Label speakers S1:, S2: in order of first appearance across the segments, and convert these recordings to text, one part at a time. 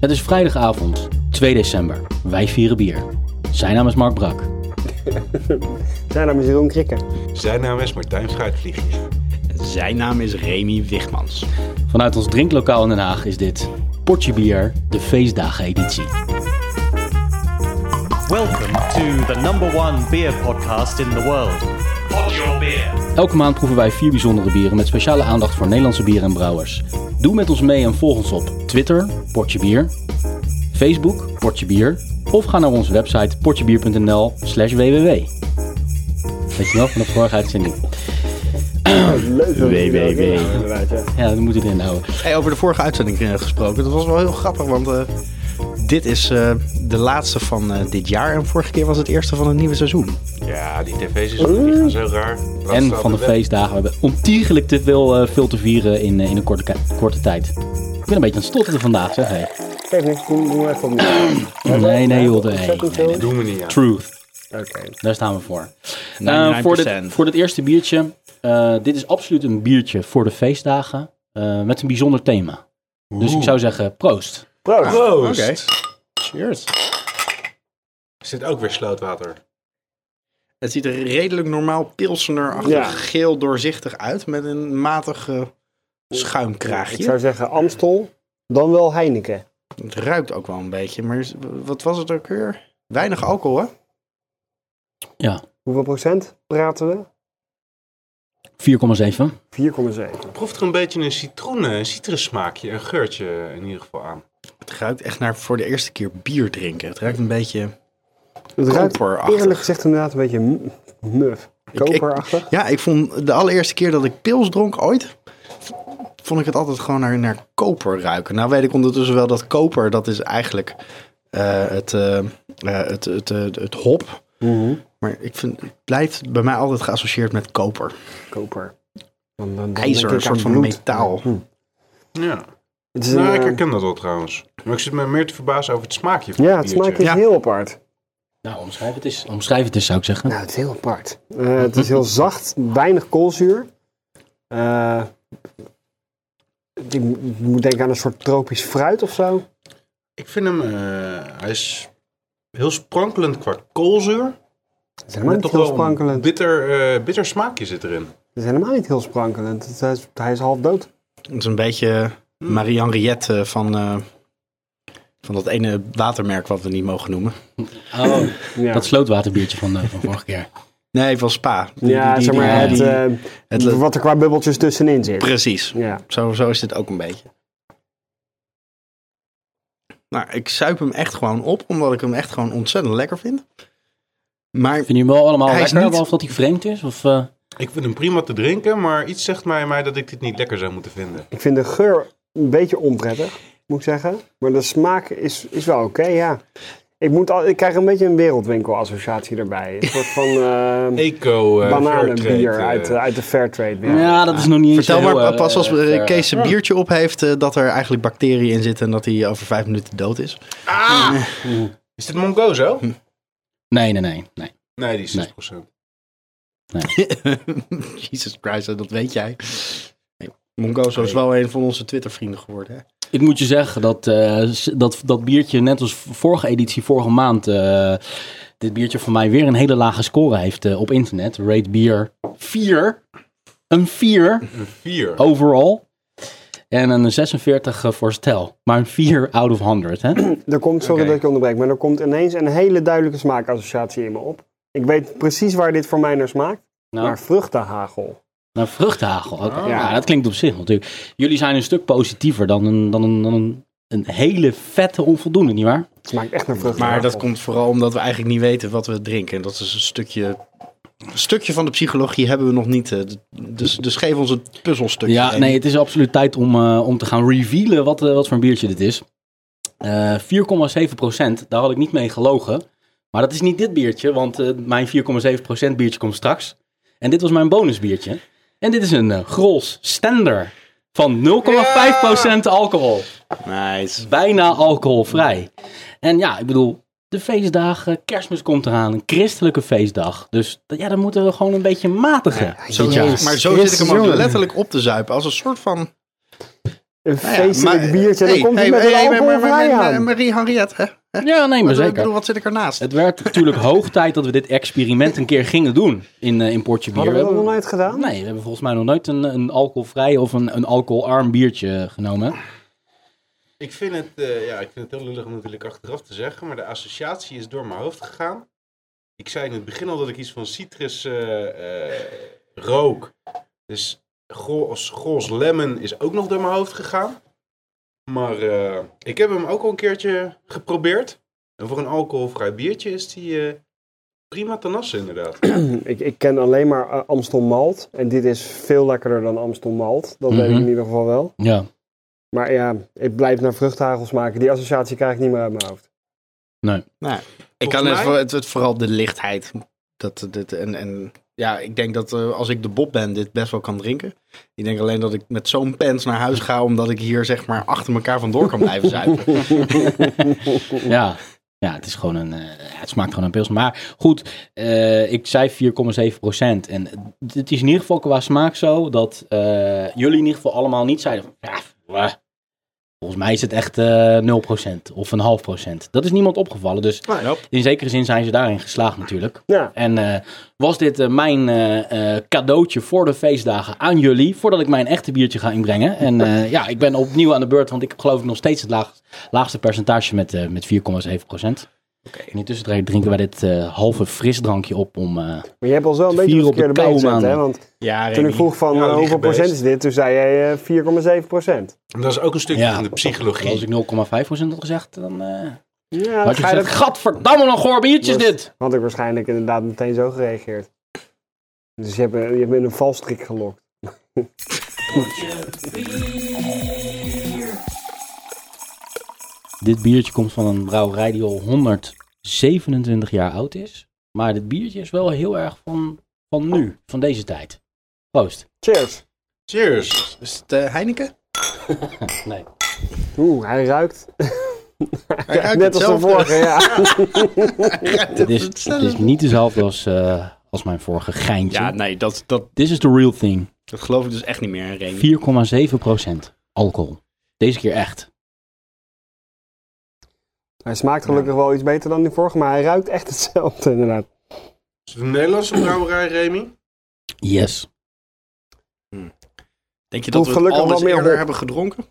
S1: Het is vrijdagavond, 2 december. Wij vieren bier. Zijn naam is Mark Brak.
S2: Zijn naam is Jeroen Krikke.
S3: Zijn naam is Martijn Fruitvliegjes.
S4: Zijn naam is Remy Wigmans.
S1: Vanuit ons drinklokaal in Den Haag is dit Portje Bier, de feestdageneditie.
S5: Welcome to the number one beer podcast in the world. Pod your beer.
S1: Elke maand proeven wij vier bijzondere bieren met speciale aandacht voor Nederlandse bieren en brouwers. Doe met ons mee en volg ons op Twitter, Portje Bier, Facebook, Portje Bier, of ga naar onze website portjebier.nl slash www. Weet je wel, van de vorige uitzending.
S2: Leuk dat je
S4: WWW.
S2: dat weet, inderdaad, ja.
S1: Ja, dat moet het inhouden.
S4: Hey, over de vorige uitzending eh, gesproken. Dat was wel heel grappig, want eh, dit is eh, de laatste van eh, dit jaar. En vorige keer was het eerste van het nieuwe seizoen.
S3: Ja, die tv-seizoenen die gaan zo raar.
S1: En van de feestdagen. We hebben ontiegelijk te veel, eh, veel te vieren in, eh, in een korte, ka- korte tijd. Ik ben een beetje aan het stotteren vandaag, zeg hé.
S2: Geef niks, doen doen we even opnieuw.
S1: Nee, nee, joh. Nee,
S2: Ontzettend
S1: nee, nee.
S2: veel.
S3: Doen we niet aan.
S1: Truth.
S2: Oké.
S1: Daar staan we voor.
S4: 99%.
S1: Eh, voor, dit, voor dit eerste biertje. eh, dit is absoluut een biertje voor de feestdagen. eh, met een bijzonder thema. Dus ik zou zeggen, proost.
S2: Proost.
S3: Proost!
S4: Oké. Cheers.
S3: Er zit ook weer slootwater.
S4: Het ziet er redelijk normaal pilsener-achtig
S2: Ja.
S4: geel doorzichtig uit. Met een matig eh, schuimkraagje.
S2: Ik zou zeggen Amstel, dan wel Heineken.
S4: Het ruikt ook wel een beetje. Maar is- wat was het ook weer? Weinig alcohol, hè?
S1: Ja,
S2: Hoeveel procent praten we?
S1: 4,7.
S2: 4,7.
S3: Proeft er een beetje een citroen, eh, citrussmaakje, een geurtje in ieder geval aan.
S4: Het ruikt echt naar voor de eerste keer bier drinken. Het ruikt een beetje...
S2: Het ruikt
S4: Koperachtig.
S2: eerlijk gezegd inderdaad een beetje m- muf. Koperachtig.
S4: Ja, ik vond de allereerste keer dat ik pils dronk ooit, vond ik het altijd gewoon naar, naar koper ruiken. Nou weet ik ondertussen wel dat koper, dat is eigenlijk eh, het, eh, eh, het, het, eh, het hop.
S2: Mhm.
S4: Maar ik vind, het blijft bij mij altijd geassocieerd met koper.
S2: Koper. Dan, dan, dan denk
S4: IJzer,
S2: ik
S4: een
S2: aan
S4: soort van
S2: bloed. Hm.
S4: metaal.
S3: Ja.
S2: Het is een,
S3: Nou, ik
S2: eh,
S3: herken dat wel trouwens. Maar ik zit me meer te verbazen over het smaakje van
S2: ja,
S3: het
S2: het smaakt
S3: biertje.
S2: is
S4: Ja.
S2: heel apart.
S1: Nou, omschrijf het eens. Omschrijf het eens, zou ik zeggen.
S2: Nou, het is heel apart. Eh, het is heel zacht, weinig koolzuur. Eh, ik moet denken aan een soort tropisch fruit of zo.
S3: Ik vind hem, eh, hij is heel sprankelend qua koolzuur.
S2: Het is helemaal
S3: Maar
S2: niet
S3: toch
S2: heel
S3: wel een
S2: sprankelend.
S3: bitter, eh, bitter smaakje zit erin.
S2: Het is helemaal niet heel sprankelend. Het, hij, is, hij is half dood.
S4: Het is een beetje
S2: Mm.
S4: Marie-Henriette van, eh, van dat ene watermerk wat we niet mogen noemen.
S1: Oh,
S2: Ja,
S1: dat slootwaterbiertje van, eh, van vorige keer.
S4: Nee, van Spa. Die-
S2: ja
S4: die-
S2: zeg
S4: die-
S2: maar, het,
S4: die-
S2: eh,
S4: het-
S2: wat er qua bubbeltjes tussenin zit.
S4: precies.
S2: Ja.
S4: Zo, zo is dit ook een beetje. Nou, ik suip hem echt gewoon op, omdat ik hem echt gewoon ontzettend lekker vind. Maar
S1: Vind je hem wel allemaal
S4: Hij is
S1: lekker,
S4: niet-
S1: behalve dat hij vreemd is? Of, eh,
S3: Ik vind hem prima te drinken, maar iets zegt mij, mij dat ik dit niet lekker zou moeten vinden.
S2: Ik vind de geur een beetje onprettig, moet ik zeggen. Maar de smaak is, is wel oké, ja. Ik, moet al, ik krijg een beetje een wereldwinkel-associatie erbij. Een soort van eh,
S3: Eco, eh
S2: bananenbier
S3: fairtrade, eh,
S2: uit, eh, uit de Fairtrade.
S1: ja.
S2: Ja.
S1: dat is nog niet eens
S4: vertel
S1: heel,
S4: maar
S1: eh,
S4: pas als
S1: eh,
S4: eh, Kees zijn biertje op heeft, eh, dat er eigenlijk bacteriën in zitten en dat hij over vijf minuten dood is.
S3: Ah! Is dit Mongozo?
S1: Nee, nee, nee. nee.
S3: Nee, die is 6%.
S4: Jesus Christ, eh, dat weet jij. Nee, Mongozo is wel een van onze Twitter-vrienden geworden. Hè?
S1: Ik moet je zeggen dat, eh, s- dat dat biertje, net als vorige editie, vorige maand, eh, dit biertje van mij weer een hele lage score heeft eh, op internet. Rate bier 4. Een 4
S3: Een
S1: Oh.
S3: 4.
S1: overall. En een 46 eh, voor stel. Maar een 4 out of 100. Hè? Nou,
S2: Er komt, sorry
S3: Oké.
S2: dat ik je onderbreek, maar er komt ineens een hele duidelijke smaakassociatie in me op. Ik weet precies waar dit voor mij naar smaakt.
S1: Nou,
S2: Naar vruchtenhagel.
S1: naar vruchthagel. nou, Oké.
S3: Ah.
S1: Ja, dat klinkt op zich natuurlijk. Jullie zijn een stuk positiever dan een, dan een, dan een, een hele vette onvoldoende, nietwaar?
S2: Het smaakt echt naar vruchtenhagel.
S4: Maar dat komt vooral omdat we eigenlijk niet weten wat we drinken. En dat is een stukje, een stukje van de psychologie hebben we nog niet. eh, Dus, dus geef ons het puzzelstukje.
S1: Ja, nee, het is absoluut tijd om, eh, om te gaan revealen wat, eh, wat voor een biertje dit is. Eh 4,7 daar had ik niet mee gelogen. Maar dat is niet dit biertje, want eh, mijn 4,7 biertje komt straks. En dit was mijn bonusbiertje. En dit is een eh, Grols Stender van 0,5 alcohol.
S4: Nice.
S1: Bijna alcoholvrij. En ja, ik bedoel, de feestdagen, kerstmis komt eraan, een christelijke feestdag. Dus ja, dan moeten we gewoon een beetje matigen.
S4: Zo,
S1: dit jaar.
S4: maar zo zit ik hem ook letterlijk op te zuipen. Als een soort van
S2: Een
S4: Nou ja,
S2: feestelijk
S4: maar-
S2: biertje en dan
S4: hey,
S2: komt hij
S4: hey,
S2: met een
S4: hey, maar- maar-
S2: alcoholvrij
S4: maar-
S2: aan.
S4: Marie Henriette, hè? Hè?
S1: Ja, nee, maar
S4: Ik
S1: zeker.
S4: bedoel, wat zit ik ernaast?
S1: Het werd natuurlijk hoog tijd dat we dit experiment een keer gingen doen in, eh in Portje Bier.
S2: Hadden we dat nog
S1: hebben-
S2: nooit gedaan?
S1: Nee, we hebben volgens mij nog nooit een, een alcoholvrij of een, een alcoholarm biertje genomen.
S3: Ik vind, het, eh, ja, ik vind het heel lullig om natuurlijk achteraf te zeggen, maar de associatie is door mijn hoofd gegaan. Ik zei in het begin al dat ik iets van citrus eh, eh, rook. Dus Gols, Gols Lemon is ook nog door mijn hoofd gegaan. Maar eh, ik heb hem ook al een keertje geprobeerd. En voor een alcoholvrij biertje is die eh, prima te nassen inderdaad.
S4: Hmm.
S2: Ik, ik ken alleen maar eh, Amstel Malt. En dit is veel lekkerder dan Amstel Malt. Dat weet
S1: Mhm.
S2: ik in ieder geval wel.
S1: Ja.
S2: Maar ja, ik blijf naar vruchthagels maken. Die associatie krijg ik niet meer uit mijn hoofd.
S4: nou, Ik kan
S3: Volgens
S4: het,
S3: mij-
S4: voor- het, het vooral de lichtheid. Dat, dit, en, en ja, ik denk dat eh, als ik de Bob ben, dit best wel kan drinken. Ik denk alleen dat ik met zo'n pens naar huis ga, omdat ik hier zeg maar achter elkaar vandoor kan blijven zuipen.
S1: Ja. Ja, het is gewoon een. eh, ja, het smaakt gewoon een pils. Maar goed, eh, ik zei 4,7 procent. En het is in ieder geval qua smaak zo dat eh, jullie in ieder geval allemaal niet zeiden. van, Ja, bleh. volgens mij is het echt eh 0 of een half procent. Dat is niemand opgevallen. Dus in zekere zin zijn ze daarin geslaagd natuurlijk.
S2: Ja.
S1: En eh, was dit eh, mijn eh, eh, cadeautje voor de feestdagen aan jullie, voordat ik mijn echte biertje ga inbrengen. En eh, ja, ik ben opnieuw aan de beurt, want ik heb geloof ik nog steeds het laag- laagste percentage met, eh, met 4,7 procent. In de tussentijd drinken wij dit eh, halve frisdrankje op om... eh,
S2: Maar je hebt al zo een
S1: Vier
S2: beetje de
S1: op de
S2: verkeerde been
S1: koude
S2: gezet, hè?
S1: maanden.
S2: Want
S4: Ja,
S2: toen ik
S4: Remy.
S2: vroeg van
S3: Ja,
S2: eh, hoeveel
S3: liegbeest.
S2: procent is dit, toen zei jij eh, 4,7 procent.
S3: Dat is ook een stukje
S1: Ja.
S3: van de
S1: als
S3: psychologie.
S1: ik 0,5 procent had gezegd, dan eh
S2: Ja,
S1: had je
S2: ga
S1: gezegd,
S2: je dat-
S1: gadverdamme nog goor biertjes
S2: Dus-
S1: dit!
S2: had ik waarschijnlijk inderdaad meteen zo gereageerd. Dus je hebt, me- je hebt me in een valstrik gelokt.
S1: Dit biertje komt van een brouwerij die al 127 jaar oud is. Maar dit biertje is wel heel erg van, van
S2: Oh.
S1: nu, van deze tijd. Proost.
S2: Cheers.
S3: Cheers!
S4: Is het eh, Heineken?
S1: Nee.
S2: Oeh, hij ruikt
S4: Hij ruikt
S2: net als de
S4: hetzelfde.
S2: vorige, ja.
S4: Hij ruikt
S1: Het is, het
S4: hetzelfde.
S1: is niet dezelfde als, eh, als mijn vorige geintje.
S4: Ja, nou- nee, dat, dat,
S1: This is the real thing.
S4: dat geloof ik dus echt niet meer, Remy.
S1: 4,7% alcohol. Deze keer echt.
S2: Hij smaakt gelukkig wel iets beter dan die vorige, maar hij ruikt echt hetzelfde inderdaad.
S3: Is het een Nederlandse brouwerij, Remy?
S1: Yes.
S4: Denk je
S2: Proef
S4: dat we het
S2: gelukkig
S4: al
S2: wel
S4: eens
S2: meer
S4: eerder
S2: hop.
S4: hebben gedronken?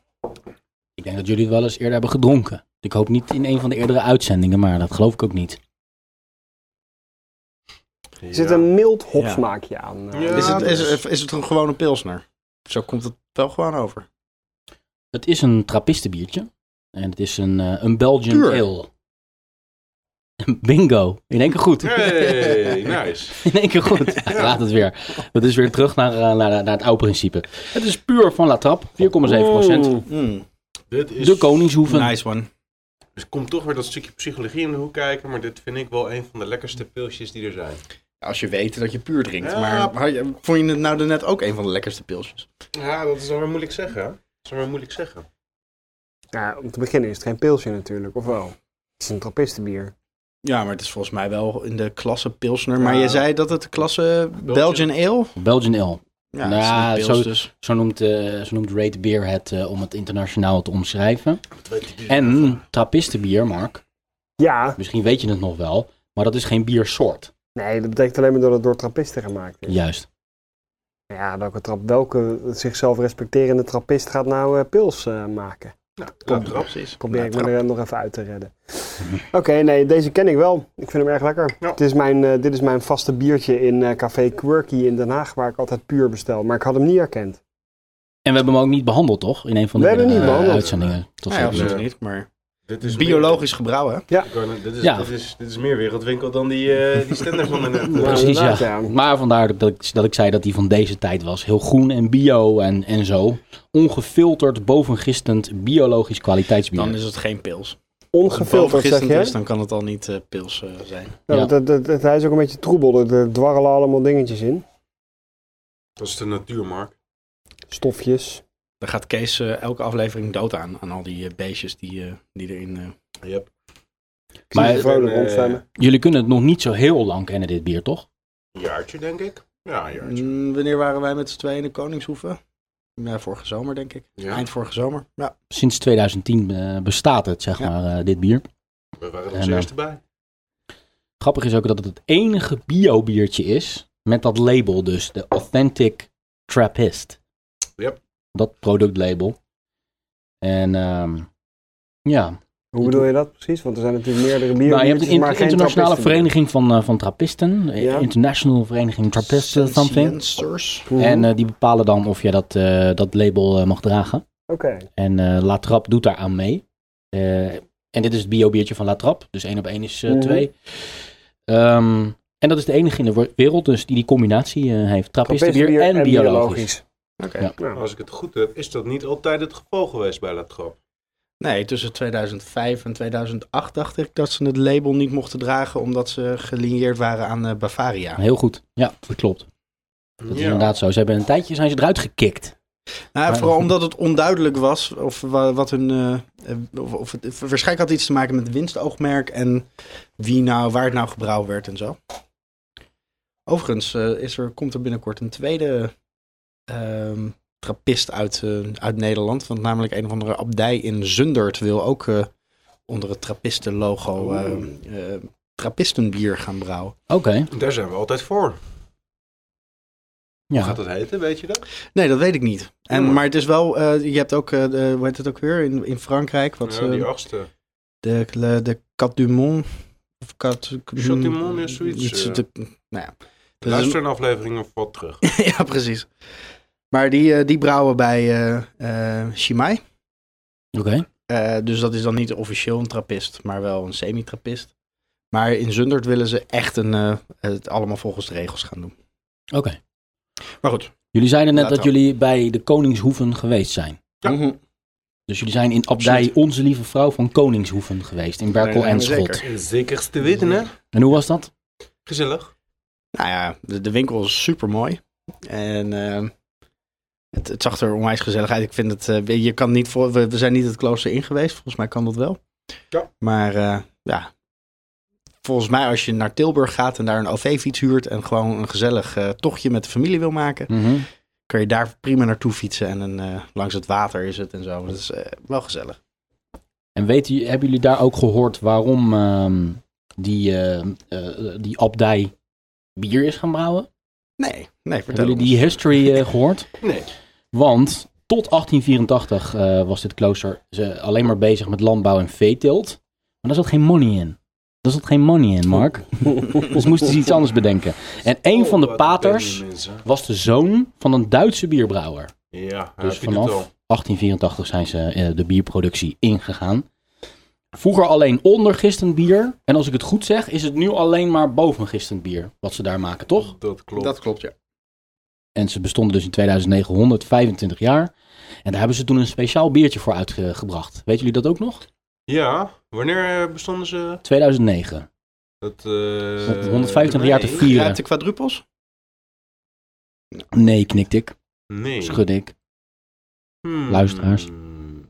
S1: Ik denk dat jullie het wel eens eerder hebben gedronken. Ik hoop niet in een van de eerdere uitzendingen, maar dat geloof ik ook niet.
S2: Er zit een mild hopsmaakje aan. eh.
S3: Ja.
S4: is, het, is,
S3: dus-
S4: is het een gewone pilsner? Zo komt het wel gewoon over.
S1: Het is een trappistenbiertje. En het is een, eh, een Belgian
S4: Puur.
S1: ale. Bingo. In één keer goed.
S3: Hey, nice.
S1: In één keer goed. Hij Laat het weer. Dat is weer terug naar, eh, naar, naar het oude principe. Het is puur van La Trappe. 4,7
S2: Mm.
S4: Mm,
S3: Dit is
S1: De Koningshoeven.
S4: nice one.
S3: Dus komt toch weer dat stukje psychologie in de hoek kijken, maar dit vind ik wel een van de lekkerste pilsjes die er zijn.
S4: Als je weet dat je puur drinkt.
S3: Ja.
S4: Maar had je- vond je het nou daarnet ook een van de lekkerste pilsjes?
S3: Ja, dat is dan weer moeilijk zeggen. hè? Dat is dan weer moeilijk zeggen.
S2: Ja, om te beginnen is het geen pilsje natuurlijk, of wel? Het is een trappistenbier.
S4: Ja, maar het is volgens mij wel in de klasse pilsner.
S3: Ja.
S4: Maar je zei dat het de klasse Belgian Ale?
S1: Belgian ale.
S4: Ja,
S1: Nou,
S4: het is een pils
S1: zo-
S4: dus.
S1: Zo noemt, eh zo noemt Rate Beer het eh, om het internationaal te omschrijven.
S3: Dat weet ik
S1: En trappistenbier, Mark.
S2: Ja,
S1: Misschien weet je het nog wel. Maar dat is geen biersoort.
S2: nee, dat betekent alleen maar dat het door trappisten gemaakt is.
S1: Juist.
S2: Ja, welke, trap, welke zichzelf respecterende trappist gaat nou eh, pils eh, maken?
S3: Nou, trap.
S4: Precies.
S2: Probeer
S4: Nou,
S2: ik me
S4: trap.
S2: er eh, nog even uit te redden. Oké, nee, deze ken ik wel. Ik vind hem erg lekker.
S3: Ja.
S2: Het is mijn, eh, dit is mijn vaste biertje in eh, Café Quirky in Den Haag, waar ik altijd puur bestel. Maar ik had hem niet herkend.
S1: En we hebben hem ook niet behandeld, toch? In een van de
S2: We hebben hem niet
S1: eh,
S2: behandeld.
S1: uitzendingen. Tot
S4: Nee,
S1: zover.
S4: absoluut
S3: Nee.
S4: niet. Maar
S3: Dit is
S4: biologisch gebruik, hè?
S3: meer- ik wou- dit, is,
S1: Ja.
S3: dit, is, dit is meer wereldwinkel dan die, eh, die stender van de
S2: Ja,
S3: net.
S1: Precies, ja.
S2: inderdaad, ja.
S1: Maar vandaar dat ik, dat ik zei dat die van deze tijd was. Heel groen en bio en, en zo. Ongefilterd, bovengistend, biologisch kwaliteitsbier.
S4: Dan is het geen pils. Als het
S2: Ongefilterd, zeg
S4: gistend
S2: je?
S4: is, dan kan het al niet eh, pils eh, zijn.
S2: Nou,
S1: Ja.
S2: dat, dat, dat- hij is ook een beetje troebel. Er, er dwarrelen allemaal dingetjes in.
S3: Dat is de natuur, Mark.
S2: Stofjes.
S4: Dan gaat Kees eh, elke aflevering dood aan. Aan al die eh, beestjes die, eh, die erin... eh,
S3: Yep.
S2: Ik maar,
S1: Maar-
S2: zie ze vrolijk
S3: Eh,
S2: rondzwemmen.
S1: Jullie kunnen het nog niet zo heel lang kennen, dit bier, toch?
S3: Een jaartje, denk ik. Ja, een jaartje.
S4: Mm, wanneer waren wij met z'n tweeën in de Koningshoeven? Ja, vorige zomer, denk ik.
S3: Ja.
S4: Eind vorige zomer. Ja.
S1: Sinds 2010 eh, bestaat het, zeg
S4: Ja.
S1: maar, eh, dit bier.
S3: We waren er
S1: En,
S3: als
S1: eh,
S3: eerste bij.
S1: Grappig is ook dat het het enige bio-biertje is met dat label dus. De Authentic Trappist.
S3: Yep.
S1: Dat productlabel. En ehm, ja,
S2: Hoe bedoel je dat precies? Want er zijn natuurlijk meerdere bieren.
S1: nou, je hebt de
S2: biertjes,
S1: in-
S2: maar geen
S1: internationale
S2: trappisten meer.
S1: vereniging van, eh, van trappisten. Eh,
S2: Ja.
S1: International Vereniging Trappisten something.
S4: Sciensters.
S2: Mhm.
S1: En eh, die bepalen dan of je dat, eh, dat label eh, mag dragen.
S2: Oké.
S1: En eh La Trappe doet daar aan mee. Eh, en dit is het bio-biertje van La Trappe. Dus één op één is eh,
S2: Mhm.
S1: twee. Ehm, en dat is de enige in de wo- wereld dus die die combinatie eh, heeft. Trappistenbier
S2: Trappistenbier
S1: en, biologisch.
S4: Oké.
S1: Ja.
S3: Nou, als ik het goed heb, is dat niet altijd het geval geweest bij La Trap.
S4: Nee, tussen 2005 en 2008 dacht ik dat ze het label niet mochten dragen omdat ze gelineerd waren aan eh, Bavaria.
S1: Heel goed. Ja, dat klopt. Dat is
S3: Ja.
S1: inderdaad zo. Ze hebben een tijdje zijn ze eruit gekikt.
S4: Nou,
S1: Maar-
S4: vooral omdat het onduidelijk was of wa- wat hun. eh, eh, of, of het, waarschijnlijk had het iets te maken met winstoogmerk en wie nou, waar het nou gebrouwen werd en zo. Overigens eh, is er, komt er binnenkort een tweede ehm trappist uit, eh, uit Nederland. Want namelijk een of andere abdij in Zundert wil ook eh, onder het trappistenlogo
S3: Oh.
S4: eh eh, trappistenbier gaan brouwen.
S1: Oké.
S3: Daar zijn we altijd voor. Hoe
S1: Ja.
S3: gaat dat heten, weet je dat?
S4: Nee, dat weet ik niet. En,
S3: Jammer.
S4: maar het is wel, eh, je hebt ook, eh, de- hoe heet het ook weer, in, in Frankrijk. Wat,
S3: ja,
S4: eh,
S3: die achtste.
S4: De, de, de Cat du Mont. Of Cat...
S3: Chat du Mont is zoiets,
S4: iets-
S3: eh.
S4: de- nou ja. Dat is
S3: Luister een aflevering of wat terug.
S4: een- ja, precies. Maar die, eh, die brouwen bij eh eh Chimay.
S1: Oké.
S4: Eh, dus dat is dan niet officieel een trappist, maar wel een semi-trappist. Maar in Zundert willen ze echt een, eh, het allemaal volgens de regels gaan doen.
S1: Oké.
S4: Maar goed.
S1: Jullie zeiden net
S4: Laat
S1: dat
S4: dan.
S1: jullie bij de Koningshoeven geweest zijn.
S3: Ja.
S4: Mhm.
S1: Dus jullie zijn in Abdij Onze Lieve Vrouw van Koningshoeven geweest. In Berkel
S4: Nee,
S1: en
S4: nee,
S1: Schot.
S4: zeker.
S3: Zeker te weten, hè?
S1: En hoe was dat?
S3: Gezellig.
S4: Nou ja, de, de winkel is super mooi. En ehm, het, het zag er onwijs gezellig uit. Ik vind het, eh, je kan niet voor, we, we zijn niet het klooster in geweest. Volgens mij kan dat wel.
S3: Ja.
S4: Maar eh, ja, volgens mij als je naar Tilburg gaat en daar een OV-fiets huurt en gewoon een gezellig eh, tochtje met de familie wil maken,
S1: Mhm.
S4: kan je daar prima naartoe fietsen en een, eh, langs het water is het en zo. Dat is eh, wel gezellig.
S1: En weet u, hebben jullie daar ook gehoord waarom ehm, die, eh, eh, die abdij bier is gaan brouwen?
S4: Nee, nee, vertel
S1: Hebben jullie
S4: ons.
S1: die history eh, gehoord?
S3: Nee.
S1: Want tot 1884 eh, was dit klooster ze alleen maar bezig met landbouw en veeteelt. Maar daar zat geen money in. Daar zat geen money in, Mark. dus moesten ze iets anders bedenken. En een
S3: Oh,
S1: van de
S3: wat ben
S1: paters
S3: je mensen.
S1: was de zoon van een Duitse bierbrouwer.
S3: Ja, hij
S1: Dus
S3: vindt het
S1: vanaf
S3: al.
S1: 1884 zijn ze eh, de bierproductie ingegaan. Vroeger alleen ondergistend bier. En als ik het goed zeg, is het nu alleen maar bovengistend bier. Wat ze daar maken, toch?
S3: Dat klopt.
S4: Dat klopt, ja.
S1: En ze bestonden dus in 2925 jaar. En daar hebben ze toen een speciaal biertje voor uitgebracht. Weten jullie dat ook nog?
S3: Ja, wanneer eh, bestonden ze?
S1: 2009.
S3: Dat,
S1: Om
S3: eh
S1: 125 jaar te
S3: nee.
S1: vieren.
S4: Raad de quadrupels?
S1: Nee, knikte ik.
S3: Nee.
S1: Schudde ik.
S3: Hmm.
S1: Luisteraars.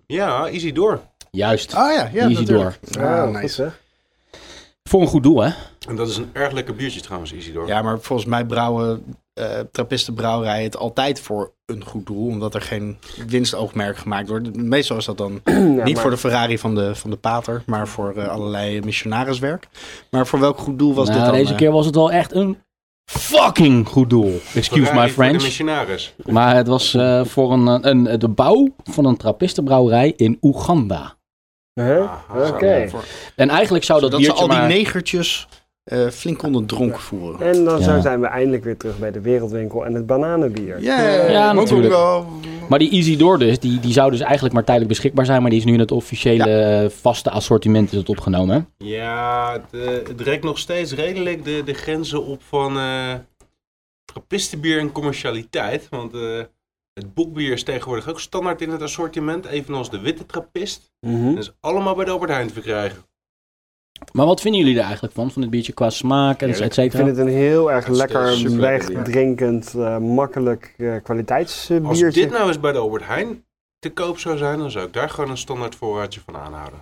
S3: Ja, easy door.
S1: Juist.
S4: Oh ja, ja
S1: Easy
S4: natuurlijk.
S2: Ah,
S4: Ah,
S2: goed,
S4: nice.
S2: zeg.
S1: Voor een goed doel, hè?
S3: En dat is een erg lekker biertje trouwens, easy door.
S4: Ja, maar volgens mij brouwen eh trappistenbrouwerijen het altijd voor een goed doel, omdat er geen winstoogmerk gemaakt wordt. Meestal is dat dan
S2: Ja,
S4: niet
S2: maar-
S4: voor de Ferrari van de, van de pater, maar voor eh, allerlei missionariswerk. Maar voor welk goed doel was
S1: Nou,
S4: dit dan?
S1: deze
S4: eh?
S1: keer was het wel echt een fucking goed doel. Excuse
S3: Ferrari
S1: my
S3: voor De
S1: French.
S3: missionaris.
S1: Maar het was eh, voor een, eh, een, eh, de bouw van een trappistenbrouwerij in Oeganda.
S4: Ah.
S2: Huh?
S3: Aha.
S2: Oké.
S4: Voor-
S1: En eigenlijk zou dat,
S4: Zodat ze
S1: biertje
S4: al die
S1: maar...
S4: negertjes eh, flink onder dronk voeren.
S2: En dan
S1: Ja.
S2: zijn we eindelijk weer terug bij de wereldwinkel en het bananenbier.
S4: Yeah,
S1: Ja, natuurlijk.
S4: Mongo.
S1: Maar die Easy Door dus, die, die zou dus eigenlijk maar tijdelijk beschikbaar zijn. Maar die is nu in het officiële eh, vaste assortiment is het opgenomen. hè?
S3: Ja, het, eh, het rekt nog steeds redelijk de, de grenzen op van eh trappistenbier en commercialiteit. Want eh, het boekbier is tegenwoordig ook standaard in het assortiment, evenals de witte trappist.
S2: Mhm.
S3: Dat is allemaal bij de Albert Heijn te verkrijgen.
S1: Maar wat vinden jullie er eigenlijk van? Van het biertje qua smaak en et
S2: Ik vind
S1: cetera?
S2: het een heel erg
S3: Het is een
S2: lekker
S3: superlekker bier.
S2: wegdrinkend, eh, makkelijk eh,
S3: Als
S2: kwaliteitsbiertje.
S3: dit nou eens bij de Albert Heijn te koop zou zijn, dan zou ik daar gewoon een standaard voorraadje van aanhouden.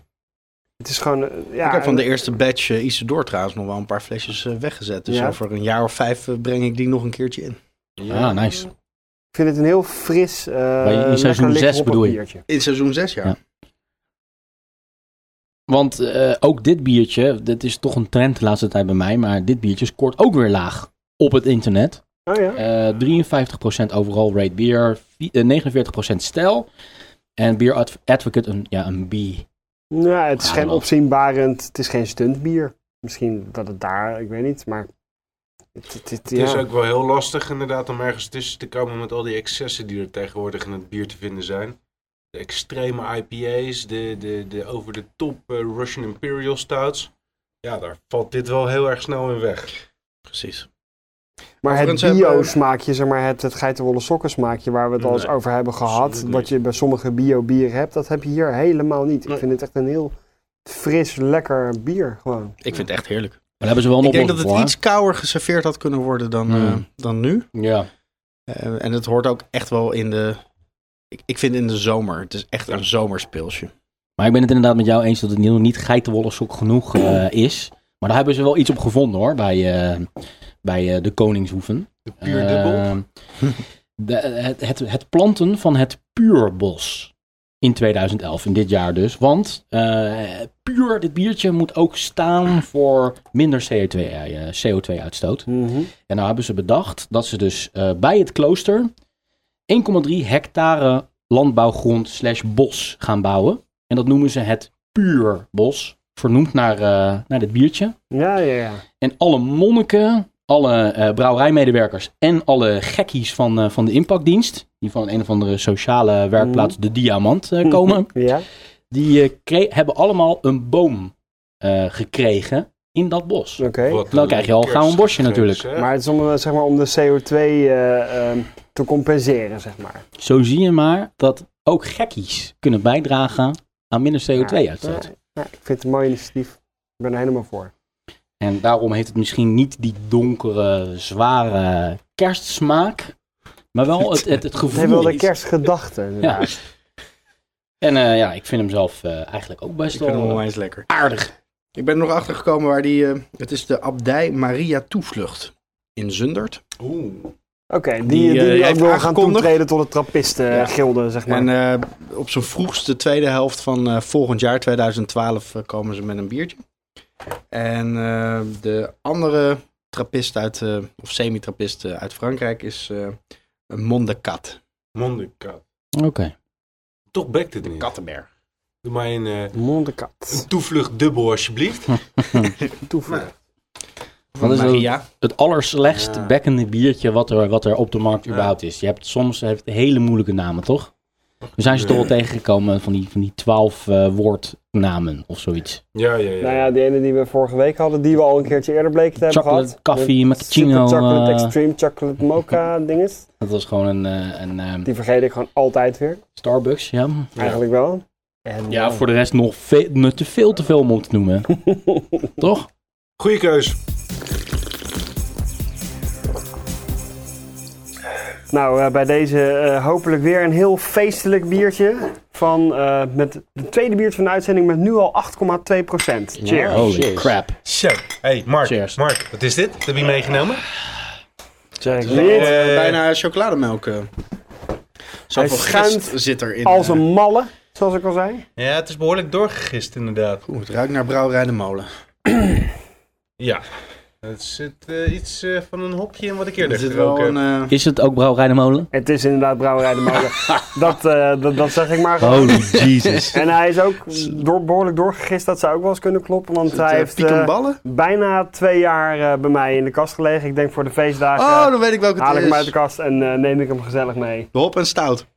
S2: Het is gewoon, eh, ja,
S4: ik heb van de
S2: eh,
S4: eerste batch eh, Isidor trouwens nog wel een paar flesjes eh, weggezet. Dus
S2: Ja.
S4: over een jaar of vijf eh, breng ik die nog een keertje in.
S1: Ah, nice.
S2: Ik vind het een heel fris, eh
S1: in
S2: lekker
S1: seizoen
S2: licht
S1: zes
S2: hoppig
S1: bedoel je?
S2: biertje.
S4: In seizoen 6 jaar.
S1: Ja. Want eh, ook dit biertje, dat is toch een trend de laatste tijd bij mij, maar dit biertje scoort ook weer laag op het internet.
S2: Oh ja.
S1: Eh, 53% overall rate beer, vi- eh, 49% stijl. En Beer Adv- Advocate een, ja, een B.
S2: Nou, het is
S1: Ja,
S2: geen
S1: wel.
S2: opzienbarend, het is geen stuntbier. Misschien dat het daar, ik weet niet, maar... Het, het- het-
S3: Het is
S2: ja.
S3: ook wel heel lastig inderdaad om ergens tussen te komen met al die excessen die er tegenwoordig in het bier te vinden zijn. De extreme IPA's, de, de, de over de top eh, Russian Imperial Stouts. Ja, daar valt dit wel heel erg snel in weg.
S4: Precies.
S2: Maar het
S4: Overigens hebben-
S2: bio-smaakje, zeg maar, het, het geitenwolle sokken smaakje waar we het al eens
S3: Nee,
S2: over hebben gehad,
S3: absoluut
S2: wat
S3: niet.
S2: je bij sommige bio-bieren hebt, dat heb je hier helemaal niet. Ik
S4: Nee.
S2: vind het echt een heel fris, lekker bier gewoon.
S4: Ik vind het echt heerlijk.
S1: Maar daar hebben ze wel een
S4: Ik denk dat
S1: oplossing
S4: het
S1: voor. hè?
S4: iets kouder geserveerd had kunnen worden dan,
S1: Mm.
S4: eh, dan nu.
S1: Ja.
S4: Eh, en het hoort ook echt wel in de... Ik, ik vind in de zomer. Het is echt
S3: Ja.
S4: een zomerspilsje.
S1: Maar ik ben het inderdaad met jou eens dat het nog niet geitenwolle sok genoeg eh, is. Maar daar hebben ze wel iets op gevonden hoor, bij, eh, bij eh, de Koningshoeven.
S3: De puur dubbel.
S1: Ehm, de- het, het, het planten van het puurbos in 2011, in dit jaar dus. Want eh, puur, dit biertje, moet ook staan voor minder CO2, eh, CO2-uitstoot. En nou hebben ze bedacht dat ze dus eh, bij het klooster 1,3 hectare landbouwgrond slash bos gaan bouwen. En dat noemen ze het puurbos, vernoemd naar, eh, naar dit biertje.
S2: Ja, ja, ja.
S1: En alle monniken, alle eh, brouwerijmedewerkers en alle gekkies van, eh, van de impactdienst, die van een of andere sociale werkplaats, de Diamant, eh, komen,
S2: Ja?
S1: die eh, kre- hebben allemaal een boom eh, gekregen in dat bos.
S2: Oké.
S3: Wat
S1: dan krijg je al gauw een bosje
S3: kerstgeschenk,
S1: natuurlijk.
S3: hè?
S2: Maar het is om, eh, zeg maar, om de CO2 eh, ehm, te compenseren, zeg maar.
S1: Zo zie je maar dat ook gekkies kunnen bijdragen aan minder CO2-uitstoot.
S2: Ja, ja, ik vind het een mooi initiatief. Ik ben er helemaal voor.
S1: En daarom heeft het misschien niet die donkere, zware kerstsmaak, maar wel het, het, het
S2: Het heeft wel
S1: gevoel.
S2: de kerstgedachten. inderdaad.
S1: En eh, ja, ik vind hem zelf eh, eigenlijk ook best
S4: Ik vind hem
S1: wel...
S4: onwijs lekker. Aardig. Ik ben er nog achter gekomen waar die... eh, het is de Abdij Maria Toevlucht in Zundert.
S3: Oeh.
S2: Oké, die,
S4: Die,
S2: die,
S4: eh,
S2: die ook
S4: heeft
S2: wil gaan
S4: aangekondigd.
S2: toetreden tot de trappistengilde, zeg maar.
S4: En eh, op zijn vroegst de tweede helft van eh, volgend jaar, 2012, eh, komen ze met een biertje. En eh, de andere trappist uit, eh, of semi-trappist eh, uit Frankrijk is eh een Mondecat,
S3: Mondekat.
S1: eh, Oké.
S3: Toch bekt het niet.
S4: Kattenberg.
S3: Doe mij een, eh,
S2: Mondekat.
S3: een toevlucht dubbel alsjeblieft. Nou,
S2: Toevoegen.
S1: Wat is dat?
S4: Maria.
S1: Het allerslechtst
S3: Ja.
S1: bekkende biertje wat er, wat er op de markt
S3: Ja.
S1: überhaupt is. Je hebt soms heeft hele moeilijke namen, toch? We zijn ze toch wel
S3: Ja.
S1: tegengekomen van die, van die twaalf eh, woordnamen of zoiets.
S3: Ja, ja, ja.
S2: Nou ja, die ene die we vorige week hadden, die we al een keertje eerder bleken te hebben
S1: Chocolate,
S2: gehad.
S1: koffie,
S2: Met
S1: macchiato,
S2: Super chocolate,
S1: eh.
S2: extreme chocolate mocha dinges.
S1: Dat was gewoon een, eh, een eh,
S2: Die vergeet ik gewoon altijd weer,
S1: Starbucks, ja.
S2: eigenlijk wel. En,
S1: Ja,
S2: eh,
S1: voor de rest nog veel, nog te veel te veel om op te noemen. toch?
S3: Goeie keus.
S2: Nou, eh, bij deze eh, hopelijk weer een heel feestelijk biertje. Van, eh, met het tweede biertje van de uitzending met nu al 8,2 procent. Cheers.
S1: Holy crap.
S3: Zo. Hey, Mark.
S1: Cheers.
S3: Mark, wat is dit? Dat heb je meegenomen?
S2: Cheers.
S4: Eh, bijna chocolademelk. eh. Zoveel
S2: schuimt
S4: gist zit erin.
S2: Als
S4: eh.
S2: een malle, zoals ik al zei.
S3: Ja, het is behoorlijk doorgegist inderdaad.
S4: Oeh, het ruikt naar brouwerij de molen.
S3: Ja. Er zit eh, iets eh, van een hopje in wat ik eerder
S4: Er zit
S3: geroken
S4: wel
S3: heb.
S4: een... eh,
S1: Is het ook Brouwerij de Molen?
S2: Het is inderdaad Brouwerij de Molen. dat, eh, dat, dat zeg ik maar gewoon.
S1: Holy Jesus.
S2: En hij is ook door, behoorlijk doorgegist. Dat zou ook wel eens kunnen kloppen. Want hij
S4: eh,
S2: heeft eh,
S4: pikkenballen?
S2: bijna twee jaar eh, bij mij in de kast gelegen. Ik denk voor de feestdagen
S4: Oh, dan weet ik welke
S2: Ah, haal ik
S4: het
S2: hem uit de
S4: is.
S2: kast en eh, neem ik hem gezellig mee.
S4: Hop en stout.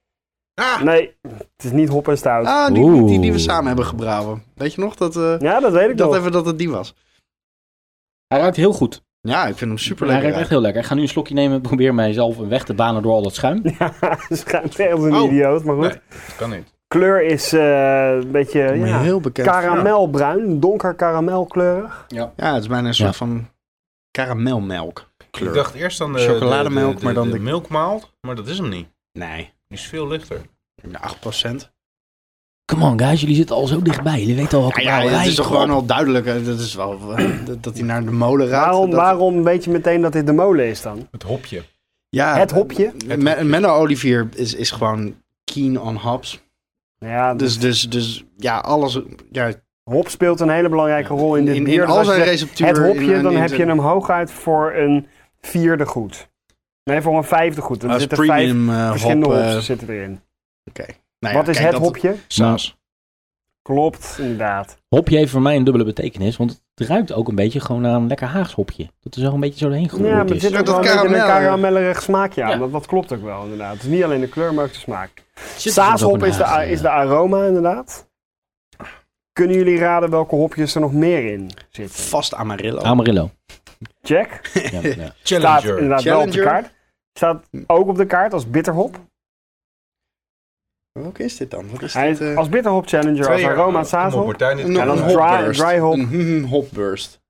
S4: Ah,
S2: Nee, het is niet hop en stout.
S4: ah die, die, die, die we
S1: Oeh.
S4: samen hebben gebrouwen. Weet je nog dat... eh,
S2: Ja, dat weet ik
S4: Ik dacht
S2: nog.
S4: even dat het die was.
S1: Hij ruikt heel goed.
S4: Ja, ik vind hem super
S1: Hij ruikt echt
S4: lekker.
S1: heel lekker. Ik ga nu een slokje nemen. Probeer mijzelf een weg te banen door al dat schuim.
S2: Ja, schijnt echt een
S4: Oh.
S2: idioot, maar goed.
S3: Nee. Kan niet.
S2: Kleur is eh, een beetje ja,
S4: Heel bekend.
S2: karamelbruin, donker karamelkleurig.
S4: ja, het is bijna een soort
S1: Ja.
S4: van karamelmelk kleur.
S3: Ik dacht eerst aan de
S4: Chocolademelk,
S3: de- de- de-
S4: maar dan
S3: de
S4: de-
S3: milkmaal, maar dat is hem niet.
S4: Nee,
S3: Die is veel lichter.
S4: de 8%.
S1: Come on guys, jullie zitten al zo dichtbij. Jullie weten al wat
S4: Ja, ja, het is toch gewoon al duidelijk. hè, Dat is wel eh, dat- dat hij naar de molen raakt.
S2: Waarom,
S4: dat-
S2: waarom weet je meteen dat dit de molen is dan?
S3: Het hopje.
S4: Ja,
S2: Het hopje.
S4: Me- Menno Olivier is, is gewoon keen on hops.
S2: Ja, dus
S4: Dus, dus, dus ja, alles. Ja,
S2: hop speelt een hele belangrijke rol in dit
S4: in,
S2: bier.
S4: in
S2: Dus
S4: al
S2: als je
S4: zijn
S2: zegt,
S4: receptuur.
S2: Het
S4: in-
S2: hopje,
S4: in-
S2: dan
S4: in
S2: heb je
S4: zijn-
S2: hem hooguit voor een vierde goed. Nee, voor een vijfde goed. Dan
S4: als
S2: zitten vijf
S4: premium eh,
S2: verschillende
S4: hop. eh,
S2: hops zitten erin.
S4: nou ja,
S2: Wat is
S4: kijk,
S2: het
S4: dat-
S2: hopje?
S4: Saus.
S2: Klopt, inderdaad.
S1: Hopje heeft voor mij een dubbele betekenis, want het ruikt ook een beetje gewoon naar een lekker Haags hopje. Dat is wel een beetje zo heen
S2: ja, maar
S1: geroerd
S2: het
S1: is.
S2: zit ook
S4: Dat
S2: wel een beetje een
S4: karamel, ja.
S2: karamellerig smaakje aan.
S1: Ja.
S2: Dat, dat klopt ook wel, inderdaad. Het is niet alleen de kleur, maar ook de smaak.
S1: Zit dus ook
S2: Saashop
S1: een
S2: is de,
S1: Haagse,
S2: a- is de aroma, inderdaad. Kunnen jullie raden welke hopjes er nog meer in zitten?
S4: Vast Amarillo.
S1: eh, Amarillo.
S2: Jack
S1: Ja, ja.
S2: staat inderdaad wel op de
S4: Challenger.
S2: kaart. Staat ook op de kaart als bitterhop.
S4: Welke is dit dan? Wat is
S2: Hij
S4: dit?
S2: is
S4: eh,
S2: als bitterhop challenger, als
S4: twee eh, jaar
S2: aroma
S3: Kom op,
S2: saashop.
S3: Martijn, dit
S4: een-
S3: kan
S2: en dan
S4: een
S3: wel.
S2: dry-
S4: hopburst.
S2: dry hop.
S4: Een hmm, hopburst.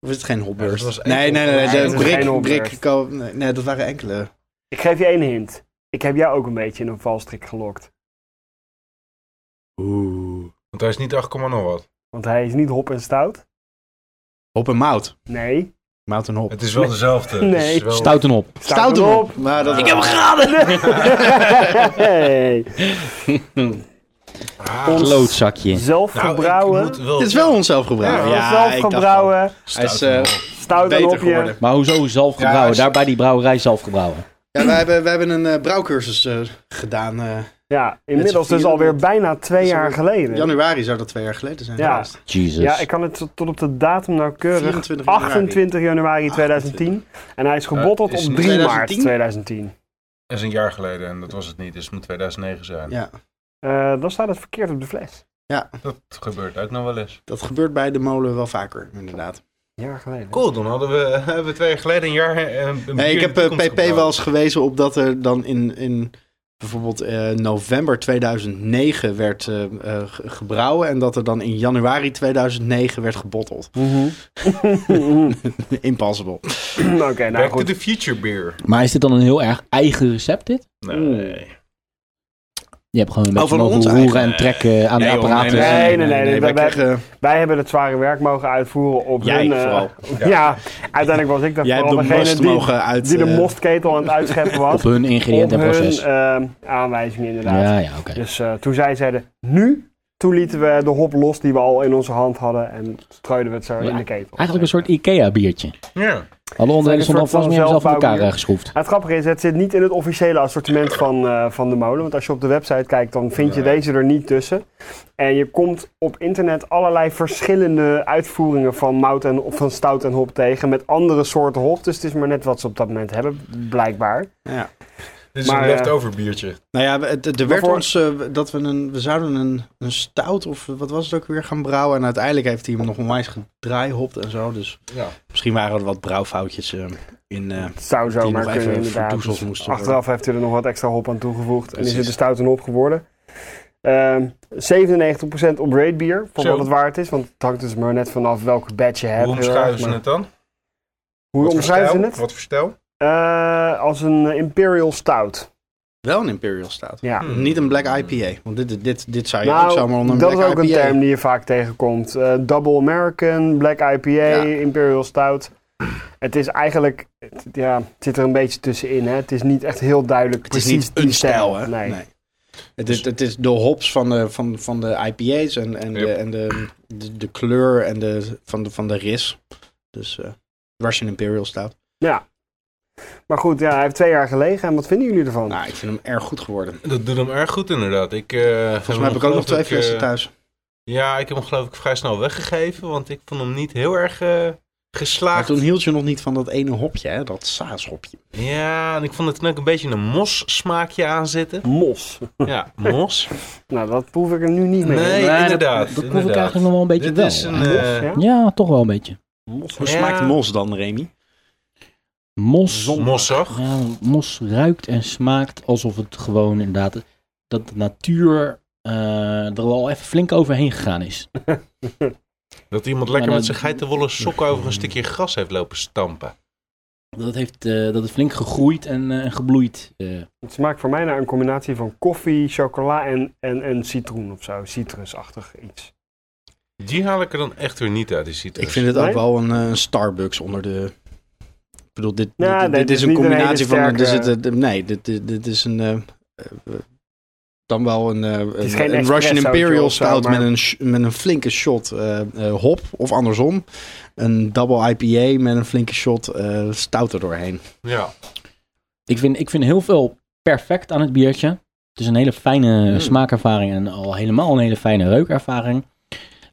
S4: Of is het geen
S3: Ja, dat was
S4: hopburst?
S3: één
S4: nee, nee, nee,
S3: hopburst.
S4: nee,
S2: Nee,
S4: de
S2: dat is geen
S4: brik,
S2: hopburst.
S4: brik, ko- nee, nee, dat waren enkele.
S2: Ik geef je één hint. Ik heb jou ook een beetje in een valstrik gelokt.
S4: Oeh.
S3: Want hij is niet 8, nog wat.
S2: Want hij is niet hop en stout.
S4: Hop en mout.
S2: Nee.
S4: Mout en hop.
S3: Het is wel dezelfde.
S2: Nee.
S3: Het is wel-
S1: Stouten op.
S4: Stout en
S2: erop.
S4: hop. Nou, dat
S1: Ik heb hem geraden!
S4: Nou,
S2: Hey.
S3: Ah,
S2: Ons
S1: Loodzakje.
S2: Zelf
S3: nou, ik
S2: gebrouwen.
S3: moet wel-
S4: Het is wel onszelf
S2: Ja,
S4: gebrouwen.
S2: zelf
S4: ik dacht al.
S2: gebrouwen.
S4: Hij is
S3: Stout en
S4: eh,
S3: hop.
S2: Stout en
S4: beter
S2: hopje.
S4: geworden.
S1: Maar hoezo zelf gebrouwen?
S3: als-
S1: Daar bij die brouwerij zelf gebrouwen.
S4: Ja, wij hebben, wij hebben een eh, brouwcursus eh, gedaan. eh,
S2: Ja, inmiddels
S4: z'n
S2: dus
S4: vieren
S2: alweer
S4: met-
S2: bijna twee
S4: is
S2: jaar
S4: alweer-
S2: geleden.
S4: januari zou dat twee jaar geleden zijn
S2: Ja.
S4: geweest.
S1: Jesus.
S2: Ja, ik kan het tot tot op de datum nauwkeurig.
S4: 24 januari.
S2: 28 januari 2010. En hij is gebotteld
S3: Eh, is
S2: op
S3: het
S2: 3 maart
S4: 2010?
S2: 2010.
S3: Dat is een jaar geleden en dat was het niet. Dus het moet 2009 zijn.
S4: Ja,
S2: Eh, dan staat het verkeerd op de fles.
S3: Dat gebeurt ook nog wel eens.
S4: dat gebeurt bij de molen wel vaker, inderdaad.
S2: Een jaar geleden.
S3: Cool, dan hadden we, hebben we twee jaar geleden een jaar... eh, Een, een
S4: Nee, ik
S3: bier
S4: heb
S3: de
S4: eh,
S3: toekomst
S4: PP
S3: gebrouwen.
S4: wel eens gewezen op dat er dan in, in bijvoorbeeld eh, november 2009 werd eh, eh, ge- gebrouwen. En dat er dan in januari 2009 werd gebotteld.
S2: Mhm.
S4: Impossible.
S2: Oké, nou
S3: Back to
S2: goed.
S3: the future beer.
S1: Maar is dit dan een heel erg eigen recept, dit? Je hebt gewoon een beetje
S4: Oh, van
S1: mogen
S4: ons
S1: roeren
S4: eigen,
S1: en trekken aan de
S4: joh,
S1: apparaten.
S2: nee, nee. nee,
S4: wij
S2: wij- wij-
S4: kregen-
S2: Wij hebben het zware werk mogen uitvoeren op
S4: Jij
S2: hun... eh,
S4: vooral.
S2: Ja. uiteindelijk was ik daar
S4: Jij hebt
S2: vooral
S4: de
S2: degene
S4: most
S2: die,
S4: mogen uit...
S2: die de
S4: eh,
S2: mostketel aan het uitscheppen was.
S1: Op hun
S2: op hun
S1: ingrediëntenproces.
S2: eh, aanwijzingen inderdaad.
S1: ja, ja, oké.
S2: Dus eh, toen zij zeiden nu, toen lieten we de hop los die we al in onze hand hadden en strooiden we het zo
S1: Ja,
S2: in de ketel.
S1: Eigenlijk een soort IKEA-biertje.
S3: Ja.
S1: Alle onderdelen
S2: een
S1: stonden
S2: soort
S1: alvast
S2: van
S1: meer zelf in elkaar
S2: zelfbouwbier.
S1: eh, geschroefd.
S2: Het grappige is, het zit niet in het officiële assortiment van, eh, van de molen. Want als je op de website kijkt, dan vind je
S3: Nee.
S2: deze er niet tussen. En je komt op internet allerlei verschillende uitvoeringen van mout en of van stout en hop tegen. Met andere soorten hop. Dus het is maar net wat ze op dat moment hebben, blijkbaar.
S4: ja.
S3: Dit is
S2: Maar,
S3: een
S2: eh,
S3: leftover biertje.
S4: Nou ja, het- het- er werd
S2: voor-
S4: ons eh, dat we een, we zouden een, een stout of wat was het ook weer gaan brouwen. En uiteindelijk heeft hij hem nog onwijs gedraaihopt en zo. Dus
S3: Ja.
S4: misschien waren er wat brouwfoutjes eh, in. eh,
S2: Het zou
S4: die
S2: zomaar
S4: nog even
S2: kunnen inderdaad. Dus
S4: verdoezeld moesten
S2: Achteraf heeft u er nog wat extra hop aan toegevoegd. En is
S4: Precies.
S2: het de stout en hop geworden. Ehm 97% op rate bier, voor
S3: Zo.
S2: wat het waard is. Want het hangt dus maar net vanaf welke badge je hebt.
S3: Hoe
S2: heel erg,
S3: omschrijven ze
S2: maar-
S3: het dan?
S2: Hoe
S3: Wat voor
S2: omschrijven ze
S3: stijl?
S2: het?
S3: Wat voor stijl?
S2: Eh, als een eh, Imperial Stout.
S4: Wel een Imperial stout.
S2: Ja.
S3: Hmm.
S4: Niet een black IPA. Want dit, dit, dit zou je
S2: Nou,
S4: ook zomaar onder een
S2: dat
S4: black
S2: is ook een
S4: IPA.
S2: term die je vaak tegenkomt. Eh, Double American, Black IPA,
S4: Ja.
S2: Imperial Stout. Het is eigenlijk, het, ja, het zit er een beetje tussenin. Hè? Het is niet echt heel duidelijk
S4: Het is
S2: precies
S4: niet
S2: die
S4: een stijl, hè?
S2: Nee.
S4: Het, is, het is de hops van de, van, van de IPA's en, en, de,
S3: Yep.
S4: en de, de, de kleur en de, van, de, van de ris. Dus eh Russian Imperial stout.
S2: Maar goed, ja, hij heeft twee jaar gelegen. En wat vinden jullie ervan?
S4: Nou, ik vind hem erg goed geworden.
S3: Dat doet hem erg goed inderdaad. Ik, eh,
S4: Volgens mij heb ik ook nog twee flessen thuis.
S3: Ja, ik heb hem geloof ik vrij snel weggegeven, want ik vond hem niet heel erg eh,
S4: Maar
S3: geslaagd.
S4: toen hield je nog niet van dat ene hopje, hè? dat saashopje.
S3: Ja, en ik vond het toen ook een beetje een mos smaakje aan zitten.
S2: Mos.
S3: Ja, mos.
S2: Nou, dat proef ik er nu niet mee.
S3: Nee,
S1: dat-
S3: inderdaad,
S1: Dat, proef ik
S3: inderdaad.
S1: eigenlijk nog wel een beetje
S3: Dit
S1: wel.
S3: is een,
S2: Mos,
S3: eh,
S2: ja?
S1: Ja, toch wel een beetje.
S4: Hoe
S3: Ja.
S4: smaakt mos dan, Remy?
S1: Mos.
S3: mossig.
S1: Ja, mos ruikt en smaakt alsof het gewoon inderdaad... dat de natuur eh, er wel even flink overheen gegaan is.
S3: Dat iemand lekker
S1: Maar
S3: met
S1: dat-
S3: zijn geitenwolle sok over een stukje gras heeft lopen stampen.
S1: Dat, heeft, eh, dat is flink gegroeid en eh, en gebloeid. eh.
S2: Het smaakt voor mij naar een combinatie van koffie, chocola en, en, en citroen of zo. Citrusachtig iets.
S3: Die haal ik er dan echt weer niet uit, die citrus.
S4: Ik vind het ook
S2: Nee?
S4: wel een eh, Starbucks onder de bedoel, dit,
S2: Ja, nee,
S4: dit, dit
S2: het
S4: is
S2: is
S4: een
S2: niet een
S4: combinatie
S2: hele
S4: van... er
S2: sterke-
S4: zitten- nee, dit, dit, dit is een... eh, eh, dan wel een, eh,
S2: is
S4: een-
S2: geen
S4: een Russian
S2: espressootje
S4: Imperial
S2: of zo,
S4: stout met,
S2: maar-
S4: een, sh- met een flinke shot eh, eh, hop. Of andersom, een double IPA met een flinke shot eh stout er doorheen.
S3: Ja.
S1: Ik vind, ik vind heel veel perfect aan het biertje. Het is een hele fijne
S4: Mm.
S1: smaakervaring en al helemaal een hele fijne reukervaring.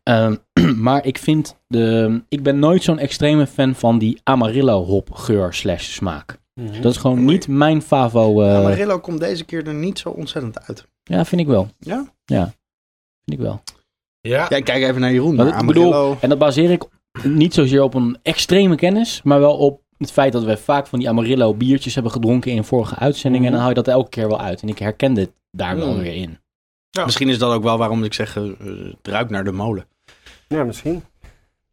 S1: Ehm, maar ik vind de, ik ben nooit zo'n extreme fan van die Amarillo hop geur slash smaak.
S4: Mhm.
S1: Dat is gewoon niet mijn favo. eh,
S4: Amarillo komt deze keer er niet zo ontzettend uit.
S1: ja, vind ik wel.
S4: Ja?
S1: Ja, vind ik wel.
S3: Ja.
S4: Ja, ik kijk even naar Jeroen.
S1: Maar
S4: maar
S1: dat- ik bedoel-
S4: Amarillo-
S1: En dat baseer ik niet zozeer op een extreme kennis, maar wel op het feit dat we vaak van die Amarillo biertjes hebben gedronken in vorige
S4: Mhm.
S1: uitzendingen. En dan hou je dat elke keer wel uit. En ik herken dit daar wel
S4: Mm.
S1: weer in.
S3: Ja.
S4: Misschien is dat ook wel waarom ik zeg, eh, het ruikt naar de molen.
S2: Ja, misschien.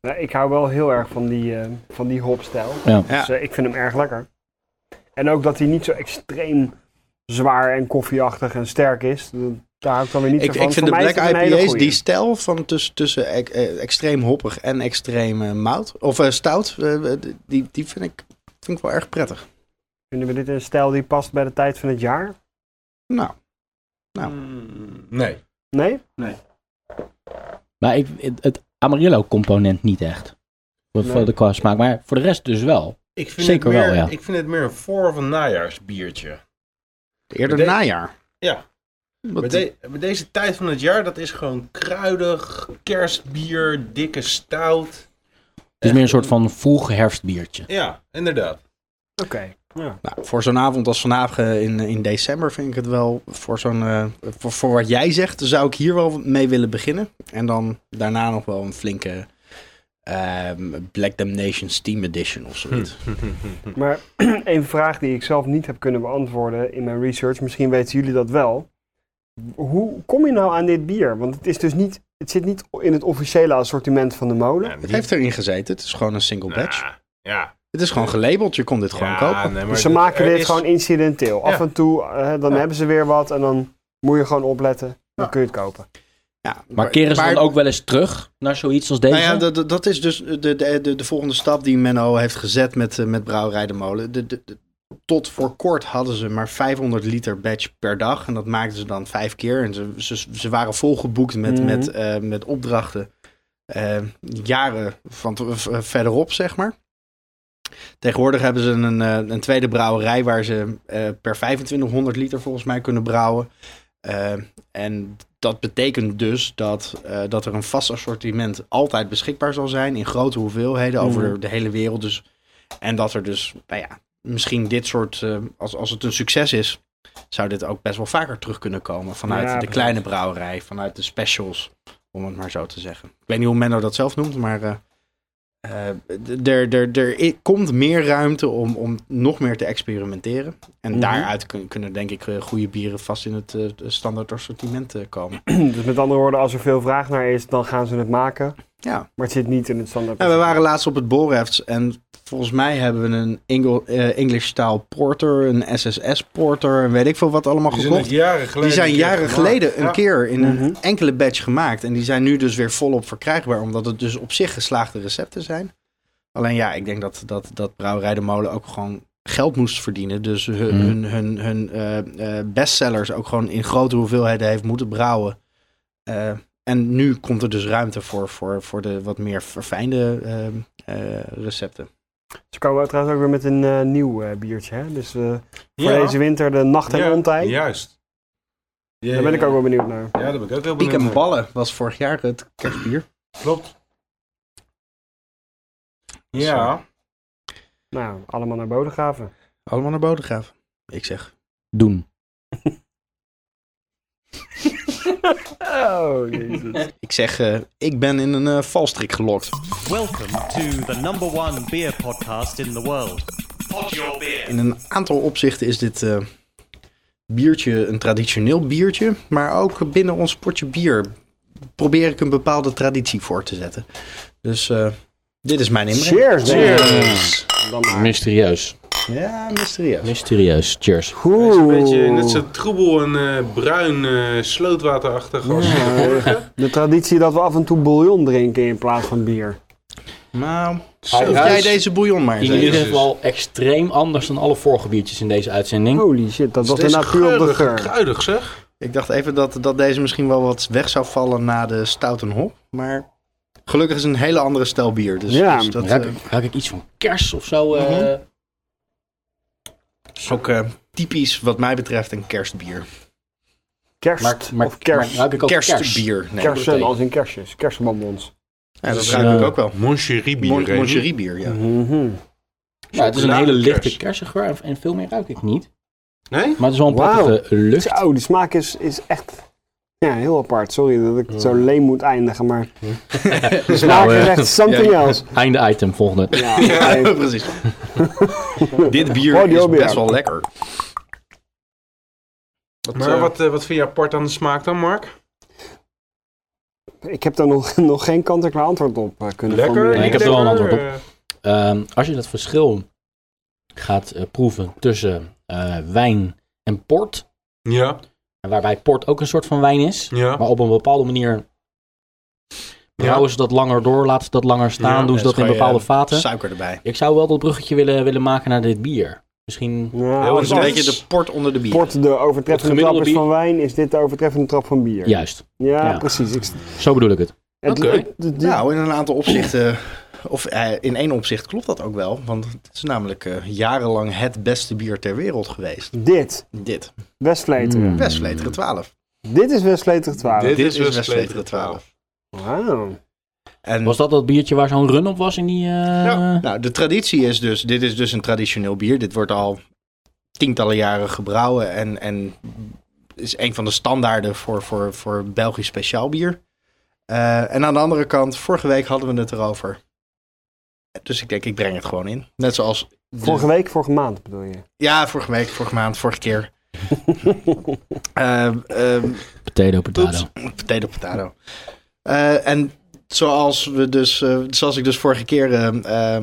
S2: Ja, ik hou wel heel erg van die, eh, van die hopstijl.
S1: Ja.
S4: Ja.
S2: Dus eh, ik vind hem erg lekker. En ook dat hij niet zo extreem zwaar en koffieachtig en sterk is. Daar hou ik dan weer niet
S4: Ik,
S2: zo van.
S4: ik vind de
S2: Voor mij is
S4: black
S2: het een hele
S4: IPA's,
S2: goeie.
S4: die stijl van tussen, tussen ec- eh, extreem hoppig en extreem eh, mout, of eh, stout, eh, eh, die, die vind, ik, vind ik wel erg prettig.
S2: Vinden we dit een stijl die past bij de tijd van het jaar?
S4: Nou, Nou.
S3: Mm, Nee.
S2: Nee?
S1: Maar ik, het, het Amarillo component niet echt. Voor, voor
S2: Nee.
S1: de qua smaak. Maar voor de rest dus wel.
S3: Ik vind
S1: Zeker
S3: het meer,
S1: wel, ja.
S3: Ik vind het meer een voor- of een najaarsbiertje.
S4: eerder
S3: Maar de-
S4: najaar.
S3: Ja.
S4: Wat-
S3: Bij, de- bij deze tijd van het jaar, dat is gewoon kruidig, kerstbier, dikke stout.
S1: Het is meer een soort van vroeg herfstbiertje.
S3: Ja, inderdaad.
S2: Oké. Ja.
S4: nou, voor zo'n avond als vandaag eh, in, in december vind ik het wel, voor, zo'n, eh, voor, voor wat jij zegt, zou ik hier wel mee willen beginnen. En dan daarna nog wel een flinke ehm, Black Damnation Steam Edition of
S2: Hm.
S4: zoiets.
S2: Maar een vraag die ik zelf niet heb kunnen beantwoorden in mijn research, misschien weten jullie dat wel. Hoe kom je nou aan dit bier? Want het, is dus niet, het zit niet in het officiële assortiment van de molen.
S3: Nou,
S4: Het
S3: niet-
S4: heeft erin gezeten, het is gewoon een single
S3: Nou,
S4: batch.
S3: Ja.
S4: Het is gewoon gelabeld, je kon dit gewoon
S3: Ja,
S4: kopen.
S3: nee, maar
S2: Dus ze
S3: dit-
S2: maken
S3: er
S2: dit
S3: is-
S2: gewoon incidenteel. Af
S3: Ja.
S2: en toe, eh, dan
S3: Ja.
S2: hebben ze weer wat en dan moet je gewoon opletten. Dan kun je het kopen.
S4: Ja,
S1: Maar keren ze dan ook wel eens terug naar zoiets als deze?
S4: Nou ja, dat, dat- dat is dus de, de, de, de volgende stap die Menno heeft gezet met, eh, met Brouwerij de Molen. De, de, de- tot voor kort hadden ze maar 500 liter batch per dag. En dat maakten ze dan vijf keer. En ze, ze, ze waren volgeboekt met,
S2: Mhm.
S4: met, eh, met opdrachten. eh, jaren van, te- v- eh, verderop, zeg maar. Tegenwoordig hebben ze een, eh, een tweede brouwerij waar ze eh, per 2500 liter volgens mij kunnen brouwen. Eh, en dat betekent dus dat, eh, dat er een vast assortiment altijd beschikbaar zal zijn in grote hoeveelheden over de, de hele wereld. Dus, en dat er dus, nou ja, misschien dit soort, eh, als, als het een succes is, zou dit ook best wel vaker terug kunnen komen vanuit
S2: Ja,
S4: de
S2: precies.
S4: kleine brouwerij, vanuit de specials, om het maar zo te zeggen. Ik weet niet hoe Menno dat zelf noemt, maar eh, eh, d- er er- er i- komt meer ruimte om, om nog meer te experimenteren. En
S2: Mhm.
S4: daaruit kun- kunnen denk ik eh, goede bieren vast in het eh, standaard assortiment eh, komen.
S2: Dus met andere woorden, als er veel vraag naar is, dan gaan ze het maken.
S4: Ja.
S2: Maar het zit niet in het standaard.
S4: Ja, we waren laatst op het Borefts en volgens mij hebben we een Engel, eh, English-staal porter, een SSS-porter en weet ik veel wat allemaal
S3: Die zijn
S4: gekocht.
S3: nog jaren geleden.
S4: Die zijn
S3: een keer
S4: jaren
S3: gemaakt.
S4: geleden
S3: Ja.
S4: een keer in
S2: Mhm.
S4: een enkele batch gemaakt. En die zijn nu dus weer volop verkrijgbaar, omdat het dus op zich geslaagde recepten zijn. Alleen ja, ik denk dat, dat, dat Brouwerij de Molen ook gewoon geld moest verdienen. Dus hun,
S1: Mm.
S4: hun, hun, hun eh, eh, bestsellers ook gewoon in grote hoeveelheden heeft moeten brouwen. Eh, en nu komt er dus ruimte voor, voor, voor de wat meer verfijnde eh, eh, recepten.
S2: Ze komen trouwens ook weer met een eh, nieuw eh, biertje. Hè? Dus eh, voor
S3: Ja.
S2: deze winter de nacht en
S3: Ja,
S2: ontijd.
S3: Juist. Ja,
S2: Daar ben ik ook wel benieuwd naar.
S3: Ja, daar ben ik ook heel
S4: Piek
S3: benieuwd
S4: en
S3: naar.
S4: Ballen was vorig jaar het kerstbier.
S3: Klopt. Ja.
S2: Nou, allemaal naar Bodegraven.
S4: Allemaal naar Bodegraaf. Ik zeg,
S1: Doen.
S2: Oh, jezus.
S4: ik, zeg eh, ik ben in een eh, valstrik gelokt.
S5: Welcome to the number one beer podcast in the world. Pod your beer.
S4: In een aantal opzichten is dit eh, biertje een traditioneel biertje. Maar ook binnen ons potje bier probeer ik een bepaalde traditie voor te zetten. Dus eh, dit is mijn inbreng.
S2: Cheers, Cheers. Dan maar.
S1: Mysterieus.
S4: Ja, mysterieus.
S1: Mysterieus. Cheers.
S3: Het is een
S2: Goed.
S3: beetje
S4: Oh.
S3: net zo troebel en eh, bruin eh, slootwaterachtig als de vorige.
S2: De traditie dat we af en toe bouillon drinken in plaats van bier.
S4: Nou,
S3: Zo.
S4: proef jij deze bouillon maar eens
S1: In ieder
S4: even.
S3: Jezus.
S1: geval extreem anders dan alle vorige biertjes in deze uitzending.
S2: Holy shit, dat was
S3: Het is
S2: inderdaad puur op de
S3: geurig,
S2: geur.
S3: Kruidig zeg.
S4: Ik dacht even dat, dat deze misschien wel wat weg zou vallen na de stout en hop. Maar gelukkig is het een hele andere stijl bier. Dus,
S2: Ja,
S4: dus dat
S1: Ruik,
S4: eh,
S1: ik- ruik ik iets van kers of zo? eh,
S4: Mhm. is ook eh, typisch wat mij betreft een kerstbier.
S2: Kerst
S1: maar, maar,
S2: of kerst.
S1: maar ruik ik ook kers?
S4: Kerstbier. Nee.
S2: Kersen als in kerstjes, kerstbonbons.
S4: Ja, dat
S3: Dus,
S4: ruik ik
S1: eh,
S4: ook wel.
S3: Moncherie bier.
S4: Mon-
S3: Remy.
S4: Moncherie bier, ja.
S2: Mhm.
S1: Nou, het is een hele
S3: Chocoladekers.
S1: lichte kersengeur en veel meer ruik ik niet.
S3: Nee?
S1: Maar het is wel een
S2: Wauw.
S1: prettige lucht.
S2: Zo, Dus, oh, die smaak is, is echt ja, heel apart. Sorry dat ik het zo
S1: Ja.
S2: leem moet eindigen, maar de smaak is echt something
S4: ja.
S2: else.
S1: Nou, eh, Einde item, volgende.
S2: Ja,
S4: Ja,
S2: oké.
S4: precies. Dit bier
S2: Oh, die
S4: is
S2: ook weer.
S4: best wel lekker. Wat,
S3: Maar
S4: eh,
S3: wat, eh, wat vind je apart aan de smaak dan, Mark?
S2: Ik heb daar nog, nog geen kant-en-klaar antwoord op eh, kunnen
S3: Lekker?
S2: formuleren.
S1: Nee, ik heb er wel een antwoord op.
S3: Eh,
S1: Ehm, als je dat verschil gaat eh, proeven tussen eh, wijn en port,
S3: Ja,
S1: waarbij port ook een soort van wijn is,
S3: ja.
S1: maar op een bepaalde manier
S2: nou,
S1: brouwen ze dat langer door, laten ze dat langer staan,
S3: Ja,
S1: doen ze
S4: ja,
S1: dat in
S4: gooi,
S1: bepaalde
S4: eh,
S1: vaten.
S4: Suiker erbij.
S1: Ik zou wel dat bruggetje willen, willen maken naar dit bier. Misschien
S2: Ja,
S3: Heel
S4: Dat
S2: als
S4: is een
S3: anders.
S4: beetje de port onder de bier.
S2: port de overtreffende
S1: Het gemiddelde
S2: trap is
S1: bier-
S2: van wijn, is dit de overtreffende trap van bier.
S1: juist.
S2: Ja,
S1: Ja.
S2: precies. Ik,
S1: Zo bedoel ik het.
S2: het-
S3: Oké.
S2: het- het- die-
S4: Nou, in een aantal opzichten, of eh, in één opzicht klopt dat ook wel. Want het is namelijk eh, jarenlang het beste bier ter wereld geweest.
S2: Dit,
S4: Dit,
S2: Westvleteren.
S1: Mm.
S4: Westfleteren 12.
S2: Dit is Westvleteren 12.
S3: Dit
S4: Dit,
S3: is
S4: is Westfleteren
S3: Westfleteren
S4: 12.
S2: Wauw.
S4: En
S1: Was dat dat biertje waar zo'n run op was in die... eh,
S4: Hm. Ja. Nou, de traditie is dus, dit is dus een traditioneel bier. Dit wordt al tientallen jaren gebrouwen en, en is een van de standaarden voor, voor, voor Belgisch speciaal bier. Eh, en aan de andere kant, vorige week hadden we het erover. Dus ik denk, ik breng het gewoon in. Net zoals... de-
S2: Vorige week, vorige maand bedoel je?
S4: Ja, vorige week, vorige maand, vorige keer. Ehm ehm,
S1: Potato, potato.
S4: Potato, potato. Eh, en zoals we dus, eh, zoals ik dus vorige keer, eh, eh,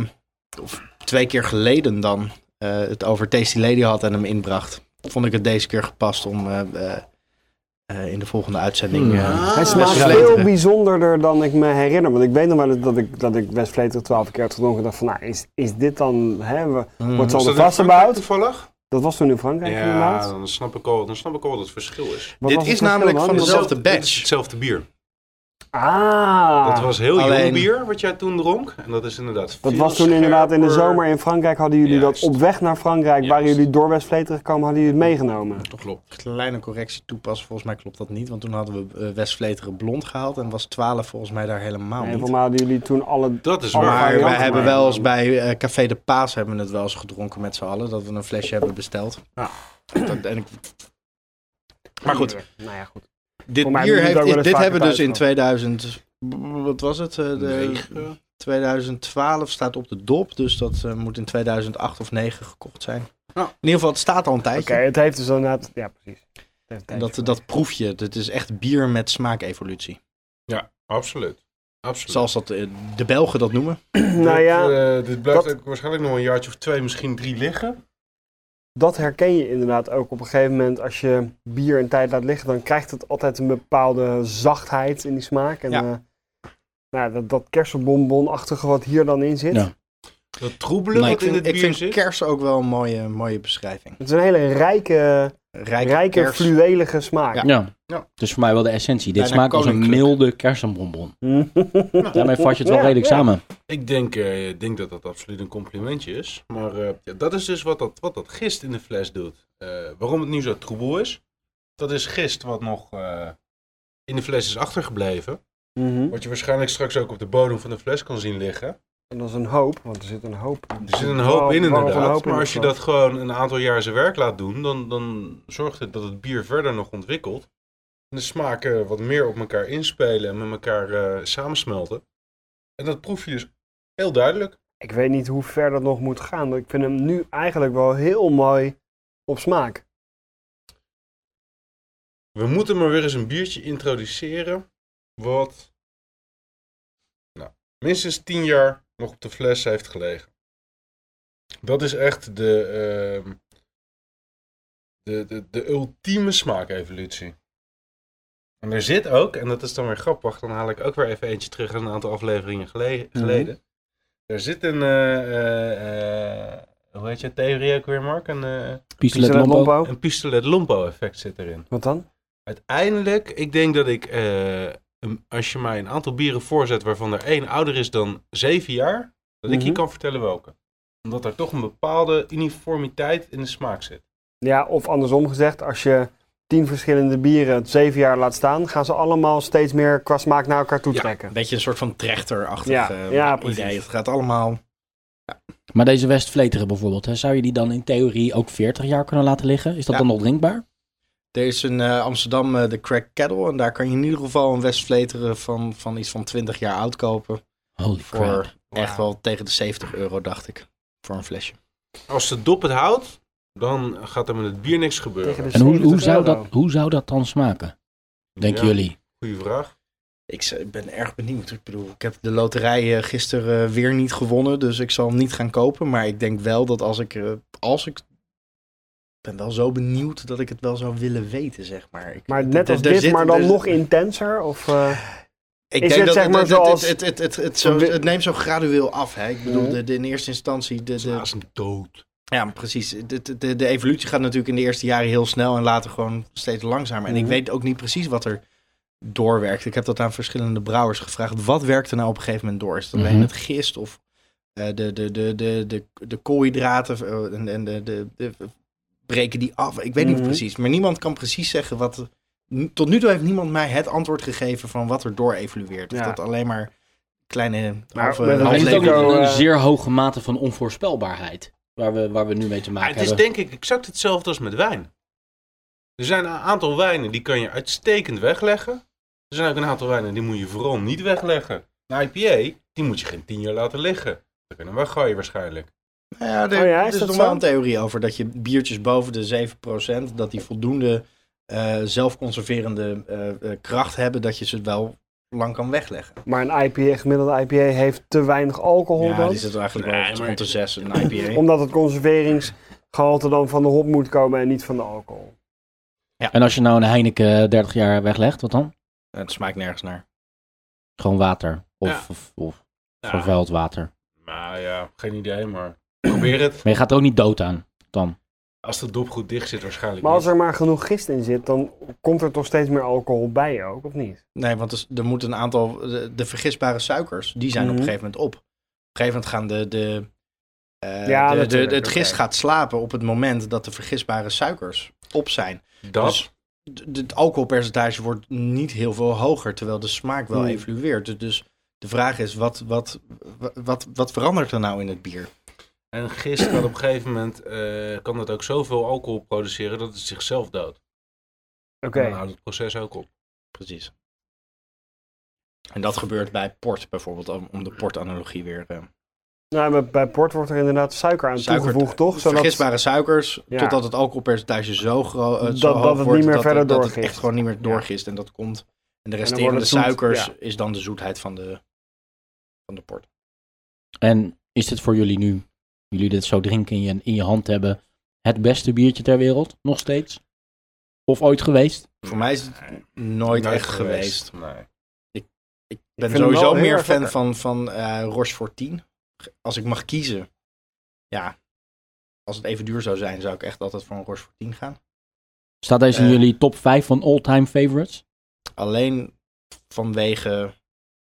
S4: of twee keer geleden dan, eh, het over Tasty Lady had en hem inbracht, vond ik het deze keer gepast om eh, eh, eh, in de volgende uitzending.
S1: Hmm.
S4: eh,
S3: Ah,
S2: Hij
S4: West
S2: smaakt
S4: Vleteren.
S2: veel bijzonderder dan ik me herinner. Want ik weet nog wel dat- dat ik, dat ik Westvleteren 12 keer had gedronken. en dacht van, nou, is, is dit dan... Hè, we-
S4: Mhm.
S2: wordt al
S3: Was dat
S2: de
S3: in Frankrijk
S2: vastgebouwd.
S3: toevallig?
S2: Dat was toen in Frankrijk
S3: Ja,
S2: inderdaad.
S3: dan snap, ik al, dan snap ik al wat het verschil is.
S2: Wat
S4: Dit
S2: was het
S4: is
S2: verschil
S4: namelijk
S2: dan?
S4: van
S2: Dit was-
S4: dezelfde
S3: Dit
S4: batch.
S3: is hetzelfde bier.
S2: Ah,
S3: Dat was heel jong
S4: Alleen-
S3: bier wat jij toen dronk. En dat is inderdaad
S2: dat
S3: veel
S2: was toen inderdaad in de
S3: scherper.
S2: zomer in Frankrijk. Hadden jullie
S3: Juist.
S2: dat op weg naar Frankrijk, waren
S3: Juist. Nou,
S2: jullie door Westvleteren gekomen, hadden jullie het meegenomen.
S3: Klopt.
S4: Kleine correctie toepassen, volgens mij klopt dat niet, want toen hadden we eh, Westfleteren blond gehaald en was 12 volgens mij daar helemaal
S2: En
S4: niet.
S2: voor mij hadden jullie toen alle...
S3: Dat is
S2: Oh,
S3: waar.
S4: Maar
S2: varianten
S4: wij
S2: maken.
S4: hebben wel eens bij eh, Café de Paas hebben we het wel eens gedronken met z'n allen. Dat we een flesje hebben besteld.
S3: Ja.
S4: Dat- en ik- Maar goed,
S2: Nou ja, goed.
S4: dit
S2: Voor mij
S4: bier
S2: moet het ook
S4: heeft,
S2: wel eens
S4: dit
S2: vaker
S4: hebben we dus
S2: thuis
S4: in 2000... Wat was het? Eh, de,
S3: Negen.
S4: 2012 staat op de dop. Dus dat eh, moet in 2008 of 9 gekocht zijn.
S3: Ja.
S4: In ieder geval, het staat al een
S2: Oké,
S4: tijdje.
S2: het heeft dus inderdaad... Ja, precies. Het heeft een
S4: En
S2: tijdje
S4: dat, dat proef je. Het is echt bier met smaakevolutie.
S3: Absoluut. Absoluut.
S4: Zoals dat eh, de Belgen dat noemen.
S2: voor- Nou
S3: Dit,
S2: ja,
S3: eh, dit blijft
S2: dat-
S3: ook waarschijnlijk nog een jaartje of twee, misschien drie liggen.
S2: dat herken je inderdaad ook op een gegeven moment. Als je bier een tijd laat liggen, dan krijgt het altijd een bepaalde zachtheid in die smaak. En
S4: Ja.
S2: eh, nou, dat, dat kersenbonbonachtige wat hier dan in zit.
S1: Ja.
S3: Dat troebelen
S4: Maar Nou, ik
S3: wat in het
S4: vind, ik
S3: bier
S4: vind
S3: zit.
S4: kers ook wel een mooie, mooie beschrijving.
S2: Het is een hele rijke,
S4: Rijke,
S2: rijke
S4: kers.
S2: fluwelige smaak.
S4: Ja.
S1: Ja.
S4: Ja.
S1: Dus voor mij wel de essentie. Dit
S4: Bijna
S1: smaakt als een
S4: koninklijk.
S1: milde kersenbonbon.
S2: Mm.
S1: Daarmee vat je het wel
S2: Ja,
S1: redelijk
S2: ja.
S1: samen.
S3: Ik denk, eh, ik denk dat dat absoluut een complimentje is. Maar eh, ja, dat is dus wat dat, wat dat gist in de fles doet. Eh, waarom het nu zo troebel is. Dat is gist wat nog eh, in de fles is achtergebleven.
S2: Mhm.
S3: Wat je waarschijnlijk straks ook op de bodem van de fles kan zien liggen.
S2: En dat is een hoop, want er zit een hoop.
S3: Er zit een hoop in
S2: Waarom een
S3: inderdaad.
S2: hoop in
S3: Maar
S2: de
S3: als je
S2: smaak?
S3: dat gewoon een aantal jaar zijn werk laat doen, dan, dan zorgt het dat het bier verder nog ontwikkelt. En de smaken wat meer op elkaar inspelen en met elkaar eh, samensmelten. En dat proef je dus heel duidelijk.
S2: Ik weet niet hoe ver dat nog moet gaan. want Ik vind hem nu eigenlijk wel heel mooi op smaak.
S3: We moeten maar weer eens een biertje introduceren. Wat nou, minstens 10 jaar nog op de fles heeft gelegen. Dat is echt de, ehm, de, de, de ultieme smaakevolutie. En er zit ook, en dat is dan weer grappig, dan haal ik ook weer even eentje terug aan een aantal afleveringen gele- geleden. Er zit een, eh, eh, eh, hoe heet je theorie ook weer, Mark? Een, eh,
S1: Pistolet
S2: Pistolet
S1: Lompo.
S2: Lombo.
S3: een pistolet lompo effect zit erin.
S2: Wat dan?
S3: Uiteindelijk, ik denk dat ik, eh, een- als je mij een aantal bieren voorzet waarvan er één ouder is dan zeven jaar, dat ik je
S2: Mhm.
S3: kan vertellen welke. Omdat er toch een bepaalde uniformiteit in de smaak zit.
S2: Ja, of andersom gezegd, als je tien verschillende bieren zeven jaar laat staan, gaan ze allemaal steeds meer qua smaak naar elkaar toe
S4: Ja.
S2: trekken.
S4: Een beetje een soort van trechterachtig
S2: Ja,
S4: eh,
S2: ja,
S4: idee.
S2: precies.
S4: Het gaat allemaal...
S1: Maar deze Westvleteren bijvoorbeeld, hè, zou je die dan in theorie ook 40 jaar kunnen laten liggen? Is dat
S4: Ja.
S1: dan nog drinkbaar?
S4: Er is in eh, Amsterdam eh, de Crack Kettle. En daar kan je in ieder geval een Westvleteren van, van iets van 20 jaar oud kopen.
S1: Holy
S4: Voor
S1: crap.
S4: echt wel tegen de 70 euro, dacht ik. Voor een flesje.
S3: Als de dop het houdt, dan gaat er met het bier niks gebeuren.
S2: Tegen de
S1: En hoe,
S2: 70
S1: hoe, zou
S2: euro.
S1: dat, hoe zou dat dan smaken? Denken
S3: Ja,
S1: jullie?
S3: Goeie vraag.
S4: Ik z- ik ben erg benieuwd. Ik bedoel, ik heb de loterij eh, gisteren eh, weer niet gewonnen. Dus ik zal hem niet gaan kopen. Maar ik denk wel dat als ik... eh, als ik ik ben wel zo benieuwd dat ik het wel zou willen weten, zeg maar. Ik,
S2: Maar net
S4: er-
S2: als
S4: er
S2: dit,
S4: zit-
S2: maar dan
S3: dus-
S4: er-
S2: nog intenser? Of, eh,
S4: Ik
S2: Is het
S4: denk dat
S2: zeg maar
S4: het, het- het-
S2: zoals- Mhm.
S4: het, het, het, het, zo, het neemt zo gradueel af. Hè? Ik bedoel, de, de- in eerste instantie... De, de,
S3: Naast een dood.
S4: ja, maar precies. De, de- de, de evolutie gaat natuurlijk in de eerste jaren heel snel en later gewoon steeds langzamer. En ik
S2: Mhm.
S4: weet ook niet precies wat er doorwerkt. Ik heb dat aan verschillende brouwers gevraagd. Wat werkt er nou op een gegeven moment door? Is dat alleen
S1: Mhm.
S4: het gist of eh, de, de, de, de, de, de koolhydraten eh, en, en de, de, de- breken die af? Ik weet
S2: Mhm.
S4: niet precies. Maar niemand kan precies zeggen wat... Tot nu toe heeft niemand mij het antwoord gegeven van wat er door evolueert. Of
S2: Ja. dat
S4: dat alleen maar kleine...
S2: Maar halve- we weten
S1: Er
S2: halve
S1: is ook
S2: Lego,
S1: een, een
S2: eh,
S1: zeer hoge mate van onvoorspelbaarheid waar we, waar we nu mee te
S3: Maar
S1: maken
S3: het is
S1: hebben.
S3: denk ik exact hetzelfde als met wijn. Er zijn een aantal wijnen die kan je uitstekend wegleggen. Er zijn ook een aantal wijnen die moet je vooral niet wegleggen. Een IPA, die moet je geen tien jaar laten liggen. Dan kan je hem weggooien waarschijnlijk.
S4: Nou Ja, er,
S2: Oh ja, is
S4: er is
S2: dat
S4: nog
S2: zo?
S4: wel een theorie over dat je biertjes boven de 7%, dat die voldoende eh, zelfconserverende eh, eh, kracht hebben, dat je ze wel lang kan wegleggen.
S2: maar een IPA, een gemiddelde IPA heeft te weinig alcohol
S4: ja,
S2: dan?
S4: die zit er eigenlijk
S3: Nee,
S4: wel
S3: maar-
S4: rond de 6, een IPA.
S2: Omdat het conserveringsgehalte dan van de hop moet komen en niet van de alcohol.
S1: En als je nou een Heineken 30 jaar weglegt, wat dan?
S4: Het smaakt nergens naar.
S1: Gewoon water. Of,
S3: Ja.
S1: of, of
S3: Ja,
S1: vervuild water.
S3: nou ja, geen idee, maar probeer het.
S1: Maar je gaat er ook niet dood aan, dan.
S3: Als de dop goed dicht zit waarschijnlijk
S2: Maar als
S3: niet.
S2: er maar genoeg gist in zit, dan komt er toch steeds meer alcohol bij ook, of niet?
S4: Nee, want er s- er moet een aantal, de, de vergisbare suikers, die zijn op
S2: Mhm.
S4: een gegeven moment op. Op een gegeven moment gaan de, de, eh,
S2: Ja,
S4: de- de,
S2: natuurlijk,
S4: het gist
S2: oké.
S4: gaat slapen op het moment dat de vergisbare suikers op zijn.
S3: Dat,
S4: Dus d- d- het alcoholpercentage wordt niet heel veel hoger, terwijl de smaak wel
S2: Hmm.
S4: evolueert. Dus- Dus de vraag is, wat, wat, wa- wat, wat verandert er nou in het bier?
S3: en gist kan op een gegeven moment, eh, kan dat ook zoveel alcohol produceren dat het zichzelf doodt.
S2: Oké.
S4: Nou,
S3: Dan houdt het proces ook op.
S4: Precies. En dat gebeurt bij port bijvoorbeeld, om, om de portanalogie weer. eh,
S2: Nou, bij, bij port wordt er inderdaad suiker aan
S4: Suiker-
S2: toegevoegd, toch? Zodat
S4: vergisbare suikers,
S2: Ja.
S4: totdat het alcoholpercentage zo, gro- eh, zo
S2: Dat- dat
S4: hoog
S2: het
S4: wordt
S2: niet meer
S4: dat,
S2: verder
S4: dat het
S2: doorgist.
S4: echt gewoon niet meer doorgist. En dat komt. En de
S2: wordt
S4: resterende
S2: het zoet,
S4: suikers
S2: ja.
S4: is dan de zoetheid van de, van de port.
S1: En is dit voor jullie nu, jullie dit zo drinken in je, in je hand hebben, het beste biertje ter wereld? Nog steeds? Of ooit geweest?
S4: Voor mij is het nooit echt geweest.
S3: Nee.
S4: Ik ben
S2: vind hem
S4: sowieso
S2: wel heel
S4: meer
S2: erg
S4: fan
S2: lekker.
S4: van, van eh Rochefort 10. Als ik mag kiezen, ja, als het even duur zou zijn, zou ik echt altijd voor een Rochefort 10 gaan.
S1: Staat deze in
S4: Eh.
S1: jullie top 5 van all-time favorites?
S4: Alleen vanwege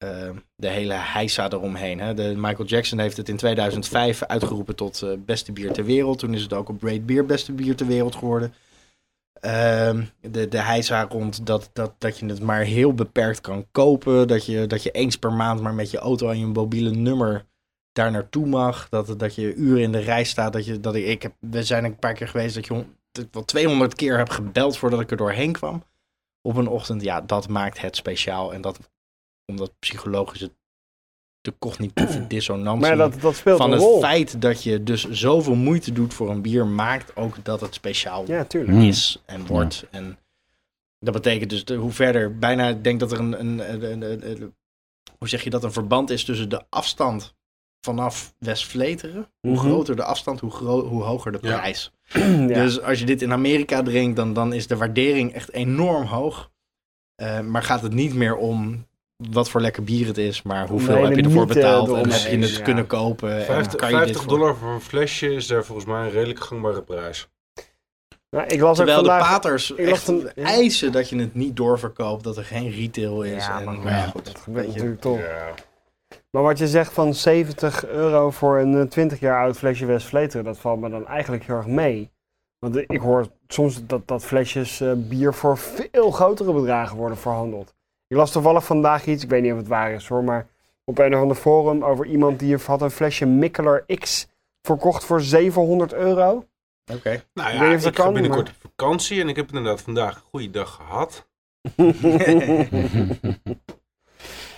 S4: eh, de hele heisa eromheen. Hè. De, Michael Jackson heeft het in 2005 uitgeroepen tot eh, beste bier ter wereld. Toen is het ook op Braid Beer beste bier ter wereld geworden. Ehm, de, de heisa rond dat, dat, dat je het maar heel beperkt kan kopen. Dat je, dat je eens per maand maar met je auto en je mobiele nummer daar naartoe mag. Dat, dat je uren in de rij staat. Dat je, dat ik, ik heb, we zijn een paar keer geweest dat, je, hon- dat ik wel 200 keer heb gebeld voordat ik er doorheen kwam op een ochtend, ja, dat maakt het speciaal. En dat, omdat psychologische, de cognitieve dissonantie
S2: Maar ja, dat, dat speelt
S4: van
S2: een
S4: het
S2: rol.
S4: feit dat je dus zoveel moeite doet voor een bier, maakt ook dat het speciaal
S2: Ja, tuurlijk.
S1: Hmm.
S4: is en wordt. En dat betekent dus de- hoe verder, bijna ik denk dat er een, een, een, een- een- hoe zeg je dat, een verband is tussen de afstand vanaf West-Vleteren. Hoe
S2: Mhm.
S4: groter de afstand, hoe, gro- hoe hoger de
S3: Ja.
S4: prijs.
S2: Ja.
S4: Dus als je dit in Amerika drinkt, dan, dan is de waardering echt enorm hoog. Eh, maar gaat het niet meer om wat voor lekker bier het is, maar hoeveel
S2: Nee, eh,
S4: heb je
S2: de
S4: ervoor
S2: mythe
S4: betaald en
S2: eromheen,
S4: heb je het
S2: ja.
S4: kunnen kopen. Eh, en
S3: 50,
S4: kan je dit
S3: 50
S4: voor-
S3: dollar voor een flesje is daar volgens mij een redelijk gangbare prijs.
S2: Nou, ik las
S4: Terwijl
S2: ook vandaag...
S4: de paters
S2: ik las
S4: echt
S2: van- ja.
S4: eisen dat je het niet doorverkoopt, dat er geen retail is.
S2: Ja,
S4: en,
S2: maar,
S4: maar ja, goed,
S2: dat
S4: weet
S2: gebeurt
S4: je.
S2: natuurlijk toch.
S3: Ja.
S2: Maar wat je zegt van 70 euro voor een eh, 20 jaar oud flesje West Vleteren, dat valt me dan eigenlijk heel erg mee. Want eh, ik hoor soms dat, dat flesjes eh, bier voor veel grotere bedragen worden verhandeld. Ik las toevallig vandaag iets, ik weet niet of het waar is hoor, maar op een of ander forum over iemand die had een flesje Mikkeler X verkocht voor 700 euro.
S4: Oké.
S3: Nou
S2: Ik weet
S3: ja,
S2: niet of
S3: ik,
S2: dat
S3: ga
S2: kan,
S3: binnenkort
S2: maar-
S3: op vakantie en ik heb inderdaad vandaag een goede dag gehad.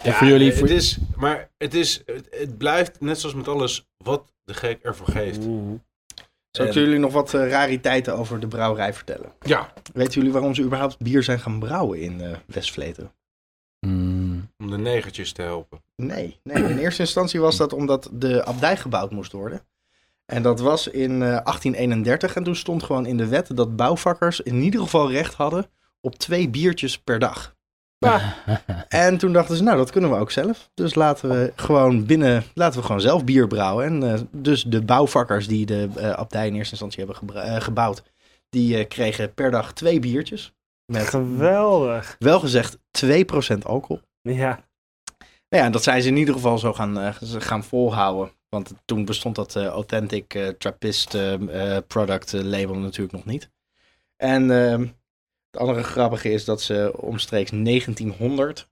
S1: En voor
S2: eh,
S1: jullie... voor-
S3: Het is, maar het, is, het, het blijft net zoals met alles wat de gek ervoor geeft.
S4: Zal ik
S3: En-
S4: jullie nog wat eh, rariteiten over de brouwerij vertellen?
S3: Ja,
S4: Weten jullie waarom ze überhaupt bier zijn gaan brouwen in eh Westvleteren?
S1: Mm,
S3: om de negertjes te helpen.
S4: Nee, nee, in eerste instantie was dat omdat de abdij gebouwd moest worden. En dat was in eh, 1831 en toen stond gewoon in de wet dat bouwvakkers in ieder geval recht hadden op twee biertjes per dag. En toen dachten ze, nou dat kunnen we ook zelf. Dus laten we gewoon binnen, laten we gewoon zelf bier brouwen. En eh, dus de bouwvakkers die de eh, abdij in eerste instantie hebben gebra- eh, gebouwd, die eh, kregen per dag twee biertjes. Met
S2: Geweldig.
S4: wel gezegd 2% alcohol.
S2: Ja.
S4: Nou ja, dat zijn ze in ieder geval zo gaan, eh, ze gaan volhouden. Want toen bestond dat eh, Authentic eh, Trappist eh, eh, product eh, label natuurlijk nog niet. En ehm, het andere grappige is dat ze omstreeks 1900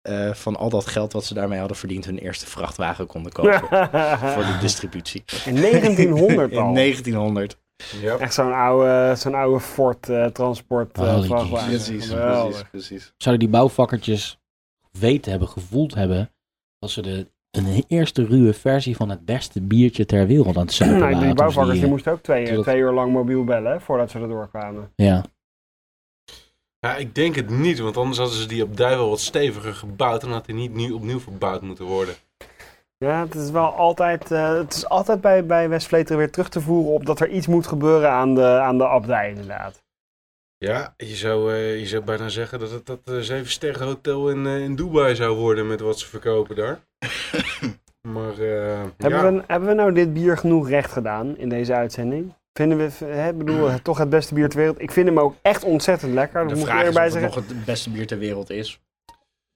S4: eh, van al dat geld wat ze daarmee hadden verdiend hun eerste vrachtwagen konden kopen. voor de distributie.
S2: In 1900 al.
S4: In 1900.
S3: Ja.
S2: Echt zo'n oude, zo'n oude Ford eh, transport eh,
S1: Holy
S2: vrachtwagen.
S1: Jesus.
S4: Precies,
S2: Geweldig.
S4: precies, precies.
S1: Zouden die bouwvakkertjes weten hebben, gevoeld hebben, dat ze de, een eerste ruwe versie van het beste biertje ter wereld aan het zuipen
S2: Nou,
S1: waren?
S2: die
S1: toen ze
S2: bouwvakkers die
S1: eh,
S2: moesten ook twee,
S1: toen dat-
S2: twee uur lang mobiel bellen hè, voordat ze erdoor kwamen.
S1: Ja.
S3: Ja, ik denk het niet, want anders hadden ze die op wel wat steviger gebouwd en had hij niet nu opnieuw verbouwd moeten worden.
S2: Ja, het is wel altijd, eh, het is altijd bij, bij West Vleteren weer terug te voeren op dat er iets moet gebeuren aan de, aan de abdij inderdaad.
S3: Ja, je zou, eh, je zou bijna zeggen dat het dat eh, zeven sterren hotel in, eh, in Dubai zou worden met wat ze verkopen daar. Maar eh, ja.
S2: Hebben, we, hebben we nou dit bier genoeg recht gedaan in deze uitzending? Vinden we, hè, ik bedoel, het, toch het beste bier ter wereld? Ik vind hem ook echt ontzettend lekker, dat
S4: Hmm. De
S2: moet ik
S4: vraag is of
S2: erbij
S4: het
S2: zeggen.
S4: nog het beste bier ter wereld is.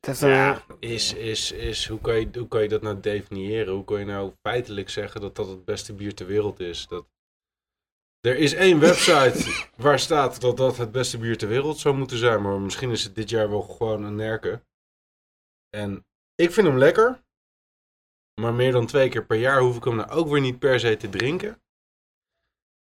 S2: Het heeft een-
S3: Ja, is, is, is, hoe, kan je, hoe kan je dat nou definiëren? Hoe kan je nou feitelijk zeggen dat dat het beste bier ter wereld is? Dat... Er is één website waar staat dat dat het beste bier ter wereld zou moeten zijn. Maar misschien is het dit jaar wel gewoon een nerken. En ik vind hem lekker. Maar meer dan twee keer per jaar hoef ik hem nou ook weer niet per se te drinken.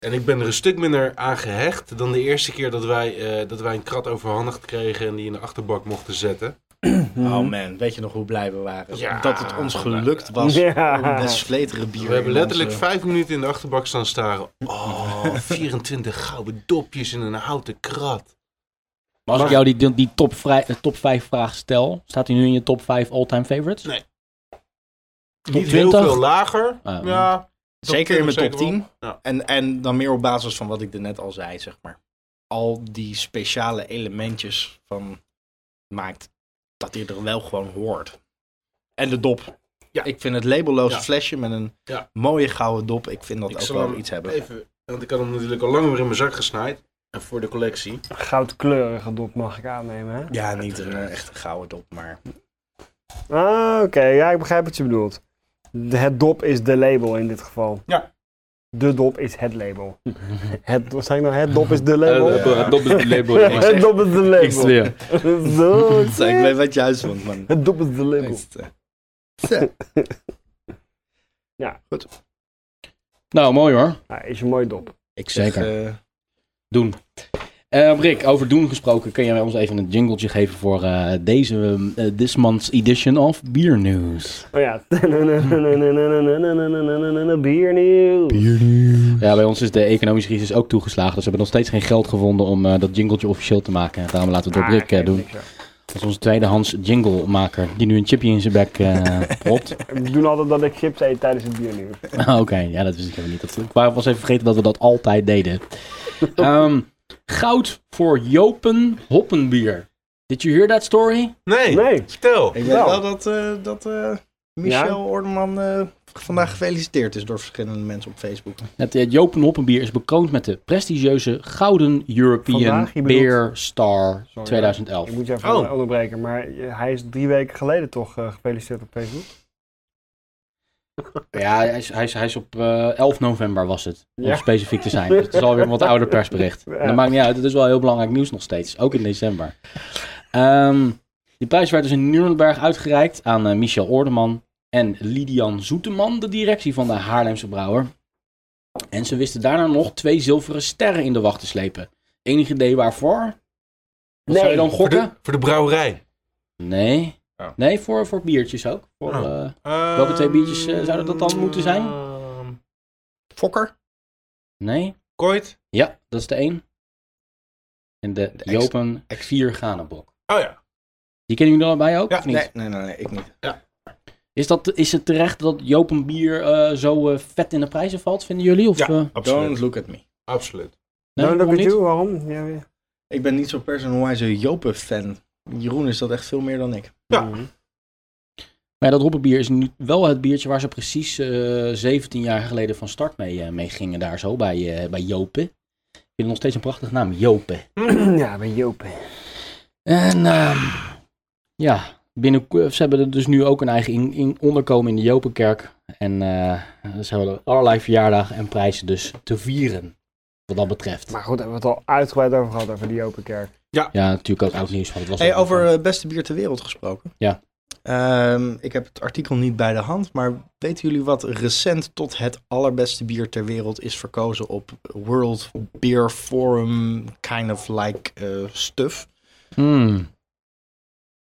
S3: En ik ben er een stuk minder aan gehecht dan de eerste keer dat wij, eh, dat wij een krat overhandigd kregen en die in de achterbak mochten zetten.
S2: Mhm.
S4: Oh man, weet je nog hoe blij we waren?
S3: Ja.
S4: dat het ons gelukt was
S2: Ja.
S4: om des vleteren bier
S3: We hebben
S4: in
S3: letterlijk
S4: onze-
S3: vijf minuten in de achterbak staan staren. Oh, 24 gouden dopjes in een houten krat.
S1: Maar als ik jou die, die top, vrij, eh, top 5 vraag stel, staat hij nu in je top 5 all-time favorites?
S3: Nee.
S1: Top
S3: Niet heel
S1: 20?
S3: veel lager.
S1: Ah,
S3: ja, top
S4: Zeker in mijn
S3: 20
S4: top
S3: zeker
S4: 10.
S3: wel. Ja.
S4: En, en dan meer op basis van wat ik er net al zei, zeg maar. Al die speciale elementjes van maakt dat hij er wel gewoon hoort. En de dop.
S3: Ja.
S4: Ik vind het labelloze
S3: Ja.
S4: flesje met een
S3: Ja.
S4: mooie gouden dop, ik vind dat ook wel iets hebben.
S3: even, want ik had hem natuurlijk al lang weer in mijn zak gesnaaid. En voor de collectie.
S2: Goudkleurige dop mag ik aannemen, hè?
S4: Ja, niet een eh, echte gouden dop, maar...
S2: Ah, oké. Ja, ik begrijp wat je bedoelt. De- het dop is de label in dit geval.
S3: Ja.
S2: De dop is het label. Het, wat zei ik nou? Het dop is de label?
S3: Eh,
S1: Dat is het label.
S4: ik zeg-
S2: het dop is de label. Zo, ik
S4: ik weet
S2: zeg.
S4: wat je uitzond, man. eh,
S2: Het dop is de label.
S4: Zo.
S2: Ja.
S4: Goed.
S1: Nou, mooi hoor.
S2: Ja, Ah, is een mooi dop.
S4: Ik
S1: Zeker.
S4: zeg, eh,
S1: Doen. Eh, Rick, over doen gesproken, kun jij ons even een jingletje geven voor eh, deze, eh, this month's edition of Beer News?
S2: Oh ja. Biernieuws.
S1: Ja, bij ons is de economische crisis ook toegeslagen, dus we hebben nog steeds geen geld gevonden om eh, dat jingletje officieel te maken. En daarom laten we het door
S2: Ah,
S1: Rick eh,
S2: geeft
S1: doen.
S2: niks, joh.
S1: Dat is onze tweedehands jinglemaker, die nu een chipje in zijn bek eh, propt.
S2: Ik doe altijd dat ik chips eet tijdens het biernieuws.
S1: Ah, Oké, ja, dat wist ik helemaal niet. Dat, ik was even vergeten dat we dat altijd deden. Ehm, goud voor Jopen Hoppenbier. Did you hear that story?
S3: Nee,
S2: Nee.
S3: vertel.
S4: Ik weet
S2: Nou.
S4: wel dat, eh, dat eh, Michel
S2: Ja?
S4: Ordeman eh, vandaag gefeliciteerd is door verschillende mensen op Facebook.
S1: Het eh, Joop en Hoppenbier is bekroond met de prestigieuze Gouden European
S2: Vandaag, je bedoelt-
S1: Beer Star
S2: Sorry.
S1: 2011.
S2: Ik moet je even
S3: Oh.
S2: onderbreken, maar eh, hij is drie weken geleden toch eh, gefeliciteerd op Facebook.
S1: Ja, hij is, hij is, hij is op eh, 11 november was het, om
S2: Ja.
S1: specifiek te zijn. Dus het is alweer een wat ouder persbericht.
S2: Ja.
S1: En Dat maakt niet uit, het is wel heel belangrijk nieuws nog steeds, ook in december. Ehm, die prijs werd dus in Nuremberg uitgereikt aan eh, Michel Ordeman en Lidian Zoeteman, de directie van de Haarlemse Brouwer. En ze wisten daarna nog twee zilveren sterren in de wacht te slepen. Enig idee waarvoor? Wat zou je dan
S3: Voor de,
S1: gokken?
S3: voor de brouwerij.
S1: Nee.
S3: Oh.
S1: Nee, voor, voor biertjes ook. Voor,
S3: Oh.
S1: eh,
S4: Ehm,
S3: Welke
S1: twee biertjes, eh, zouden dat dan moeten zijn?
S3: Ehm,
S4: Fokker?
S1: nee.
S3: Kooit.
S1: Ja, dat is de één. En de, de
S4: ex-
S1: Jopen
S4: ex-
S1: 4 Ganenbok.
S3: Oh ja.
S1: Die kennen jullie allebei ook,
S3: Ja,
S1: of niet?
S4: Nee, nee, nee, nee, ik niet.
S1: Is, dat, is het terecht dat Jopen bier eh, zo eh, vet in de prijzen valt, vinden jullie? Of,
S3: Ja.
S1: eh, nee,
S4: Don't
S3: Absoluut.
S4: look at me.
S3: Absoluut.
S2: Nou,
S1: waarom
S2: dat weet
S1: niet?
S2: je waarom? Ja, ja.
S4: Ik ben niet zo'n personalized Jopen-fan. Jeroen is dat echt veel meer dan ik.
S3: Ja.
S2: Mhm.
S1: Maar ja, dat hoppenbier is nu wel het biertje waar ze precies eh 17 jaar geleden van start mee, eh, mee gingen daar zo, bij, eh, bij Jopen. Ik vind het nog steeds een prachtige naam, Jopen.
S2: ja, bij Joop.
S1: En ehm, ja, binnen, ze hebben er dus nu ook een eigen in, in onderkomen in de Jopenkerk. En eh, ze hebben allerlei verjaardagen en prijzen dus te vieren, wat dat betreft.
S2: Maar goed, daar hebben we het al uitgebreid over gehad, over die Jopenkerk.
S1: Ja, natuurlijk ook oud nieuws, want het was...
S4: Hey,
S1: ook-
S4: over eh, beste bier ter wereld gesproken.
S1: Ja.
S4: Ehm, ik heb het artikel niet bij de hand, maar weten jullie wat recent tot het allerbeste bier ter wereld is verkozen op World Beer Forum kind of like eh, stuff? eh,
S1: Hmm,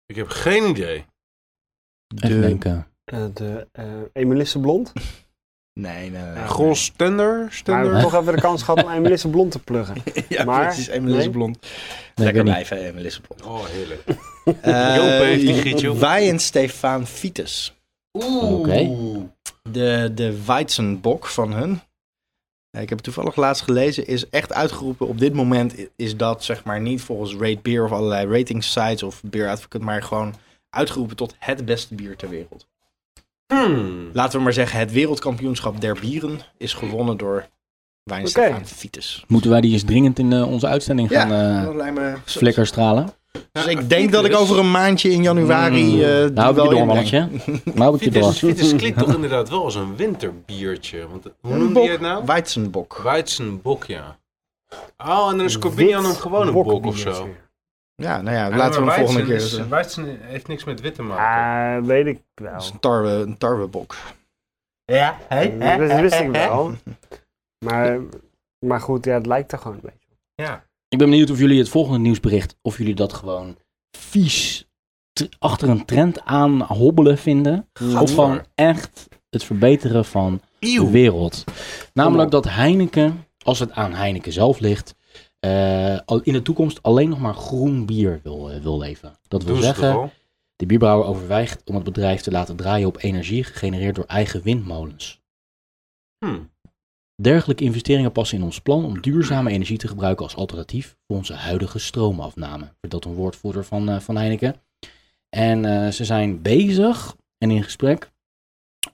S3: Ik heb geen idee.
S1: even
S4: De-
S1: denken.
S2: Eh, de eh Emelisse Blond.
S4: Nee, nee, nee.
S2: Ja,
S3: Gros Stender?
S2: Maar we
S3: Stender?
S2: hebben toch even de kans gehad om Emelisse Blond te pluggen.
S4: ja,
S2: maar-
S4: precies. Emily
S2: nee.
S4: Blond.
S1: Nee, ik
S4: Lekker
S1: weet niet.
S4: blijven, Emily Blond.
S3: Oh, heerlijk.
S4: Eh,
S3: Joop heeft die giet, joh.
S4: Wij en Stefan Vitus.
S3: Oeh.
S4: De, de Weizenbok van hun. Eh, Ik heb het toevallig laatst gelezen. Is echt uitgeroepen. Op dit moment i- is dat zeg maar niet volgens Rate Beer of allerlei rating sites of Beer Advocate. Maar gewoon uitgeroepen tot het beste bier ter wereld.
S3: Hmm.
S4: Laten we maar zeggen, het wereldkampioenschap der bieren is gewonnen door Weinstefan Vitus.
S1: Moeten wij die eens dringend in eh, onze uitzending
S4: Ja,
S1: gaan eh
S4: dat lijkt me...
S1: flikkerstralen?
S4: Dus ik denk dat ik over een maandje in januari...
S1: Mm.
S4: eh,
S1: Nou heb
S4: die
S1: ik
S4: wel
S1: je door,
S4: inbreng.
S1: mannetje. Nou heb ik je door.
S3: Vitus, Vitus klinkt toch inderdaad wel als een winterbiertje. Want, eh, hoe noemde je het nou?
S4: Weizenbok.
S3: Weizenbok, ja. Oh, en dan is Corbinian een gewone bok of
S2: bokbier.
S3: zo.
S4: Ja, nou ja, laten we hem volgende keer... eens-
S3: Weizen heeft niks met wit te maken.
S2: Ah, weet ik wel.
S4: Dat is een tarwe, een tarwebok.
S3: Ja,
S2: Dat dat wist ik wel. Maar, maar goed, ja, het lijkt er gewoon een beetje op.
S3: Ja.
S1: Ik ben benieuwd of jullie het volgende nieuwsbericht, of jullie dat gewoon vies tr- achter een trend aan hobbelen vinden. Of gewoon echt het verbeteren van de wereld. Namelijk dat Heineken, als het aan Heineken zelf ligt, eh, al- in de toekomst alleen nog maar groen bier wil, eh, wil leveren. Dat wil
S3: Doen ze toch
S1: zeggen,
S3: al?
S1: de bierbrouwer overweegt om het bedrijf te laten draaien op energie gegenereerd door eigen windmolens.
S3: Hmm.
S1: Dergelijke investeringen passen in ons plan om duurzame energie te gebruiken als alternatief voor onze huidige stroomafname. Dat een woordvoerder van, eh, van Heineken. En eh, ze zijn bezig en in gesprek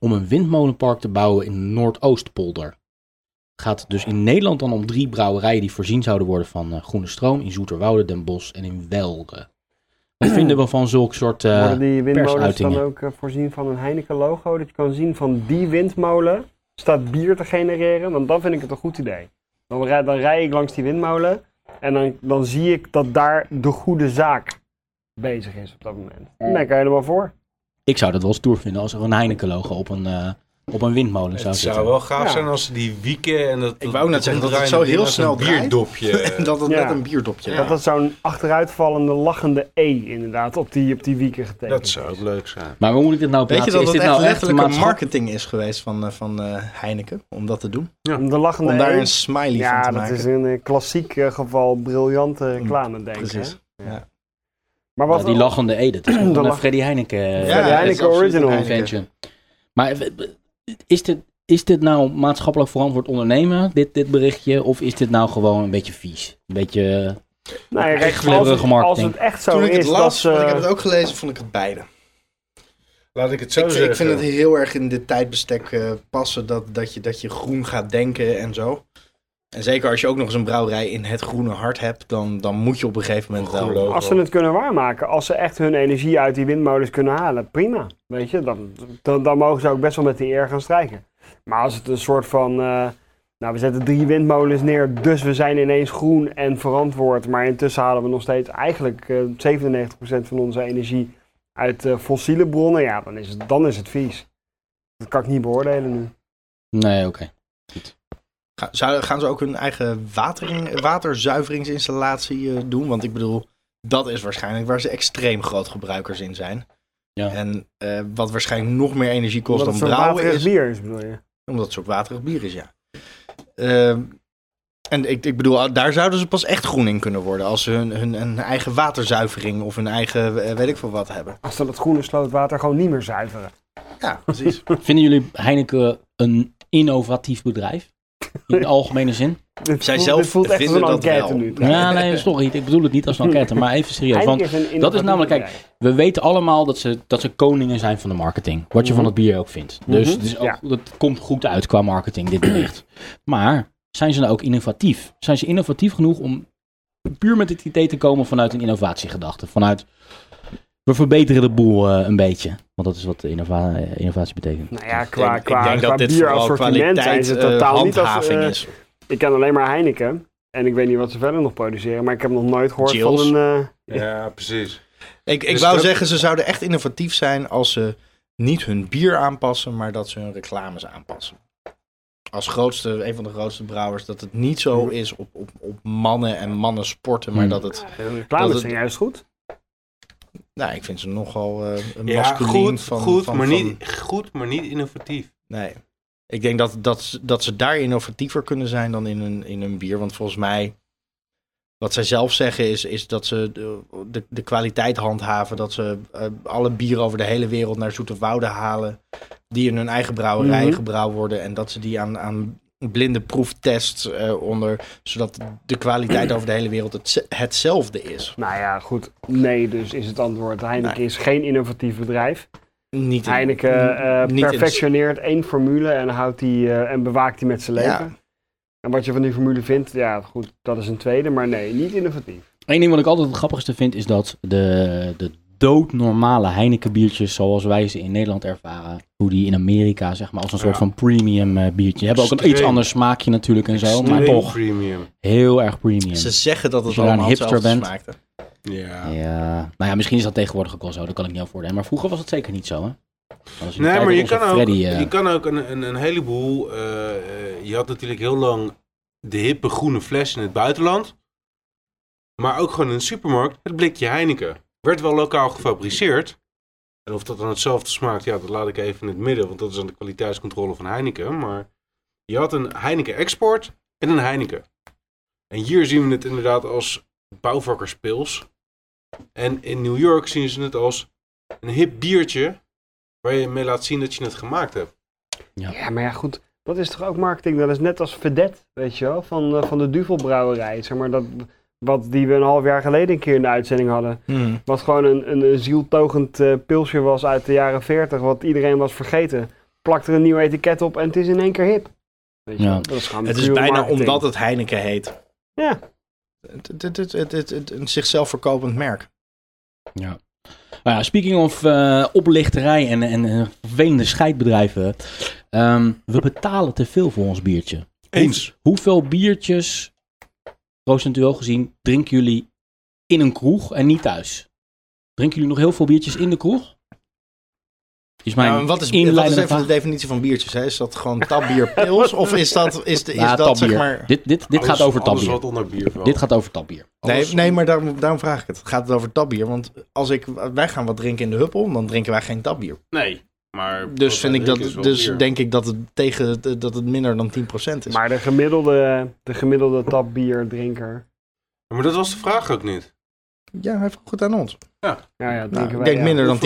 S1: om een windmolenpark te bouwen in de Noordoostpolder. Het gaat dus in Nederland dan om drie brouwerijen die voorzien zouden worden van eh, groene stroom in Zoeterwoude, Den Bosch en in Welden. Wat vinden we van zulk soort... eh,
S2: Worden die windmolens dan
S1: persuitingen.
S2: ook eh, voorzien van een Heineken-logo? Dat je kan zien van die windmolen staat bier te genereren? Want dan vind ik het een goed idee. Dan rij, dan rij ik langs die windmolen en dan, dan zie ik dat daar de goede zaak bezig is op dat moment. Dan ben ik er helemaal voor.
S1: Ik zou dat wel stoer vinden als er een Heineken-logo op een, eh, op een windmolen zou
S3: Het
S1: zitten.
S3: zou wel gaaf
S2: Ja.
S3: zijn als ze die wieken en dat...
S4: Ik wou net zeggen dat het zo heel snel
S3: Een
S4: draait.
S3: bierdopje.
S4: dat het
S2: Ja.
S4: net een bierdopje
S2: Dat
S4: was.
S2: dat zo'n achteruitvallende, lachende E inderdaad op die, op die wieken getekend
S4: dus.
S3: Dat zou ook
S2: is.
S3: leuk zijn.
S1: Maar hoe moet ik dit nou
S4: Weet je
S1: plaatsen?
S4: dat
S1: Is
S4: het
S1: dit
S4: echt
S1: nou echt
S4: letterlijk een
S1: maatschappelijk?
S4: marketing is geweest van, eh, van eh, Heineken om dat te doen?
S2: Om de lachende
S4: Om daar
S2: E.
S4: een smiley
S2: Ja,
S4: van te
S2: dat
S4: maken. Mm.
S2: is in een klassiek eh, geval briljante reclame, denk ik.
S4: Precies.
S2: hè?
S4: Ja.
S2: Maar
S1: Ja,
S2: wat
S1: die lachende Ede. Dat is
S2: De
S1: gewoon een
S2: lach-
S1: Freddy Heineken eh,
S4: Ja,
S2: Heineken
S4: het is absoluut
S2: original.
S4: een Heineken.
S1: invention. Maar eh, w- w- is dit, is dit nou maatschappelijk verantwoord ondernemen, dit, dit berichtje? Of is dit nou gewoon een beetje vies? Een beetje
S2: Nou, ja, kijk, als,
S1: glibberige
S2: het, als
S1: marketing.
S2: het echt zo
S4: Toen ik het
S2: is dat eh,
S4: las,
S2: ze...
S4: want ik heb het ook gelezen, vond ik het beide.
S3: Laat ik het zo
S4: Ik,
S3: zeggen.
S4: ik vind het heel erg in dit tijdbestek eh, passen dat, dat, je, dat je groen gaat denken en zo. En zeker als je ook nog eens een brouwerij in het groene hart hebt, dan, dan moet je op een gegeven moment
S3: Groen
S4: wel...
S3: logo.
S2: Als ze het kunnen waarmaken, als ze echt hun energie uit die windmolens kunnen halen, prima. Weet je, dan, dan, dan mogen ze ook best wel met die eer gaan strijken. Maar als het een soort van, eh, nou we zetten drie windmolens neer, dus we zijn ineens groen en verantwoord. Maar intussen halen we nog steeds eigenlijk eh, 97% van onze energie uit eh, fossiele bronnen. Ja, dan is, het, dan is het vies. Dat kan ik niet beoordelen nu.
S1: Nee, oké.
S4: Ga- zou- gaan ze ook hun eigen watering, waterzuiveringsinstallatie eh, doen? Want ik bedoel, dat is waarschijnlijk waar ze extreem groot gebruikers in zijn.
S1: Ja.
S4: En eh, wat waarschijnlijk nog meer energie kost
S2: Omdat het
S4: dan
S2: zo'n
S4: brouwen
S2: waterig
S4: is,
S2: bier is, bedoel je?
S4: omdat het soort waterig bier is, ja. Ehm, en ik, ik bedoel, ah, daar zouden ze pas echt groen in kunnen worden. Als ze hun, hun, hun eigen waterzuivering of hun eigen eh, weet ik veel wat hebben.
S2: Als ze dat groene slootwater gewoon niet meer zuiveren.
S4: Ja, precies.
S1: Vinden jullie Heineken een innovatief bedrijf? In de algemene zin?
S2: Dit
S4: Zij
S2: voelt-
S4: zelf
S2: dit voelt echt als
S4: vinden
S2: een
S4: dat
S2: enquête
S4: wel.
S2: nu.
S1: Ja, nee, sorry. Ik bedoel het niet als een enquête, maar even serieus. Want
S2: Heineken is een
S1: dat is namelijk,
S2: innovatief
S1: kijk, we weten allemaal dat ze, dat ze koningen zijn van de marketing. Wat je van het bier ook vindt. Dus
S2: Mhm.
S1: het is ook-
S2: Ja.
S1: dat komt goed uit qua marketing, dit bericht. Maar zijn ze nou ook innovatief? Zijn ze innovatief genoeg om puur met het idee te komen vanuit een innovatiegedachte? Vanuit, we verbeteren de boel eh, een beetje. Want dat is wat innova- eh, innovatie betekent.
S2: Nou ja,
S4: Ik denk-
S2: qua, qua,
S4: ik denk
S2: qua
S4: dat dit vooral
S2: bierassortiment zijn
S4: kwaliteit
S2: ze
S4: eh,
S2: totaal niet als...
S4: handhaving
S2: eh,
S4: is.
S2: ik ken alleen maar Heineken. En ik weet niet wat ze verder nog produceren. Maar ik heb nog nooit gehoord
S4: Jills.
S2: van een... eh,
S3: Ja, precies.
S4: Ik, ik
S3: Dus
S4: wou
S3: dat-
S4: zeggen, ze zouden echt innovatief zijn als ze niet hun bier aanpassen, maar dat ze hun reclames aanpassen. Als grootste, een van de grootste brouwers, dat het niet
S3: Hmm.
S4: zo is op, op, op mannen en mannen sporten, maar
S1: Hmm.
S4: dat het...
S2: reclames
S4: het-
S2: zijn juist goed.
S4: Nou, ik vind ze nogal eh een
S3: Ja,
S4: masculien
S3: goed,
S4: van...
S3: goed,
S4: van-
S3: maar
S4: van-
S3: niet, goed, maar niet innovatief.
S4: nee. Ik denk dat, dat, ze- dat ze daar innovatiever kunnen zijn dan in hun, in hun bier, want volgens mij... Wat zij zelf zeggen is, is dat ze de, de, de kwaliteit handhaven. Dat ze eh, alle bieren over de hele wereld naar zoete wouden halen. Die in hun eigen brouwerij
S2: Mhm.
S4: gebrouwen worden. En dat ze die aan, aan blinde proeftests eh, onder. Zodat de kwaliteit over de hele wereld het, hetzelfde is.
S2: Nou ja, goed. Nee, dus is het antwoord. Heineken is geen innovatief bedrijf.
S4: Niet in-
S2: Heineken eh,
S4: niet in-
S2: perfectioneert één formule en, houdt die, eh, en bewaakt die met zijn
S4: Ja.
S2: leven. En wat je van die formule vindt, ja goed, dat is een tweede. Maar nee, niet innovatief.
S1: Eén ding wat ik altijd het grappigste vind is dat de, de doodnormale Heineken biertjes zoals wij ze in Nederland ervaren, hoe die in Amerika zeg maar als een soort
S3: Ja.
S1: van premium eh, biertje. Die hebben ook een
S3: Extreem.
S1: iets ander smaakje natuurlijk en zo, maar
S3: Extreem
S1: toch
S3: Premium.
S1: heel erg premium.
S4: Ze zeggen dat
S1: Als
S4: het
S1: je daar een
S4: allemaal
S1: hipster
S4: hetzelfde
S1: bent.
S4: smaakte.
S3: Ja.
S1: Ja, nou ja, misschien is dat tegenwoordig ook wel zo, dat kan ik niet over oordelen. Maar vroeger was dat zeker niet zo, hè? Dat was in de
S3: Nee,
S1: tijd
S3: maar je
S1: dat onze
S3: kan ook,
S1: Freddy, eh,
S3: je kan ook een, een, een heleboel. eh, eh, je had natuurlijk heel lang de hippe groene fles in het buitenland. Maar ook gewoon in de supermarkt het blikje Heineken. Werd wel lokaal gefabriceerd. En of dat dan hetzelfde smaakt, ja, dat laat ik even in het midden. Want dat is aan de kwaliteitscontrole van Heineken. Maar je had een Heineken Export en een Heineken. En hier zien we het inderdaad als bouwvakkerspils. En in New York zien ze het als een hip biertje Waar je mee laat zien dat je het gemaakt hebt.
S1: Ja.
S2: Ja, maar ja, goed. Dat is toch ook marketing? Dat is net als Vedet, weet je wel, van, eh, van de Duvelbrouwerij. Zeg maar, dat, wat die we een half jaar geleden een keer in de uitzending hadden.
S4: Mhm.
S2: Wat gewoon een, een, een zieltogend eh, pilsje was uit de jaren 40, wat iedereen was vergeten. Plakt er een nieuw etiket op en het is in één keer hip. Weet je
S1: Ja.
S2: wel, dat is gewoon
S4: Het is
S2: pure
S4: bijna
S2: marketing.
S4: omdat het Heineken heet.
S2: Ja.
S4: Het, het, het, het, het, het- een zichzelf verkopend merk.
S1: Ja. Nou ja, speaking of eh, oplichterij en, en, en vervelende scheidbedrijven. ehm, we betalen te veel voor ons biertje.
S3: Eens.
S1: Hoeveel biertjes, procentueel gezien, drinken jullie in een kroeg en niet thuis? Drinken jullie nog heel veel biertjes in de kroeg? Is mijn
S4: Nou, en wat is, wat is
S1: inleidende
S4: even de
S1: vraag.
S4: definitie van biertjes? Hè? Is dat gewoon tapbier pils? of is dat, is de, is
S1: Ja,
S4: dat zeg
S1: tapbier.
S4: maar...
S1: Dit, dit, dit gaat over
S3: Alles
S1: tapbier.
S3: wat onder bier valt.
S1: Dit gaat over tapbier.
S4: Nee,
S3: Alles-
S4: nee, maar daarom, daarom vraag ik het. Gaat het over tapbier? Want als ik, wij gaan wat drinken in de huppel, dan drinken wij geen tapbier.
S3: Nee. Maar
S4: Dus,
S3: wat
S4: vind ik
S3: wij
S4: dat,
S3: drinken is wel
S4: dus
S3: bier.
S4: denk ik dat het, tegen, dat het minder dan 10% is.
S2: Maar de gemiddelde, de gemiddelde tapbierdrinker.
S3: Maar dat was de vraag ook niet.
S4: ja, hij vroeg het aan ons.
S2: Ja, ja, drinken
S4: Nou,
S2: wij,
S4: ik denk
S2: ja.
S4: minder dan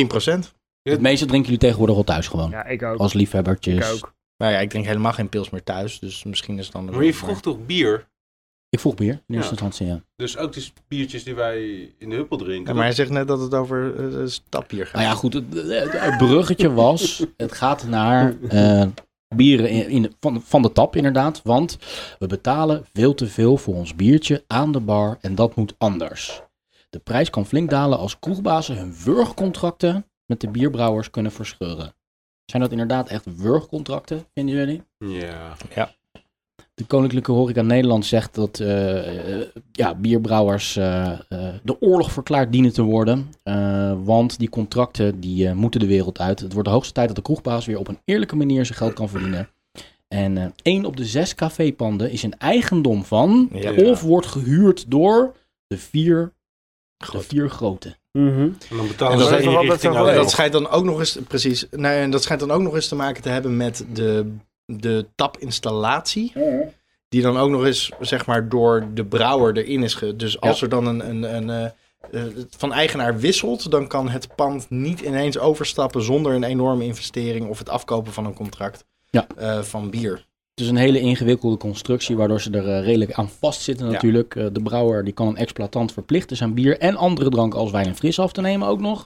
S4: 10%.
S1: Het meeste drinken jullie tegenwoordig wel thuis gewoon.
S2: Ja, ik ook.
S1: Als liefhebbertjes.
S2: Ik ook.
S4: Nou ja, ik drink helemaal geen pils meer thuis, dus misschien is het anders.
S3: Maar je vroeg toch bier?
S1: Ik Ik vroeg meer, in eerste
S3: Ja.
S1: instantie, ja.
S3: Dus ook die biertjes die wij in de huppel drinken.
S4: Ja, maar hij zegt net dat het over eh, stapbier gaat.
S1: Nou ja, goed, het, het- het bruggetje was, het gaat naar eh, bieren in, in de- van, van de tap inderdaad, want we betalen veel te veel voor ons biertje aan de bar en dat moet anders. De prijs kan flink dalen als kroegbazen hun wurgcontracten met de bierbrouwers kunnen verscheuren. Zijn dat inderdaad echt wurgcontracten, vinden jullie?
S3: dat- Ja.
S1: De Koninklijke Horeca Nederland zegt dat eh, eh, ja, bierbrouwers eh, eh, de oorlog verklaard dienen te worden. Eh, want die contracten die, eh, moeten de wereld uit. Het wordt de hoogste tijd dat de kroegbaas weer op een eerlijke manier zijn geld kan verdienen. En eh één op de zes cafépanden is in eigendom van
S4: Ja.
S1: of wordt gehuurd door de vier, de vier grote.
S2: Mhm.
S3: En dan
S4: En
S3: betalen
S4: dat
S3: ze
S4: is
S3: één
S2: wel wat
S3: richting
S2: dat
S4: En
S2: zou
S4: dat
S3: alleen.
S4: schijnt dan ook nog eens, precies, nou, ja, en dat schijnt dan ook nog eens te maken te hebben met de, de tapinstallatie. Die dan ook nog eens, zeg maar, door de brouwer erin is. Ge, dus als er dan een, een, een eh, eh, van eigenaar wisselt, dan kan het pand niet ineens overstappen zonder een enorme investering of het afkopen van een contract
S1: Ja.
S4: eh, van bier.
S1: Het is een hele ingewikkelde constructie, waardoor ze er eh, redelijk aan vastzitten natuurlijk. Eh, de brouwer die kan een exploitant verplichten zijn bier en andere dranken als wijn en fris af te nemen ook nog.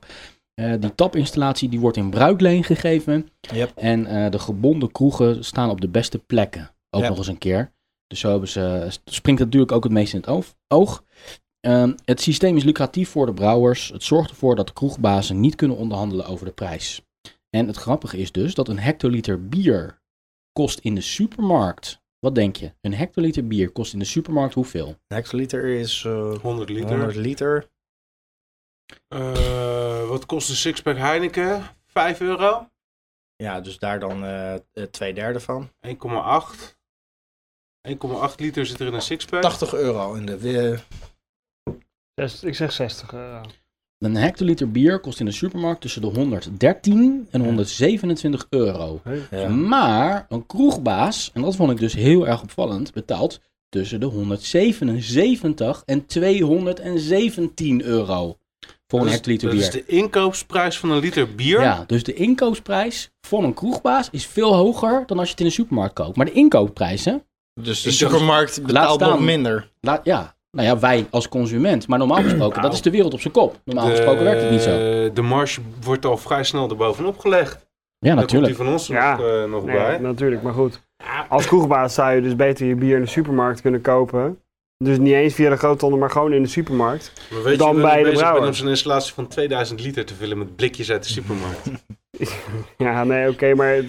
S1: Eh, die tapinstallatie die wordt in bruikleen gegeven.
S4: Yep.
S1: En eh, de gebonden kroegen staan op de beste plekken. Ook
S4: Ja.
S1: nog eens een keer. Dus zo hebben ze, springt het natuurlijk ook het meest in het oof- oog. Ehm, het systeem is lucratief voor de brouwers. Het zorgt ervoor dat de kroegbazen niet kunnen onderhandelen over de prijs. En het grappige is dus dat een hectoliter bier kost in de supermarkt. Wat denk je? Een hectoliter bier kost in de supermarkt hoeveel?
S4: Een hectoliter is eh
S3: 100 liter.
S4: 100 liter.
S3: Eh, wat kost een sixpack Heineken? 5 euro.
S4: Ja, dus daar dan eh, eh, twee derde van.
S3: 1,8. 1,8 liter zit er in een sixpack.
S4: 80 euro in de... eh,
S2: Zes- ik zeg eh. 60 euro.
S1: Een hectoliter bier kost in de supermarkt tussen de 113 en
S4: Ja.
S1: 127 euro.
S4: ja.
S1: Hmm? Maar een kroegbaas, en dat vond ik dus heel erg opvallend, betaalt tussen de 177 en 217 euro voor een
S3: Dat is-
S1: hectoliter
S3: Dus Dat is
S1: bier.
S3: de inkoopsprijs van een liter bier.
S1: Ja, dus de inkoopprijs van een kroegbaas is veel hoger dan als je het in de supermarkt koopt. Maar de inkoopprijs, hè?
S4: Dus de
S3: dacht-
S4: supermarkt
S1: Laat
S4: betaalt
S1: staan.
S4: nog minder.
S1: Laat, ja, nou ja, wij als consument. Maar normaal gesproken, dat is de wereld op zijn kop. Normaal gesproken werkt het niet zo.
S3: De marge wordt al vrij snel erbovenop gelegd.
S1: Ja,
S3: Daar komt die
S1: natuurlijk.
S3: van ons
S2: Ja.
S3: nog, eh, nog
S2: Nee,
S3: bij.
S2: natuurlijk, maar goed. Als kroegbaas zou je dus beter je bier in de supermarkt kunnen kopen. Dus niet eens via de groothandel, maar gewoon in de supermarkt.
S3: Maar weet
S2: Dan
S3: je,
S2: bij
S3: bij
S2: de
S3: bezig
S2: brouwer.
S3: ben om zo'n installatie van 2000 liter te vullen met blikjes uit de supermarkt.
S2: Ja, nee, oké, maar het-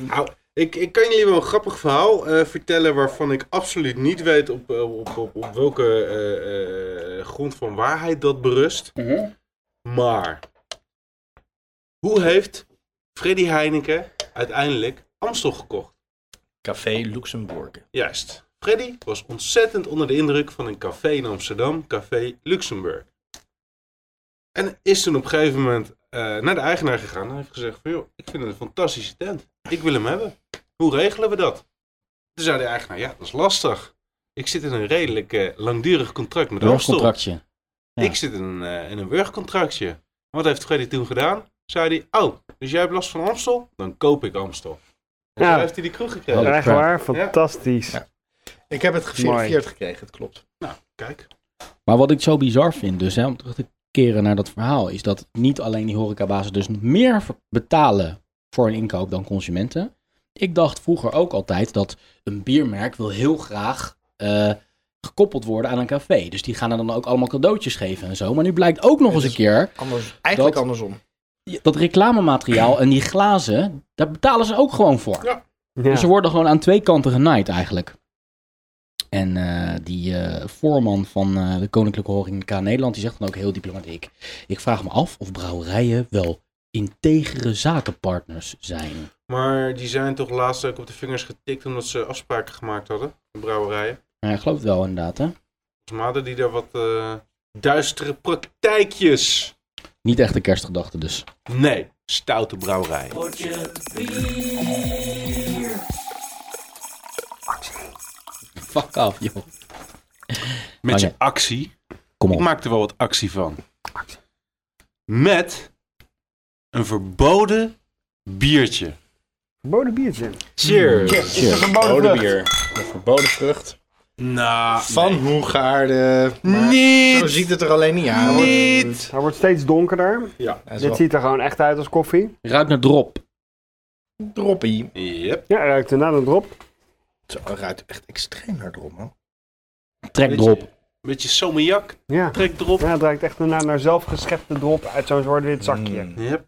S3: ik, ik kan jullie wel een grappig verhaal eh, vertellen waarvan ik absoluut niet weet op, eh, op, op, op welke eh, eh, grond van waarheid dat berust.
S1: Mhm.
S3: Maar hoe heeft Freddy Heineken uiteindelijk Amstel gekocht?
S4: Café Luxemburg.
S3: Juist. Freddy was ontzettend onder de indruk van een café in Amsterdam, Café Luxemburg. En is toen op een gegeven moment eh, naar de eigenaar gegaan en heeft gezegd van joh, ik vind het een fantastische tent. Ik wil hem hebben. Hoe regelen we dat? Toen zei de eigenaar, ja dat is lastig. Ik zit in een redelijk eh, langdurig contract met
S1: Een
S3: Amstel.
S1: contractje. ja.
S3: Ik zit in een, eh, in een werkcontractje. Wat heeft Freddy toen gedaan? Zei hij, oh, dus jij hebt last van Amstel? Dan koop ik Amstel. En
S2: Ja.
S3: zo heeft hij die kroeg gekregen.
S1: Oh.
S2: echt waar, fantastisch.
S4: Ja. Ik heb het geverifieerd gekregen, het klopt.
S3: Nou, Kijk.
S1: Maar wat ik zo bizar vind, dus hè, om terug te keren naar dat verhaal, is dat niet alleen die horecabazen dus meer ver- betalen voor hun inkoop dan consumenten. Ik dacht vroeger ook altijd dat een biermerk wil heel graag eh, gekoppeld worden aan een café. Dus die gaan er dan ook allemaal cadeautjes geven en zo. Maar nu blijkt ook nog
S4: Het
S1: eens een
S4: is-
S1: keer
S4: Anders, eigenlijk
S1: Dat-
S4: andersom.
S1: dat reclamemateriaal en die glazen, daar betalen ze ook gewoon voor.
S2: Ja.
S1: Dus ze worden gewoon aan twee kanten genaaid eigenlijk. En eh, die eh, voorman van eh, de Koninklijke Horeca Nederland, die zegt dan ook heel diplomatiek. Ik vraag me af of brouwerijen wel integere zakenpartners zijn.
S3: Maar die zijn toch laatst ook op de vingers getikt omdat ze afspraken gemaakt hadden, de brouwerijen.
S1: Nou, ik geloof het wel inderdaad, hè?
S3: Volgens mij hadden die daar wat eh, duistere praktijkjes.
S1: Niet echt de kerstgedachte dus.
S3: Nee, stoute brouwerijen.
S1: Fuck af, joh.
S3: Met
S1: Oké.
S3: je actie.
S1: Kom
S3: Ik
S1: op.
S3: maak er wel wat actie van. Met een verboden biertje.
S2: Verboden biertje.
S3: Cheers.
S2: Verboden vrucht.
S4: bier. Verboden vrucht.
S3: Nou,
S4: Van
S3: nee.
S4: Hoegaarden. maar
S3: Niet!
S4: Zo ziet het er alleen niet uit.
S3: Niet!
S2: Hij wordt steeds donkerder.
S3: Ja.
S4: Hij is
S2: Dit
S4: wel
S2: ziet er gewoon echt uit als koffie.
S1: Ruikt naar drop.
S4: droppie.
S3: Yep.
S2: Ja, hij ruikt inderdaad een drop.
S4: Zo, hij ruikt echt extreem naar drop, man.
S1: Trek drop.
S3: Beetje sommejak,
S2: Ja.
S3: trek erop.
S2: ja, het ruikt echt naar, naar zelfgeschepte drop uit zo'n zwart-wit zakje.
S4: Mm.
S3: Yep.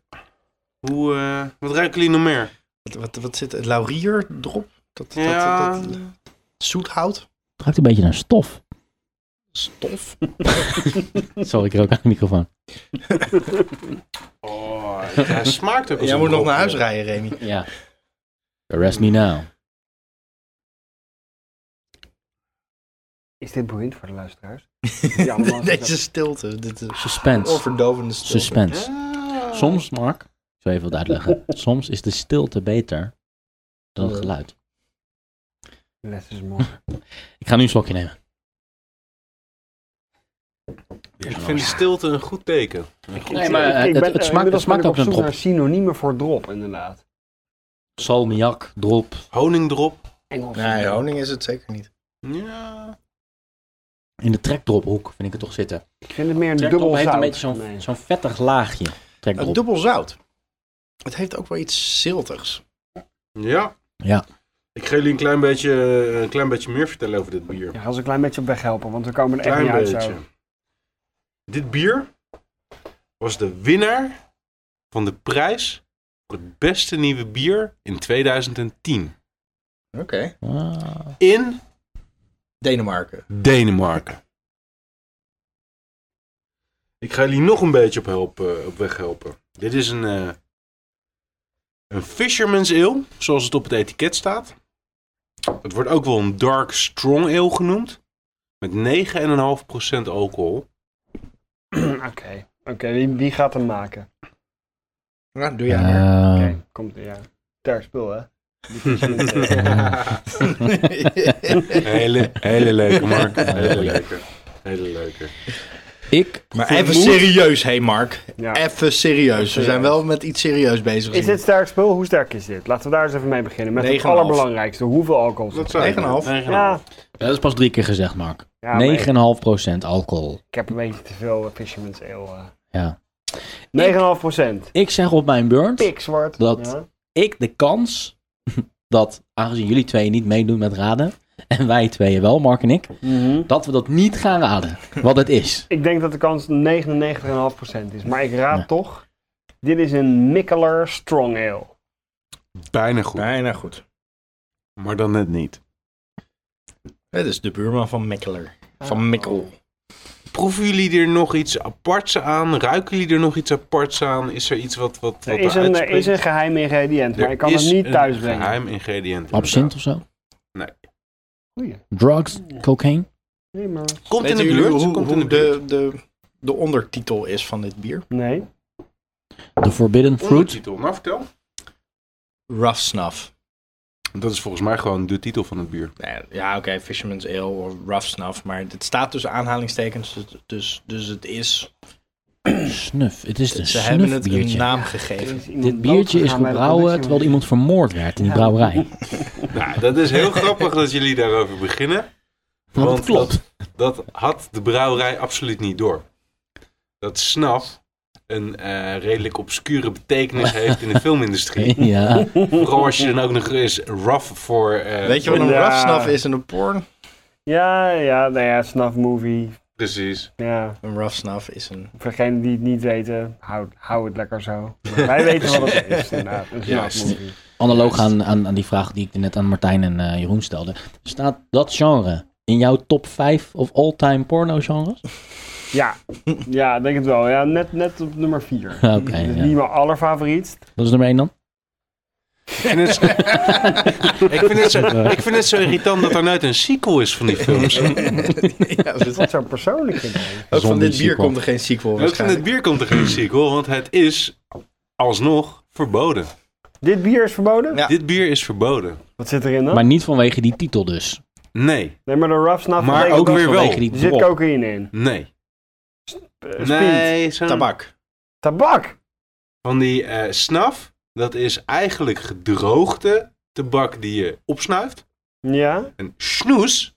S3: Hoe, eh, wat ruiken jullie nog meer?
S4: Wat, wat, wat zit er? Laurier drop? Dat, dat-
S3: Ja.
S4: dat, zoethout?
S1: Ruikt een beetje naar stof.
S4: Stof?
S1: Sorry, ik rook aan de microfoon.
S3: Oh, ja, hij smaakt ook als
S4: Jij
S3: een
S4: moet nog
S3: drop,
S4: naar huis
S3: joh.
S4: rijden, Remy.
S1: Ja. Arrest me now.
S2: Is dit boeiend voor de luisteraars? Ja, maar als-
S4: Deze stilte. Dit is een
S1: Suspense.
S4: overdovende stilte.
S1: Suspense.
S2: Oh.
S3: Ah.
S1: Soms, Mark, ik zal even wat uitleggen. Soms is de stilte beter dan het geluid.
S2: Less is more.
S1: Ik ga nu een slokje nemen.
S3: Ik vind stilte een goed teken. Een goed
S1: Nee, maar,
S3: teken.
S1: eh,
S2: Ik
S1: het-
S2: ben-
S1: het smaakt-
S2: inmiddels
S1: het smaakt
S2: ben ik
S1: ook
S2: op
S1: naar
S2: zoek
S1: drop.
S2: naar synoniemen voor drop, inderdaad.
S1: Salmiak, drop.
S3: Honingdrop.
S2: Engels.
S4: Nee, honing is het zeker niet.
S3: Ja.
S1: In de trekdrophoek vind ik het toch zitten.
S2: Ik vind het meer een
S1: Trekdrop
S2: dubbel
S1: heeft
S2: zout.
S1: een beetje zo'n
S2: Nee.
S1: zo'n vettig laagje.
S4: Een
S1: Trekdrop.
S4: dubbel zout. Het heeft ook wel iets ziltigs.
S3: Ja.
S1: Ja.
S3: Ik ga jullie een klein beetje, eh, een klein beetje meer vertellen over dit bier.
S2: Ja, ga ze een klein beetje op weg helpen, want we komen er echt
S3: Klein
S2: niet uit
S3: beetje.
S2: zo.
S3: Dit bier was de winnaar van de prijs voor het beste nieuwe bier in 2010
S4: Oké.
S1: Ah,
S3: in
S4: Denemarken.
S3: Denemarken. Ik ga jullie nog een beetje op, helpen, op weg helpen. Dit is een, eh, een Fisherman's Ale, zoals het op het etiket staat. Het wordt ook wel een Dark Strong Ale genoemd. Met 9,5% alcohol.
S2: Oké, oké, wie, wie gaat hem maken?
S4: Nou, doe jij maar.
S1: eh,
S2: Oké, komt ja. Ter spul, hè? Die verslindt, eh.
S3: Hele, hele leuke, Mark. Hele
S1: Goeie.
S3: leuke. Hele leuke.
S1: Ik,
S4: maar even serieus, hé Mark.
S2: Ja.
S4: Even serieus. We zijn wel met iets serieus bezig.
S2: Is dit sterk spul? Hoe sterk is dit? Laten we daar eens even mee beginnen. Met het
S4: 9,5.
S2: allerbelangrijkste, hoeveel alcohol zit er?
S4: 9,5?
S2: Ja,
S1: dat is pas drie keer gezegd, Mark.
S2: ja maar
S1: 9,5% alcohol.
S2: ik heb een beetje te veel eh, Fisherman's Ale.
S1: Ja.
S2: eh. 9,5 procent.
S1: Ik zeg op mijn beurt.
S2: Pikzwart.
S1: Dat-
S2: Ja.
S1: ik de kans dat, aangezien jullie twee niet meedoen met raden, en wij tweeën wel, Mark en ik, dat we dat niet gaan raden, wat het is.
S2: Ik denk dat de kans 99,5 procent is. Maar ik raad
S1: Ja.
S2: toch, dit is een Mikkeler Strong Ale.
S3: Bijna goed.
S4: Nee, nou goed.
S3: Maar dan net niet.
S4: Het is de buurman van Mikkeler.
S3: Ah.
S4: Van Mikkel.
S3: Proeven jullie er nog iets aparts aan? Ruiken jullie er nog iets aparts aan? Is er iets wat wat, wat
S2: Er is een, er is een geheim ingrediënt, maar ik kan het niet thuis brengen.
S3: geheim ingrediënt.
S1: Absint of zo?
S2: Goeie.
S1: Drugs? Cocaine?
S2: Nee, maar...
S3: Komt in
S4: Weet
S3: de
S4: jullie
S3: buurt.
S4: hoe,
S3: komt
S4: hoe
S3: in de buurt.
S4: de, de, de ondertitel is van dit bier?
S2: Nee.
S1: The Forbidden Fruit?
S3: Ondertitel. Nou, vertel.
S4: Rough Snuff.
S3: Dat is volgens mij gewoon de titel van het bier.
S4: Nee, ja, oké, Fisherman's Ale of Rough Snuff. Maar het staat tussen aanhalingstekens. dus- Dus, dus het is...
S1: Snuf. Het is een
S4: Ze hebben het een
S1: snufbiertje.
S4: naam
S2: Er
S4: gegeven.
S2: is iemand
S1: Dit biertje is
S2: doodgegaan bij de
S1: gebrouwen
S2: productie,
S1: terwijl
S2: man.
S1: iemand vermoord werd in die
S2: Ja.
S1: brouwerij.
S3: Nou, dat is heel grappig dat jullie daarover beginnen.
S1: Want
S3: Want
S1: het klopt.
S3: Dat had de brouwerij absoluut niet door. Dat snaf een eh, redelijk obscure betekenis heeft in de filmindustrie.
S1: Ja,
S3: Vooral als je dan ook nog eens rough voor... eh,
S4: Weet je wat een
S2: Ja.
S4: Rough Snuff is in een porn?
S2: Ja, ja, nou ja, snuff movie.
S3: Precies.
S2: Ja,
S4: Een Rough Snuff is een...
S2: voor degenen die het niet weten, hou, hou het lekker zo. Maar wij weten wat het is, inderdaad. Een
S3: Juist.
S2: snuff movie.
S1: analoog aan, aan, aan die vraag die ik net aan Martijn en eh, Jeroen stelde. Staat dat genre in jouw top 5 of all-time porno genres?
S2: Ja, ja, ik denk het wel. Ja, net, net op nummer 4.
S1: Oké,
S2: Dit is
S1: ja.
S2: niet mijn allerfavoriet.
S1: dat is nummer 1 dan.
S3: Ik vind, het zo, ik, vind het zo, ik vind het zo irritant dat er nooit een sequel is van die films.
S4: ja, dus-
S2: Wat zo persoonlijk vind ik.
S4: ook van
S1: Zonder
S4: dit bier
S1: sequel.
S4: komt er geen sequel
S3: Ook van het
S4: waarschijnlijk.
S3: bier komt er geen sequel, want het is alsnog verboden.
S2: Dit bier is verboden?
S4: Ja.
S3: Dit bier is verboden.
S2: Wat zit erin dan?
S1: Maar niet vanwege die titel dus.
S3: Nee,
S2: Nee, maar de rough snuff
S3: Maar
S2: betekent
S3: ook
S2: dat-
S3: weer wel.
S1: Vanwege die
S2: Er zit
S1: drop.
S2: cocaïne in.
S3: nee.
S2: Eh, speed.
S3: Nee, zo'n-
S4: Tabak.
S2: Tabak.
S3: Van die eh snaf, dat is eigenlijk gedroogde tabak die je opsnuift.
S2: Ja.
S3: En snoes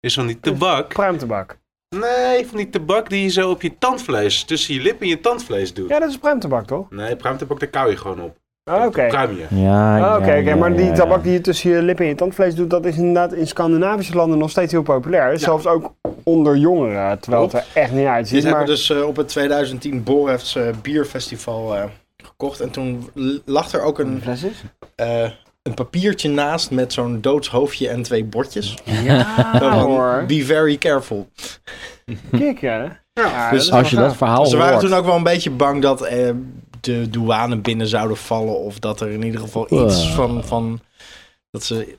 S3: is van die tabak.
S2: Pruimtabak.
S3: Nee, van die tabak die je zo op je tandvlees, tussen je lip en je tandvlees doet.
S2: Ja, dat is pruimtabak, toch?
S3: Nee, pruimtabak, daar kauw je gewoon op.
S2: Ah, Oké, oké,
S3: Pruim je.
S6: Ja, Ah, ja,
S2: oké,
S6: ja,
S2: maar die
S6: ja,
S2: tabak
S6: ja.
S2: die je tussen je lippen en je tandvlees doet, dat is inderdaad in Scandinavische landen nog steeds heel populair. Zelfs ook onder jongeren, terwijl het er echt niet
S4: Dit
S2: uitziet.
S4: hebben
S2: Maar,
S4: we dus eh, op het 2010 Borefs eh, Bierfestival eh, gekocht. En toen l- lag er ook een, eh, een papiertje naast met zo'n doodshoofdje en twee bordjes. Zo van,
S2: hoor.
S4: Be very careful.
S2: Kijk, ja. Ja,
S4: Dus
S2: is wel
S6: Als je dat
S2: gaaf.
S6: verhaal
S4: Ze waren
S6: hoort.
S4: toen ook wel een beetje bang dat eh, de douane binnen zouden vallen. Of dat er in ieder geval iets
S6: Eh.
S4: van, van... Dat ze...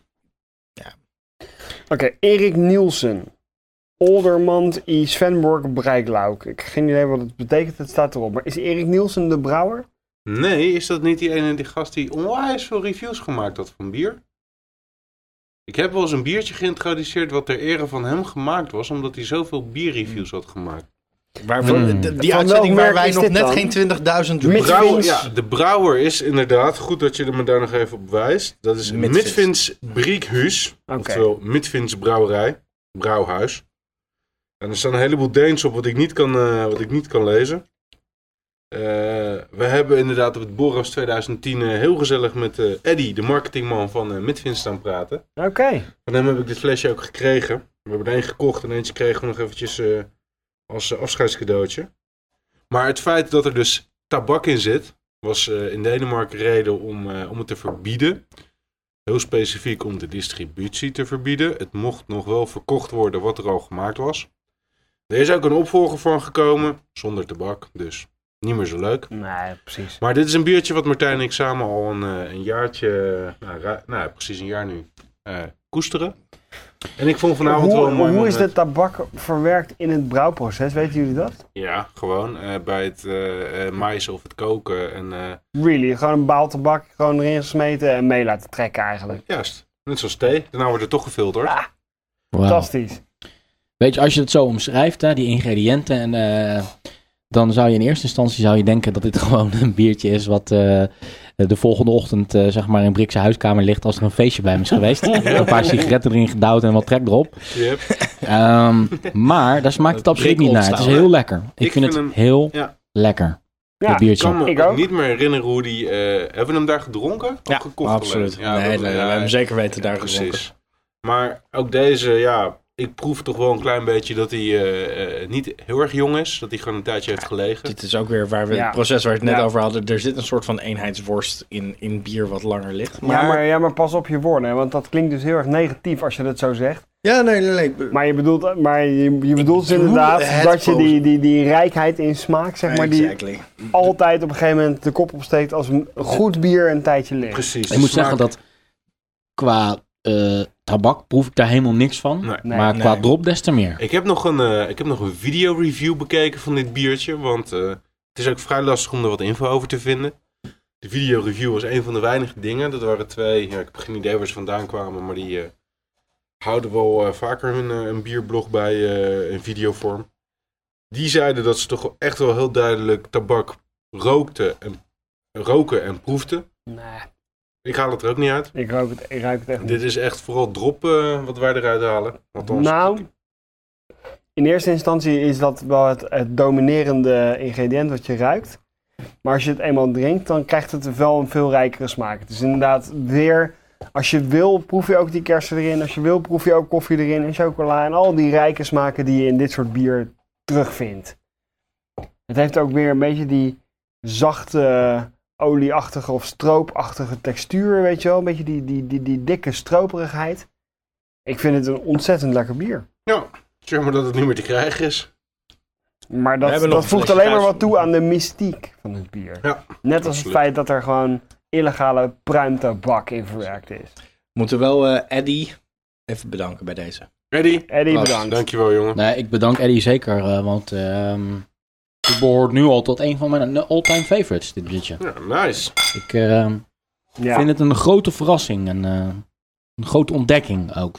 S2: Oké, Erik Nielsen. Oldermand i Svenborg Breikluik. Ik heb geen idee wat het betekent, het staat erop. Maar is Erik Nielsen de brouwer?
S3: Nee, is dat niet die ene die gast die onwijs veel reviews gemaakt had van bier? Ik heb wel eens een biertje geïntroduceerd wat ter ere van hem gemaakt was, omdat hij zoveel bierreviews had gemaakt.
S4: Waarvan,
S6: Hmm.
S4: de-
S2: welk
S4: Die uitzending waar
S2: merk
S4: wij
S2: is
S4: nog
S2: dit
S4: net
S2: dan?
S4: geen 20.000
S2: Midvins.
S4: brouwers-
S3: ja, de brouwer is inderdaad, goed dat je er me daar nog even op wijst, dat is
S4: Midvins.
S3: Midvins Briekhuis,
S2: Oké.
S3: oftewel Midvins Brouwerij, Brouwhuis. En er staan een heleboel Deens op wat ik niet kan, eh, wat ik niet kan lezen. Eh, we hebben inderdaad op het Boros 2010 eh, heel gezellig met eh Eddy, de marketingman van eh, Midvins, staan praten.
S2: Oké.
S3: Van hem heb ik dit flesje ook gekregen. We hebben er één gekocht en eentje kregen we nog eventjes eh, als eh, afscheidscadeautje. Maar het feit dat er dus tabak in zit, was eh, in Denemarken reden om, eh, om het te verbieden. Heel specifiek om de distributie te verbieden. Het mocht nog wel verkocht worden wat er al gemaakt was. Er is ook een opvolger van gekomen, zonder tabak, dus niet meer zo leuk.
S2: Nee, precies.
S3: Maar dit is een biertje wat Martijn en ik samen al een, eh, een jaartje, nou, ra- nou precies een jaar nu, eh, koesteren. En ik vond vanavond Nou, wel
S2: hoe,
S3: een mooi
S2: hoe is
S3: moment.
S2: de tabak verwerkt in het brouwproces? Weten jullie dat?
S3: Ja, gewoon eh, bij het eh eh, mais of het koken en eh,
S2: Really, gewoon een baal tabak gewoon erin gesmeten en mee laten trekken eigenlijk.
S3: juist, net zoals thee. Daarna wordt het toch gefilterd.
S2: Ah.
S6: Wauw.
S2: Fantastisch.
S6: Weet je, als je het zo omschrijft, hè, die ingrediënten, en, eh, dan zou je in eerste instantie zou je denken dat dit gewoon een biertje is wat eh, de volgende ochtend eh, zeg maar in Brikse huiskamer ligt als er een feestje bij hem is geweest. Een paar sigaretten erin gedouwd en wat trek erop.
S3: Yep.
S6: Ehm, maar daar smaakt het absoluut niet naar. Het is heel lekker. Ik,
S3: Ik
S6: vind het
S3: vind hem-
S6: heel
S3: ja.
S6: lekker,
S2: Ja,
S6: dat
S3: Ik kan
S6: biertje.
S3: me
S2: Ik
S3: ook
S2: ook.
S3: niet meer herinneren hoe die... eh, hebben we hem daar gedronken? Of gekocht
S4: absoluut.
S3: alleen? Ja,
S4: nee, nee,
S3: dat-
S4: nee, we
S3: ja,
S4: hebben hem zeker weten
S3: ja,
S4: daar gezonken.
S3: Precies. Maar ook deze, ja, ik proef toch wel een klein beetje dat hij eh, eh, niet heel erg jong is. Dat hij gewoon een tijdje heeft gelegen.
S4: Dit is ook weer waar we
S2: Ja.
S4: het proces waar we het net
S2: Ja.
S4: over hadden. Er zit een soort van eenheidsworst in, in bier wat langer ligt. Maar,
S2: Ja, maar, ja, maar pas op je woorden, hè, want dat klinkt dus heel erg negatief als je dat zo zegt.
S4: Ja, nee, nee, nee.
S2: Maar je bedoelt, maar je, je bedoelt
S4: bedoel
S2: inderdaad
S4: het
S2: dat je die,
S4: posi-
S2: die, die rijkheid in smaak, zeg maar, die
S4: exactly.
S2: altijd op een gegeven moment de kop opsteekt als een goed bier een tijdje ligt.
S3: Precies.
S6: Ik moet zeggen dat qua eh, tabak proef ik daar helemaal niks van.
S3: Nee.
S2: Nee,
S6: maar qua
S4: nee.
S6: drop des te meer.
S3: Ik heb nog een, eh, ik heb nog een video-review bekeken van dit biertje. Want eh, het is ook vrij lastig om er wat info over te vinden. De video-review was een van de weinige dingen. Dat waren twee. Ja, ik heb geen idee waar ze vandaan kwamen. Maar die eh, houden wel eh, vaker hun, eh, een bierblog bij eh, in videovorm. Die zeiden dat ze toch wel echt wel heel duidelijk tabak rookten en, roken en proefden.
S2: Nee,
S3: Ik haal het er ook niet uit.
S2: ik ruik het, ik ruik het echt niet.
S3: Dit is echt vooral drop eh, wat wij eruit halen. Althans,
S2: Nou, in eerste instantie is dat wel het, het dominerende ingrediënt wat je ruikt. Maar als je het eenmaal drinkt, dan krijgt het wel een veel rijkere smaak. Het is inderdaad weer, als je wil, proef je ook die kersen erin. Als je wil, proef je ook koffie erin en chocola. En al die rijke smaken die je in dit soort bier terugvindt. Het heeft ook weer een beetje die zachte, olieachtige of stroopachtige textuur, weet je wel. Een beetje die, die, die, die dikke stroperigheid. Ik vind het een ontzettend lekker bier.
S3: zeg maar dat het niet meer te krijgen is.
S2: Maar
S4: We
S2: dat,
S4: hebben nog
S2: dat
S4: een
S2: voegt
S4: flesje
S2: alleen maar
S4: thuis.
S2: wat toe aan de mystiek van het bier.
S3: Ja,
S2: Net als het
S3: absoluut.
S2: feit dat er gewoon illegale pruimtabak in verwerkt is.
S4: We moeten wel eh, Eddy even bedanken bij deze.
S3: Ready?
S2: Eddie,
S4: Lars,
S2: bedankt.
S3: Dankjewel, jongen.
S6: Nee, ik bedank Eddie zeker, eh, want ehm het behoort nu al tot een van mijn all-time favorites, dit biertje.
S3: Ja, nice.
S6: Ik ehm,
S2: Ja.
S6: vind het een grote verrassing en eh, een grote ontdekking ook.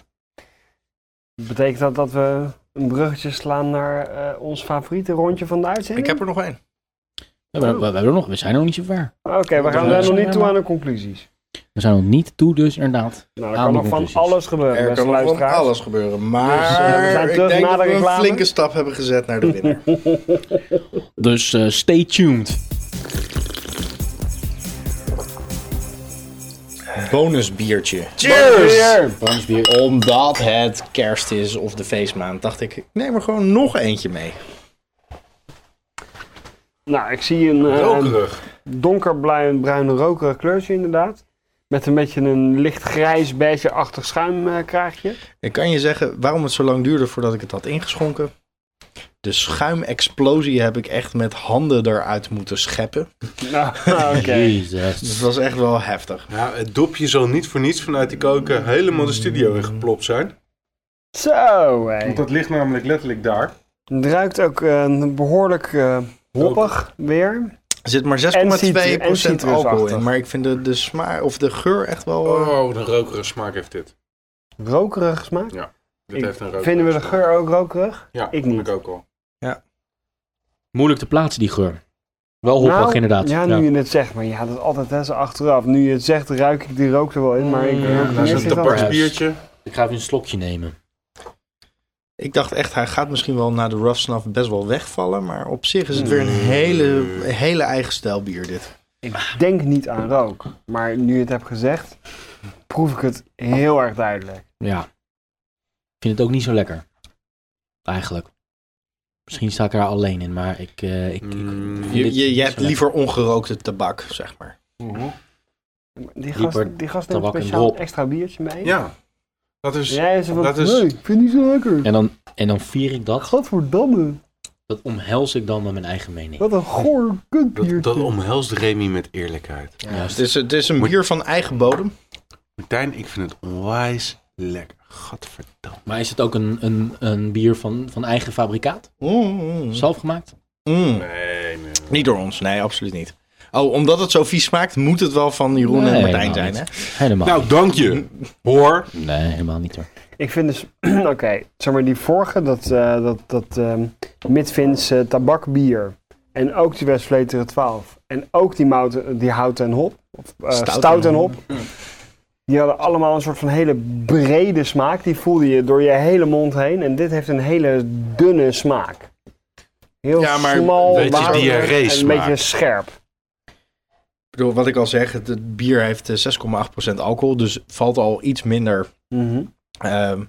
S2: Betekent dat dat we een bruggetje slaan naar eh, ons favoriete rondje van de
S4: Ik
S2: uitzending?
S4: heb er nog één.
S6: We, hebben- we, we hebben nog, we zijn nog niet zo ver.
S2: Oké, we gaan
S6: Ja.
S2: daar nog niet toe aan de conclusies.
S6: We zijn nog niet toe, dus inderdaad.
S2: Nou, er
S6: Aan
S2: kan
S6: de
S2: nog van
S6: conclusies.
S2: alles gebeuren,
S4: Er
S2: beste
S4: kan nog van
S2: luisteraars.
S4: alles gebeuren.
S2: Dus,
S4: Maar
S2: eh, we zijn
S4: ik
S2: terug
S4: denk
S2: na
S4: dat
S2: de
S4: we een
S2: reclame.
S4: flinke stap hebben gezet naar de winnaar.
S6: Dus eh, stay tuned.
S7: Bonusbiertje.
S2: Cheers!
S7: Omdat het kerst is of de feestmaand, dacht ik, ik neem er gewoon nog eentje mee.
S2: Nou, ik zie een eh,
S3: Rokerig.
S2: donkerbruin bruin rokerig kleurtje inderdaad. Met een beetje een licht grijs beigeachtig schuimkraagje.
S4: Ik kan je zeggen waarom het zo lang duurde voordat ik het had ingeschonken. De schuimexplosie heb ik echt met handen eruit moeten scheppen.
S2: nou, oké.
S4: Dus het
S6: Jezus.
S4: was echt wel heftig.
S3: Nou, het dopje zal niet voor niets vanuit die koken helemaal de studio in geplopt zijn.
S2: Zo, hé.
S3: Want dat ligt namelijk letterlijk daar.
S2: Het ruikt ook eh, behoorlijk eh, hoppig weer.
S4: Er zit maar 6,2%
S2: citrus- en
S4: alcohol
S2: citrusachtig.
S4: in. Maar ik vind de, de smaak of de geur echt wel... eh,
S3: Oh, wat een rokerige smaak heeft dit.
S2: Rokerig smaak.
S3: Dit
S2: Ik-
S3: heeft een rokerige
S2: Vinden we de
S3: smaak.
S2: geur ook rokerig?
S3: Ja,
S2: Ik niet.
S3: Ik ook al.
S6: Moeilijk te plaatsen, die geur. Wel hoppig,
S2: Nou,
S6: inderdaad.
S2: Ja, nu je het zegt. Maar ja, dat is altijd hè, zo achteraf. Nu je het zegt, ruik ik die rook er wel in. Maar ik eh,
S6: Mm,
S2: ruik
S6: nou,
S2: niet
S3: Dat is
S2: zit
S3: een
S6: zit
S2: dan-
S6: tabak.
S3: tabaksbiertje.
S6: Ik ga even een slokje nemen.
S4: Ik dacht echt, hij gaat misschien wel na de rough snuff best wel wegvallen. Maar op zich is het weer een
S3: Mm.
S4: hele, een hele eigen stijl bier dit.
S2: Ik denk niet aan rook. Maar nu je het hebt gezegd, proef ik het heel erg duidelijk.
S6: Ja. Ik vind het ook niet zo lekker. Eigenlijk. Misschien sta ik er alleen in, maar ik... eh, ik, ik
S3: Mm,
S6: vind
S4: Je,
S6: dit
S4: je,
S6: niet
S4: je
S6: zo
S4: hebt
S6: lekker.
S4: liever ongerookte tabak, zeg maar.
S2: Die gast,
S6: Dieper
S2: die gast neemt
S6: tabak en
S2: speciaal
S6: drop.
S2: extra biertje mee.
S3: Ja. Dat is...
S2: Jij is van,
S3: Dat is-
S2: nee, ik vind het niet zo lekker.
S6: En dan, en dan vier ik dat.
S2: Gadverdamme,
S6: Dat omhels ik dan met mijn eigen mening.
S2: wat een goor kutbiertje.
S3: Dat, dat omhelst Remy met eerlijkheid.
S4: Het is, het is een bier van eigen bodem.
S3: Martijn, ik vind het onwijs lekker. Gadverdamme.
S6: Maar is het ook een, een, een bier van, van eigen fabrikaat?
S4: Mm, mm,
S6: Zelf gemaakt?
S4: mm.
S3: Nee, nee.
S4: Niet door ons, nee, absoluut niet. Oh, omdat het zo vies smaakt, moet het wel van Jeroen en
S6: Nee,
S4: Martijn
S6: helemaal
S4: zijn, hè?
S6: niet. Helemaal
S3: Nou, dank je. Hoor.
S6: niet. Nee, helemaal niet hoor.
S2: Ik vind dus, oké, zeg maar die vorige, dat, eh dat, dat ehm Midvins eh, tabakbier. En ook die Westvleteren 12. En ook die, mouten, die hout en hop. Of, eh, stout, en hop. Die hadden allemaal een soort van hele brede smaak. Die voelde je door je hele mond heen. En dit heeft een hele dunne smaak. Heel
S4: Ja, maar
S2: smal,
S3: een beetje
S2: waterig
S3: diarree
S2: en een
S3: smaak.
S2: beetje scherp.
S4: Ik bedoel, wat ik al zeg, het, het bier heeft eh, 6,8% alcohol, dus valt al iets minder
S2: Mhm.
S4: ehm,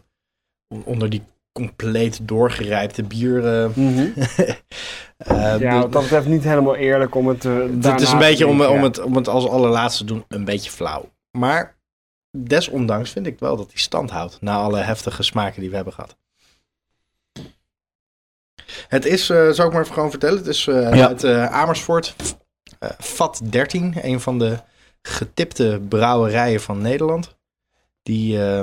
S4: on- onder die compleet doorgerijpte bieren.
S2: Mhm.
S4: eh,
S2: ja,
S4: dus-
S2: wat dat betreft niet helemaal eerlijk om het eh, daarna
S4: Het is
S2: te
S4: een beetje om,
S2: drinken,
S4: om,
S2: ja.
S4: het, om het als allerlaatste te doen, een beetje flauw. Maar desondanks vind ik wel dat hij stand houdt na alle heftige smaken die we hebben gehad. Het is, eh zou ik maar even gewoon vertellen, het is eh
S6: Ja.
S4: uit eh, Amersfoort, eh VAT 13, een van de getipte brouwerijen van Nederland. Die, eh,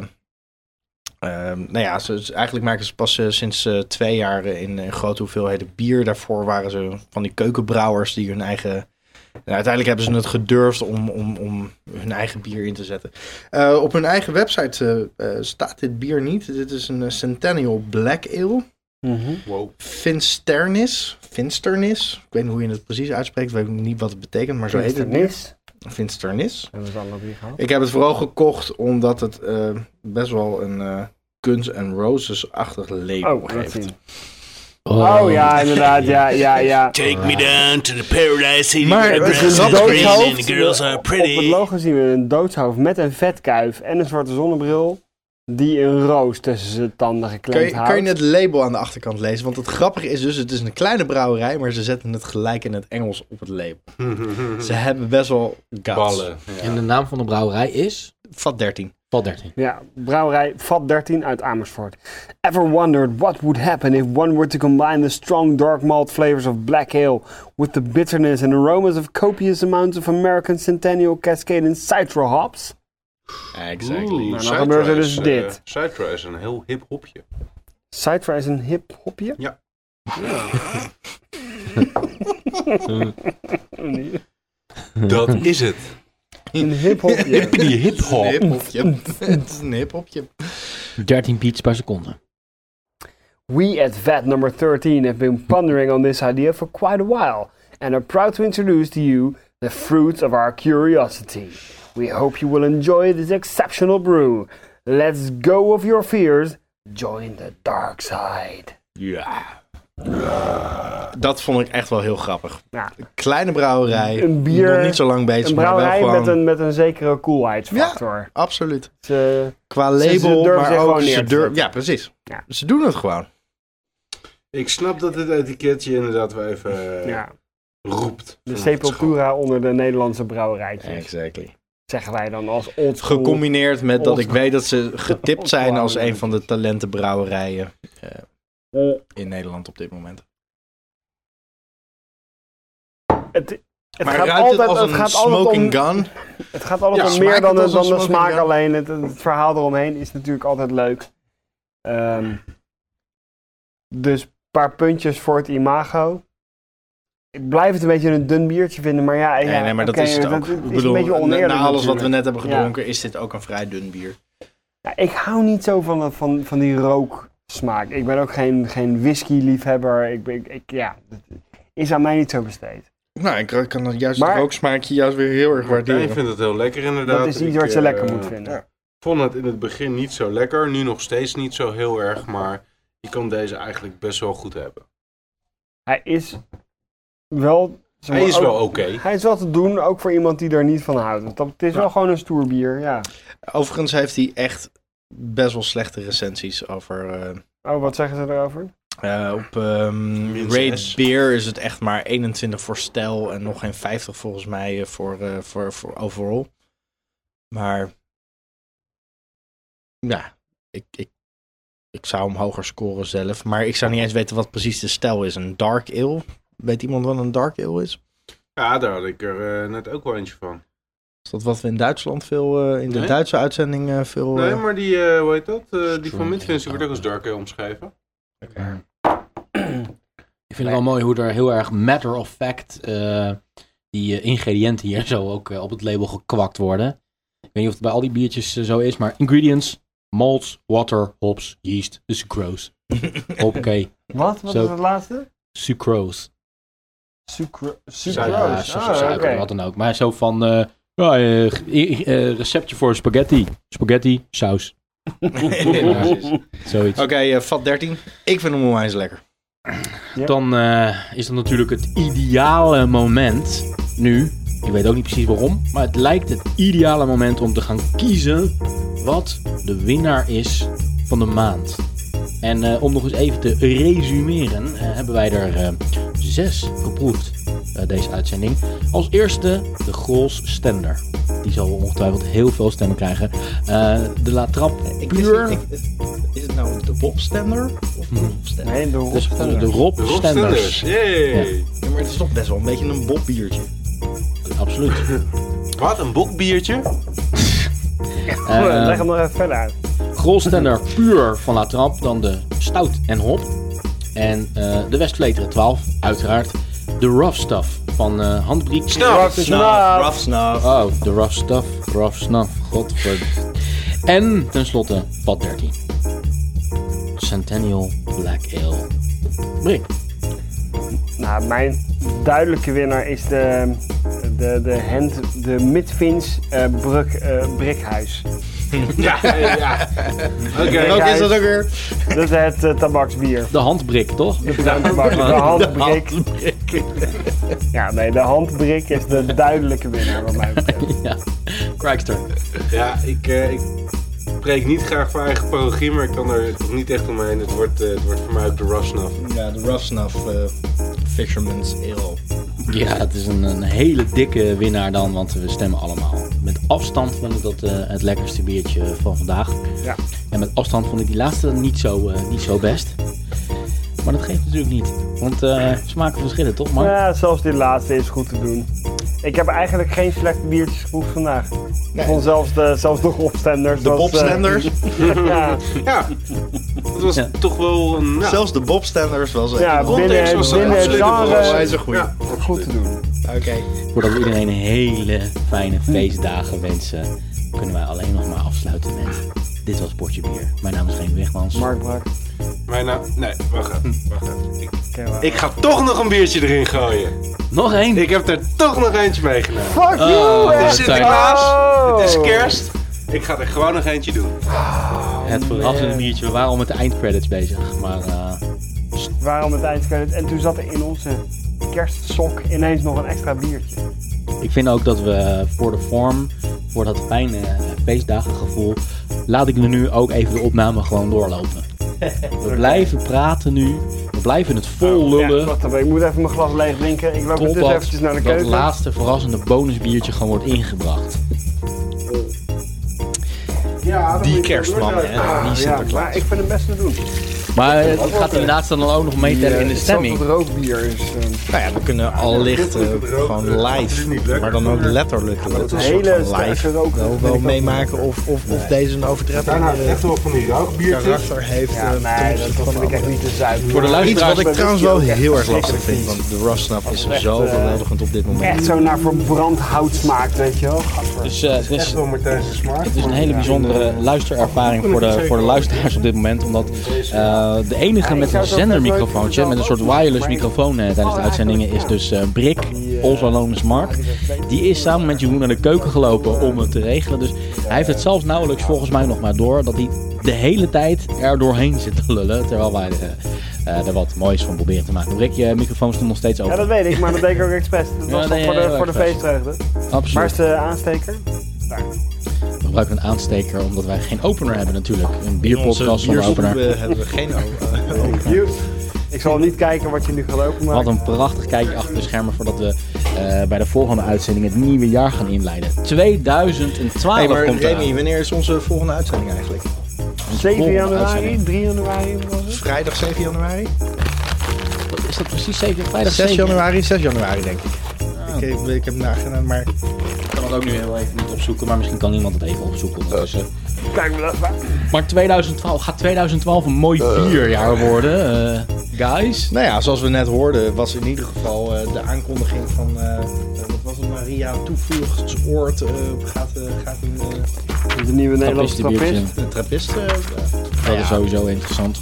S4: ehm, nou ja, ze, ze- eigenlijk maken ze pas eh, sinds eh, twee jaar in, eh, grote hoeveelheden bier. Daarvoor waren ze van die keukenbrouwers die hun eigen en uiteindelijk hebben ze het gedurfd om, om, om hun eigen bier in te zetten. Eh, op hun eigen website eh, eh, staat dit bier niet. Dit is een eh, Centennial Black Ale.
S2: Mhm.
S3: Wow.
S4: Finsternis. Finsternis. Ik weet niet hoe je het precies uitspreekt. Ik weet niet wat het betekent, maar zo heet het. bier.
S2: Kinsternis.
S4: Finsternis.
S2: Hebben we het allemaal weer gehad?
S4: Ik heb het vooral gekocht omdat het eh, best wel een eh Guns N' Roses-achtig label
S2: Oh, dat
S4: heeft.
S2: zien. Oh ja, inderdaad, ja, ja, ja.
S8: Take me down to the paradise city
S4: Maar
S8: where the
S4: het is
S8: grass
S4: een
S8: is green
S4: doodhoofd.
S8: and the girls are
S2: Op het
S8: pretty.
S2: logo zien we een doodshoofd met een vetkuif en een zwarte zonnebril die een roos tussen zijn tanden
S4: Kan
S2: geklemd
S4: je,
S2: houdt.
S4: kan je het label aan de achterkant lezen? Want het grappige is dus, het is een kleine brouwerij, maar ze zetten het gelijk in het Engels op het label. Ze hebben best wel guts.
S3: Ballen.
S6: En de naam van de brouwerij is?
S4: Vat 13.
S6: Val 13.
S2: Ja, brouwerij VAT 13 uit Amersfoort. Ever wondered what would happen if one were to combine the strong dark malt flavors of black ale with the bitterness and aromas of copious amounts of American Centennial Cascade and Citra hops?
S4: Exactly.
S2: Nou, dan gebeurt er dus dit.
S3: Citra is eh, een heel hip hopje.
S2: Citra is een hip hopje?
S3: Ja.
S2: Nee.
S3: Dat is het.
S2: Een hip hopje.
S3: Hippie hip
S4: Een
S3: hop.
S4: hiphopje. het is een hiphopje.
S6: 13 beats per seconde.
S2: We at VAT number 13 have been pondering on this idea for quite a while and are proud to introduce to you the fruits of our curiosity. We hope you will enjoy this exceptional brew. Let's go of your fears. Join the dark side.
S4: Dat vond ik echt wel heel grappig.
S2: Ja.
S4: Kleine brouwerij.
S2: Een bier-
S4: Nog niet zo lang bezig,
S2: Een
S4: maar wel
S2: brouwerij
S4: gewoon...
S2: met, een, met een zekere koelheidsfactor.
S4: Absoluut.
S2: Ze-
S4: Qua
S2: Ze- ze
S4: label,
S2: durven zich
S4: maar
S2: gewoon
S4: ook
S2: neer
S4: ze
S2: te
S4: durven...
S2: zetten.
S4: Ja, precies.
S2: Ja.
S4: Ze doen het gewoon.
S3: Ik snap dat dit etiketje inderdaad wel even eh,
S2: ja,
S3: roept.
S2: de
S3: Van, het
S2: sepultura onder de Nederlandse brouwerijtjes.
S4: Exactly.
S2: Zeggen wij dan als old school.
S4: Gecombineerd met dat ik weet dat ze getipt zijn als
S2: Ontslaan.
S4: een van de talentenbrouwerijen eh, in Nederland op dit moment.
S2: Het, het
S4: maar
S2: gaat
S4: ruikt
S2: altijd,
S4: het als
S2: het
S4: een
S2: gaat altijd om,
S4: smoking gun?
S2: het gaat altijd
S4: Ja,
S2: om
S4: smaakt
S2: meer
S4: het
S2: dan, de-
S4: als een
S2: dan de
S4: smoking
S2: smaak
S4: gun?
S2: alleen. Het, het verhaal eromheen is natuurlijk altijd leuk. Ehm, dus een paar puntjes voor het imago. Ik blijf het een beetje een dun biertje vinden, maar ja, ja
S4: Nee, nee, maar
S2: oké,
S4: dat is het ook.
S2: is
S4: Ik
S2: een
S4: bedoel,
S2: beetje
S4: na-
S2: oneerlijk
S4: na alles wat we
S2: natuurlijk.
S4: net hebben
S2: Ja.
S4: gedronken, is dit ook een vrij dun bier.
S2: Ja, ik hou niet zo van, dat- van, van die rooksmaak. Ik ben ook geen, geen whisky-liefhebber. Ik, ben- ik, ik- ja, dat is aan mij niet zo besteed.
S4: Nou, ik kan dat juist
S2: het Maar-
S4: rooksmaakje juist weer heel erg
S3: Martijn vindt het heel lekker inderdaad.
S2: Dat is
S3: Ik,
S2: iets wat je
S3: eh,
S2: lekker moet vinden.
S3: ja. vond het in het begin niet zo lekker. Nu nog steeds niet zo heel erg. Maar je kan deze eigenlijk best wel goed hebben.
S2: Hij is wel... zeg maar,
S3: Hij is
S2: ook-
S3: wel oké.
S2: Hij is wel te doen, ook voor iemand die er niet van houdt. Want dat, het is wel gewoon een stoer bier, ja.
S4: Overigens heeft hij echt best wel slechte recensies over... eh,
S2: Oh, wat zeggen ze erover?
S4: eh, op ehm
S3: Min
S4: Raid
S3: zes.
S4: Beer is het echt maar 21 voor stijl en nog geen 50 volgens mij eh, voor, eh, voor, voor overall. Maar ja, ik, ik, ik zou hem hoger scoren zelf. Maar ik zou niet eens weten wat precies de stijl is. Een dark ale. Weet iemand wat een dark ale is?
S3: Ja, daar had ik er eh, net ook wel eentje van.
S4: Is dat wat we in Duitsland veel, eh, in de
S3: Nee.
S4: Duitse uitzending eh,
S2: Oh,
S4: veel...
S3: Nee,
S4: eh,
S3: maar die, eh, hoe heet dat? Eh, die van
S1: Strong
S3: Midvince wordt ook als
S1: ale.
S3: dark ale omschreven.
S1: Ik vind het wel mooi hoe er heel erg matter of fact eh, die eh, ingrediënten hier zo ook eh, op het label gekwakt worden. Ik weet niet of het bij al die biertjes eh, zo is, maar ingredients, malts, water, hops, yeast, dus de sucrose. Oké,
S2: Wat? Wat
S1: Zo.
S2: is het laatste?
S1: sucrose.
S2: Sucro-
S3: Suiker,
S1: Ja,
S2: Sucrose.
S1: su-
S2: Ah,
S1: suiker,
S2: oké.
S1: wat dan ook. Maar zo van, eh, ja, eh, eh, eh, receptje voor spaghetti. Spaghetti, saus,
S4: Ja, precies.
S1: zoiets.
S4: Oké, eh, vat 13. Ik vind hem onwijs lekker.
S1: Dan eh, is dat natuurlijk het ideale moment nu. Ik weet ook niet precies waarom, maar het lijkt het ideale moment om te gaan kiezen wat de winnaar is van de maand. En eh, om nog eens even te resumeren, eh, hebben wij er eh, zes geproefd eh, deze uitzending. Als eerste de Grols Stender. Die zal ongetwijfeld heel veel stemmen krijgen. Eh, de La Trappe Puur.
S4: is het nou de bobstender? Of de bobstender?
S2: Nee, de
S1: Dus de, de
S2: hoofdstanders.
S1: Rob
S3: De
S1: Stenders.
S3: Rockstanders. Yay!
S4: Ja, maar het is toch best wel een beetje een bobbiertje.
S1: Absoluut.
S3: Wat een bokbiertje.
S1: Eh,
S2: Leg hem nog even verder uit.
S1: Grolstender puur van La Trappe, dan de Stout en Hop. En eh, de Westvleteren 12, uiteraard. De Rough Stuff van eh Handbriek.
S2: Rough snuff.
S4: rough snuff.
S1: Oh, de Rough Stuff, Rough Snuff, godverd. En tenslotte Pad 13. Centennial Black Ale. Brik.
S2: Nou, mijn duidelijke winnaar is de, de, de, hand, de Midvins eh bruk, eh, Brikhuis.
S3: Ja, ja. Oké.
S4: En ook is dat ook weer...
S2: Dat is het eh, tabaksbier.
S1: De handbrik, toch?
S2: De, tabaks, de handbrik. Ja, nee, de handbrik is de duidelijke winnaar wat mij betreft.
S1: ja. Crackster.
S3: Ja, ik, eh, ik spreek niet graag voor eigen parochie, maar ik kan er toch niet echt omheen. Het wordt, eh, het wordt voor mij ook de rough snuff.
S4: Ja, de rough snuff eh, fisherman's ale.
S1: Ja, het is een, een hele dikke winnaar dan, want we stemmen allemaal. Met afstand vond ik dat eh, het lekkerste biertje van vandaag.
S2: Ja.
S1: En met afstand vond ik die laatste niet zo, eh, niet zo best. Maar dat geeft natuurlijk niet, want eh, smaken verschillen toch, man?
S2: Ja, zelfs dit laatste is goed te doen. Ik heb eigenlijk geen slechte biertjes geproefd vandaag. Ik vond zelfs de, zelfs de opstenders.
S4: De bobstenders.
S2: eh, ja,
S3: Ja, dat was
S1: Ja.
S3: toch wel een... Ja.
S4: Zelfs de bobstenders was
S2: Ja,
S4: echt-
S2: binnen-
S3: Context was dat
S2: binnen het
S3: absoluut een
S2: genre-
S3: verrassing.
S4: goeie.
S3: Ja,
S2: goed te doen.
S4: Oké.
S1: Voordat we iedereen hele fijne feestdagen wensen, kunnen wij alleen nog maar afsluiten met... This Dit was Bordje Bier. Mijn naam is Geen Wegmans.
S2: Mark Braak.
S3: Mijn naam... nou, Nee, wacht even. Wacht even. Ik,
S2: Oké, maar-
S3: ik ga toch nog een biertje erin gooien.
S9: Nog één.
S3: Ik heb er toch nog eentje meegenomen.
S1: Oh,
S2: Fuck you! eh,
S3: Het
S2: man.
S3: is Sinterklaas.
S2: Oh.
S3: Het is kerst. Ik ga er gewoon nog eentje doen.
S1: Het verrassende biertje. We waren al met de eindcredits bezig. Maar eh,
S2: Waarom het eindcredit? En toen zat er in onze kerstsok ineens nog een extra biertje.
S1: ik vind ook dat we voor de vorm, voor dat fijne feestdagengevoel, laat ik nu ook even de opname gewoon doorlopen. We blijven praten nu. We blijven het vol
S2: Oh, Ja,
S1: lullen.
S2: wacht even, ik moet even mijn glas leeg drinken. Ik loop dus
S1: totdat
S2: eventjes naar de
S1: dat
S2: keuken.
S1: laatste verrassende bonusbiertje gewoon wordt ingebracht.
S2: Ja, dat
S4: Die
S2: moet je
S4: kerstman,
S2: doen.
S4: hè? Die
S2: ja,
S4: Sinterklaas.
S2: maar ik vind het best te doen.
S1: Maar het gaat inderdaad dan ook nog meetellen in de stemming.
S2: Dat rookbier is. eh,
S4: Nou ja, we kunnen allicht eh, gewoon live, maar dan ook letterlijk
S3: maar dat
S4: een
S3: is
S4: soort
S2: hele
S4: van
S2: sterke
S4: live
S2: rook, dat
S4: wel,
S2: vind
S4: wel
S2: ik ook
S4: meemaken of, of, of deze een
S3: Daarna
S4: overtreffende
S3: echt wel van die rookbiertjes.
S4: karakter heeft. eh, ten
S2: nee,
S4: opzichte
S2: dat
S4: van
S2: vond ik echt niet te zuiver.
S1: Voor de
S4: Iets
S1: luisteraars
S4: wat ik trouwens wel
S2: Echt
S4: heel erg lastig
S2: verschrikkelijk
S4: vind, want de rossnap is
S2: echt,
S4: zo
S2: eh,
S4: verweldigend op dit moment.
S2: Echt zo naar verbrand hout smaakt, weet je wel. Gadver.
S1: Dus eh, het,
S3: Echt
S1: is,
S3: wel Martijn zijn smaak.
S1: het is een hele bijzondere luisterervaring voor de, voor de luisteraars op dit moment. Omdat eh, de enige met een zendermicrofoontje, met een soort wireless microfoon eh, tijdens de uitzendingen, is dus eh, Brik, also known as Mark. Die is samen met Jeroen naar de keuken gelopen om het te regelen. Dus hij heeft het zelfs nauwelijks volgens mij nog maar door dat hij de hele tijd er doorheen zit te lullen. Terwijl wij eh, eh, er wat moois van proberen te maken. Brik, je microfoon stond nog steeds
S2: Ja,
S1: open.
S2: dat weet ik, maar dat deed ik ook expres. Dat
S1: Ja,
S2: was
S1: nee,
S2: toch voor
S1: heel
S2: de, voor de
S1: expres.
S2: feestvreugde.
S1: Absoluut.
S2: Waar is de aansteker?
S1: We gebruiken een aansteker omdat wij geen opener hebben natuurlijk. Een bierpodcast
S4: Onze
S1: zonder opener.
S4: bierstoelen hebben we geen eh, opener.
S2: You. Ik zal niet kijken wat je nu gaat lopen, maar...
S1: Wat een prachtig kijkje achter de schermen voordat we eh, bij de volgende uitzending het nieuwe jaar gaan inleiden. 2012
S4: Hey, maar
S1: komt
S4: Remy,
S1: er.
S4: wanneer is onze volgende uitzending eigenlijk?
S2: 7 januari, 3 januari was het?
S4: Vrijdag 7 januari?
S1: Is dat precies 7 vrijdag?
S4: 6
S1: 7?
S4: januari, 6 januari denk ik. Ik, heb- ik heb hem nagedaan, maar
S1: Ik kan het ook nu heel even niet opzoeken, maar misschien kan iemand het even opzoeken. ondertussen.
S2: Kijk maar even.
S1: Maar 2012 gaat 2012 een mooi bierjaar worden, eh, guys.
S4: Nou ja, zoals we net hoorden, was in ieder geval eh, de aankondiging van. eh, eh, wat was het, Maria Toevluchtsoord? eh gaat, eh, gaat een eh,
S2: De nieuwe Nederlandse
S1: Trappistenbiertje.
S2: trappist.
S4: de trappist. eh,
S1: Dat is sowieso interessant.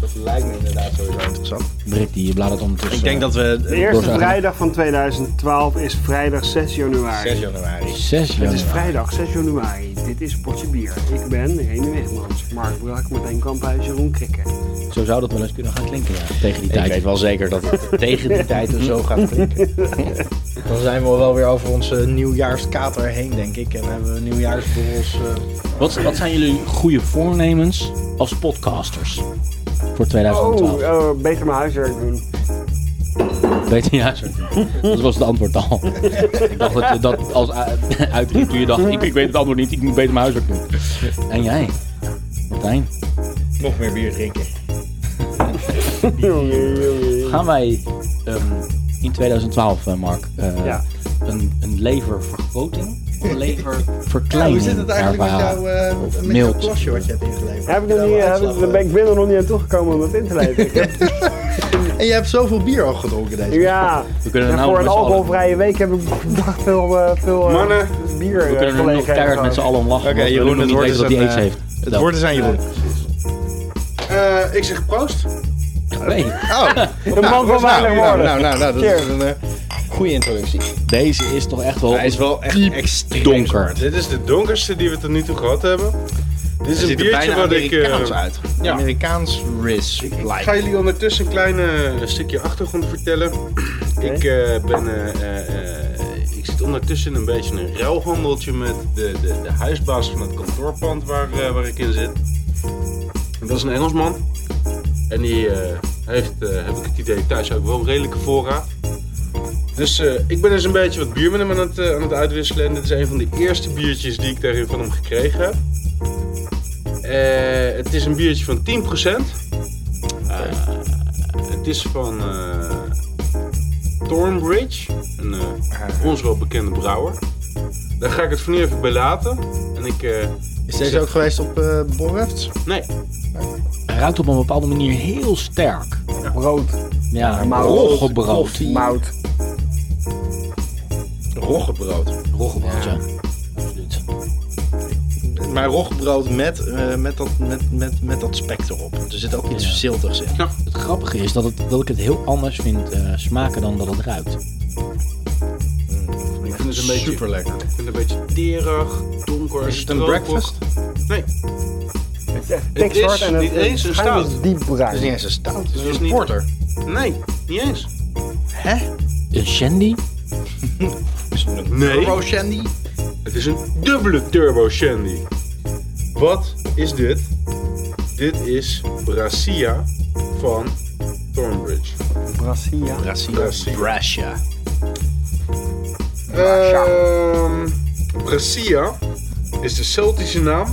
S4: dat lijkt me inderdaad sowieso interessant.
S1: Brik die bladert ondertussen. eh,
S4: Ik denk dat
S2: De
S4: we.
S2: eerste
S1: Doorzagen.
S2: vrijdag van 2012 is vrijdag 6 januari.
S4: 6 januari.
S1: 6 januari.
S2: Het is vrijdag 6 januari. Dit is Potje Bier. Ik ben Remy Wegmans, Mark Brak, Martijn Kamphuis, Jeroen Krikke.
S1: Zo zou dat wel eens kunnen gaan klinken, ja. Tegen die tijd.
S4: Ik weet wel zeker dat het tegen die tijd er zo gaat klinken. Dan zijn we wel weer over onze nieuwjaarskater heen, denk ik. En hebben we nieuwjaarsborrels. eh,
S1: Wat, wat zijn jullie goede voornemens als podcasters voor 2012?
S2: Oh, eh, beter mijn huiswerk doen.
S1: Beter ja, zo. Dat was het antwoord al. ik dacht dat je dat als u- uitriep toen je dacht, ik, ik weet het antwoord niet, ik moet beter mijn huiswerk doen. En jij, Martijn,
S4: nog meer bier drinken.
S2: Jongen, jongen, jongen.
S1: gaan wij ehm, in 2012, eh, Mark, eh,
S2: Ja.
S1: een, een leververgroting of een
S4: Ja, hoe
S1: leververkleining
S4: zit het eigenlijk met,
S1: ervaren?
S4: jou, eh,
S1: Of
S4: met jouw
S1: mild.
S4: klasje wat je hebt ingeleverd? eh.
S2: Heb ik, nog niet, heb ik, ben, ik ben er nog niet aan toegekomen om dat in te lezen. Ik heb-
S4: En je hebt zoveel bier al gedronken deze week.
S2: ja,
S1: We kunnen
S2: en
S1: er
S2: voor
S1: nou
S2: een
S1: met z'n allen, we
S2: alcoholvrije week heb ik veel, eh, veel eh,
S3: Mannen,
S2: bier eh,
S1: kunnen er nu nog
S2: gelegen.
S1: keihard met z'n allen om lachen,
S4: Oké,
S1: omdat
S4: Jeroen,
S1: Jeroen nog
S4: het
S1: niet
S4: woord
S1: weet
S4: is
S1: wat hij
S4: een,
S1: aids
S4: eh,
S1: heeft.
S4: Het woord is aan Jeroen.
S3: eh, ik zeg proost.
S1: Nee.
S2: Een man van
S4: Oh. nou,
S2: weinig
S4: nou,
S2: woorden.
S4: nou, nou, nou, dat
S2: Cheers.
S4: is een eh, goede introductie.
S1: Deze is toch echt wel.
S4: Hij is wel echt extreem
S1: donker.
S4: zwart.
S3: Dit is de donkerste die we tot nu toe gehad hebben. Dit is
S4: Het
S3: een
S4: ziet er
S3: biertje
S4: bijna
S3: wat ik...
S4: Amerikaans
S3: eh,
S4: uit.
S3: ja.
S4: Amerikaans ris.
S3: Ik ga jullie ondertussen een klein eh, stukje achtergrond vertellen. Ik, eh, ben, eh, eh, eh, ik zit ondertussen een beetje in een ruilhandeltje met de, de, de huisbaas van het kantoorpand waar, eh, waar ik in zit. En dat is een Engelsman. En die eh, heeft, eh, heb ik het idee, thuis ook wel een redelijke voorraad. Dus eh, ik ben dus een beetje wat bier met hem aan het, eh, aan het uitwisselen. En dit is een van de eerste biertjes die ik daarin van hem gekregen heb. Eh, het is een biertje van 10%. Eh, het is van eh Thornbridge, een
S4: Ah.
S3: eh, ons wel bekende brouwer. Daar ga ik het voor nu even bij laten. En ik, eh,
S4: Is deze ook geweest op eh Borrefts?
S3: nee,
S1: Hij ruikt op een bepaalde manier heel sterk.
S2: Brood,
S1: Ja,
S2: maar
S1: roggebrood.
S2: mout.
S4: Roggebrood.
S1: Roggebrood, ja. Absoluut.
S4: maar roggebrood met, eh, met, dat, met, met, met dat spek erop. Want er zit ook iets
S1: Ja.
S4: ziltigs in.
S3: Nou,
S1: Het grappige is dat, het, dat ik het heel anders vind eh, smaken dan dat het ruikt.
S3: ik vind het een beetje,
S4: Super lekker.
S3: ik vind het een beetje terig, donker.
S4: Is het een
S3: stroperig.
S4: breakfast?
S2: Het is echt
S3: Het
S2: pikzwart
S3: is
S2: en het,
S3: niet
S2: het
S3: eens een
S2: schuim is
S3: stout.
S2: diep
S4: Het
S2: bruin.
S4: is niet eens een stout, het
S3: Het
S4: is
S3: is
S4: een
S3: niet-
S4: porter.
S3: Nee, niet eens.
S4: Hè?
S1: Een shandy?
S4: Is het een
S3: Nee.
S4: turbo shandy?
S3: Het is een dubbele turbo shandy. Wat is dit? Dit is Brassia van Thornbridge.
S2: Brassia.
S4: Brassia.
S3: Brassia.
S4: Brassia.
S3: Ehm Brassia is de Celtische naam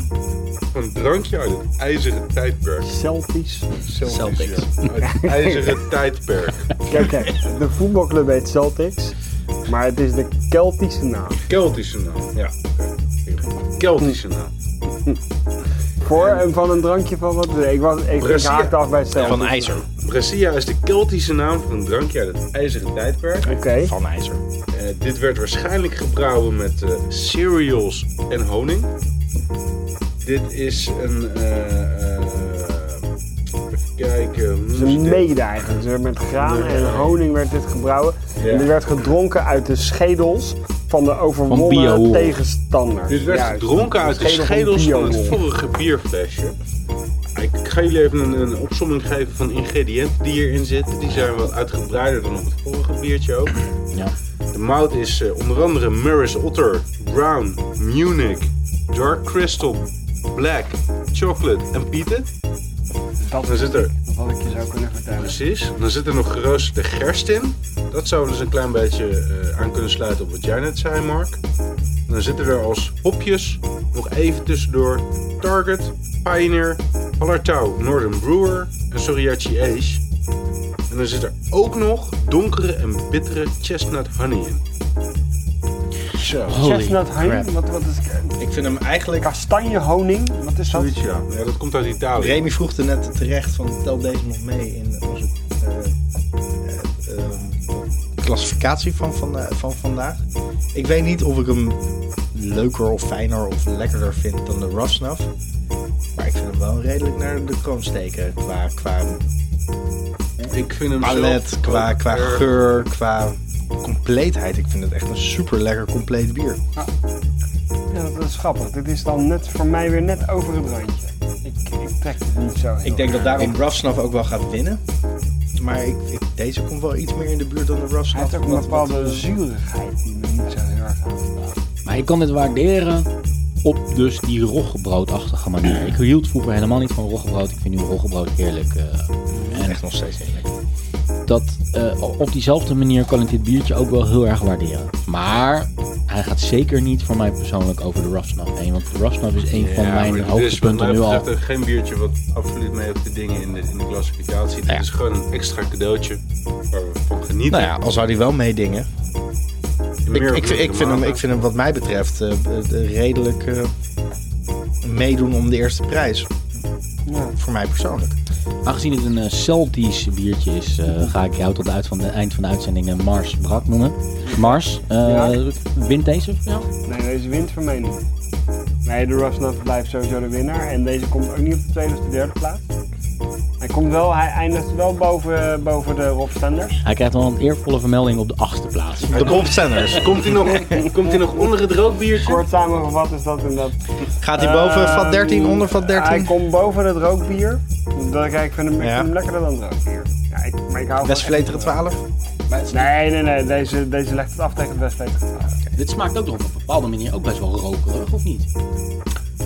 S3: van een drankje uit het ijzeren tijdperk.
S2: Celtics.
S3: Celtisch, ja. Uit het ijzeren tijdperk.
S2: Kijk, kijk. De voetbalclub heet Celtics. Maar het is de Keltische naam.
S3: Keltische naam. Ja. Keltische naam.
S2: Voor en van een drankje van wat? Ik, was, ik, ik
S3: Brassia.
S2: haakte af bij Celtics.
S4: Van IJzer.
S3: Brassia is de Keltische naam van een drankje uit het ijzeren tijdperk.
S2: Oké.
S4: Van IJzer.
S3: Eh, dit werd waarschijnlijk gebrouwen met eh, cereals en honing. Dit is een. eh, eh, even kijken. hoe
S2: Het
S3: noem
S2: is
S3: je
S2: een
S3: dit?
S2: mede eigenlijk. Dus met graan en honing werd dit gebrouwen.
S3: Ja.
S2: En die werd gedronken uit de schedels van de
S1: Van
S2: overwonnen
S1: bio.
S2: tegenstander.
S3: Dit werd
S2: Juist.
S3: gedronken uit de schedels van het
S2: bio.
S3: vorige bierflesje. Ik ga jullie even een, een opsomming geven van de ingrediënten die hierin zitten. Die zijn wat uitgebreider dan op het vorige biertje ook.
S1: Ja.
S3: De mout is eh, onder andere Maris Otter, Brown, Munich, Dark Crystal, Black, Chocolate en Pieten.
S2: Dat
S3: Dan zit er
S2: Dat had ik je zou kunnen vertellen.
S3: Precies. Dan zit er nog geroosterde gerst in. Dat zou dus een klein beetje eh, aan kunnen sluiten op wat jij net zei, Mark. Dan zitten er als hopjes nog even tussendoor Target, Pioneer, Hallertau, Northern Brewer en Soriachi Age. En dan zit er ook nog donkere en bittere chestnut honey in. Zo.
S2: Chestnut honey, wat, wat is
S4: Ik vind hem eigenlijk...
S2: kastanje honing? Wat is dat?
S3: Zoiets, ja. Ja, dat komt uit Italië.
S4: Remy vroeg er net terecht van tel deze nog mee in onze eh, eh, eh, klassificatie van, vanda- van vandaag. Ik weet niet of ik hem leuker of fijner of lekkerder vind dan de Rough Snuff. Maar ik vind hem wel redelijk naar de kroon steken qua, qua
S3: Ik vind hem
S4: palet,
S3: zelf
S4: qua,
S3: ook
S4: qua
S3: erg-
S4: geur, qua compleetheid. Ik vind het echt een super lekker compleet bier.
S2: Ja, dat is grappig. Dit is dan net voor mij weer net over het randje. Ik, ik trek het niet zo heel
S4: Ik denk dat
S2: erg.
S4: daarom Rough Snuff ook wel gaat winnen. Maar ik, ik- deze komt wel iets meer in de buurt dan de Rough
S2: Hij
S4: Snuff.
S2: heeft ook een
S4: omdat- wat-
S2: bepaalde zuurigheid die me niet zo heel erg aanstaat.
S1: Maar ik kan dit waarderen op dus die roggebroodachtige manier. Ik hield vroeger helemaal niet van roggebrood. Ik vind nu roggebrood heerlijk. eh, en
S4: Echt nog steeds niet lekker.
S1: dat, eh, op diezelfde manier kan ik dit biertje ook wel heel erg waarderen. Maar hij gaat zeker niet voor mij persoonlijk over de Rough Snuff heen. Want de Rough Snuff is een van
S3: Ja, maar
S1: mijn
S3: dit is wat
S1: hoogtepunten
S3: mij
S1: nu al.
S3: betreft echt geen biertje wat absoluut mee op de dingen in de, in de klassificatie. Dit
S1: Ja.
S3: is gewoon een extra cadeautje waar we van genieten.
S4: Nou ja, al zou hij wel meedingen.
S3: In
S4: Ik,
S3: meer of
S4: ik,
S3: mindere
S4: ik, vind hem,
S3: mate.
S4: ik vind hem wat mij betreft eh, eh, redelijk eh, meedoen om de eerste prijs. Voor mij persoonlijk.
S1: Aangezien het een eh, Celtisch biertje is, eh, ga ik jou tot uit van de eind van de uitzending eh, Mars Brak noemen. Mars, eh,
S2: Ja.
S1: wint deze? Ja.
S2: Nee, deze wint voor mij niet. Nee, de Rusnut blijft sowieso de winnaar. En deze komt ook niet op de tweede of de derde plaats. Hij, komt wel, hij eindigt wel boven, boven de Rob Stenders.
S1: Hij krijgt wel een eervolle vermelding op de achtste plaats.
S4: De Bobstenders.
S3: Komt hij nog, komt hij nog onder het rookbiertje?
S2: Kort samengevat is dat inderdaad
S4: Gaat hij boven
S3: Eh,
S2: Ehm,
S4: vat 13, onder vat
S2: Hij
S4: 13?
S2: komt boven het rookbier. Dat, kijk, ik vind hem, ik
S4: Ja.
S2: vind hem lekkerder dan het rookbier. Ja, ik, maar ik hou van
S4: Westvleteren 12?
S2: Nee, nee, nee. Deze, deze legt het af tegen het Westvleteren.
S1: Dit smaakt ook nog op een bepaalde manier ook best wel rokerig, of niet?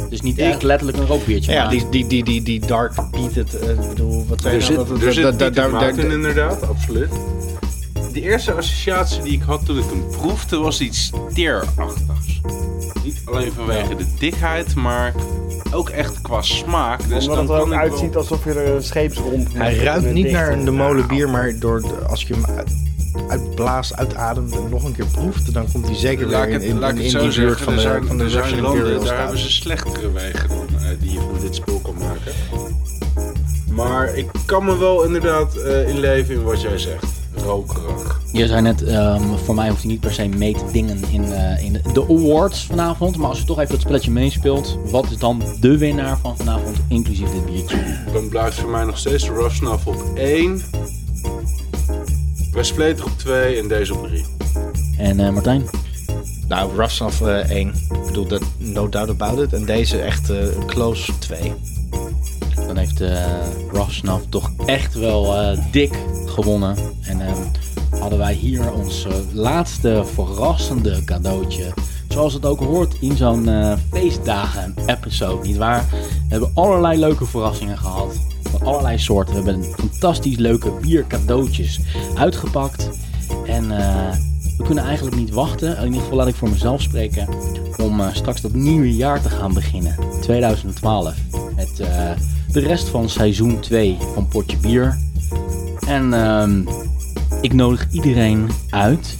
S1: Dus niet echt letterlijk een rookbiertje.
S4: Ja,
S1: maar-
S4: die, die, die, die, die dark beat het. eh, Ik bedoel, wat zijn
S3: Er
S4: nou
S3: zit,
S4: dat- dat-
S3: er zit
S4: dat- dat-
S3: Pieter
S4: daar- daar-
S3: Maarten inderdaad, absoluut. De eerste associatie die ik had toen ik hem proefde was iets teerachtigs. Niet alleen vanwege de dikheid, maar ook echt qua smaak.
S2: Omdat
S3: Dus dan
S2: het er ook
S3: kan ik wel-
S2: uitziet alsof je er een scheepsromp
S4: Hij
S2: met-
S4: ruikt
S2: met
S4: niet
S2: dicht-
S4: naar een de molen bier, maar door, de- als je hem uit- uitblaast, uitademt en nog een keer proeft, dan komt hij zeker
S3: Laat
S4: weer
S3: ik
S4: in,
S3: het,
S4: in,
S3: laat
S4: in
S3: ik
S4: die
S3: het zo
S4: buurt
S3: zeggen,
S4: van
S3: er
S4: de,
S3: zijn,
S4: van de
S3: er zijn
S4: Russian
S3: landen,
S4: Imperial
S3: daar
S4: Stout.
S3: hebben ze slechtere wegen dan eh, die je van dit spul kan maken. Maar ik kan me wel inderdaad eh, inleven in wat jij zegt. Een rokerig.
S1: Je zei net, ehm, voor mij hoeft hij niet per se mee te dingen in, eh, in de awards vanavond. Maar als je toch even dat spelletje meespeelt, wat is dan de winnaar van vanavond, inclusief dit biertje?
S3: Dan blijft voor mij nog steeds de Rough Snuff op 1. Westplater op 2 en deze op 3.
S1: En eh, Martijn?
S4: Nou, Rasnaf eh 1. Ik bedoel, dat, no doubt about it. En deze echt eh, close 2.
S1: Dan heeft eh Rasnaf toch echt wel eh, dik gewonnen. En eh, hadden wij hier ons eh, laatste verrassende cadeautje. Zoals het ook hoort in zo'n eh, feestdagen-episode, nietwaar? We hebben allerlei leuke verrassingen gehad. Van allerlei soorten. We hebben fantastisch leuke biercadeautjes uitgepakt. En eh, we kunnen eigenlijk niet wachten. In ieder geval laat ik voor mezelf spreken. Om eh, straks dat nieuwe jaar te gaan beginnen. 2012. Met eh, de rest van seizoen 2 van Potje Bier. En ehm, ik nodig iedereen uit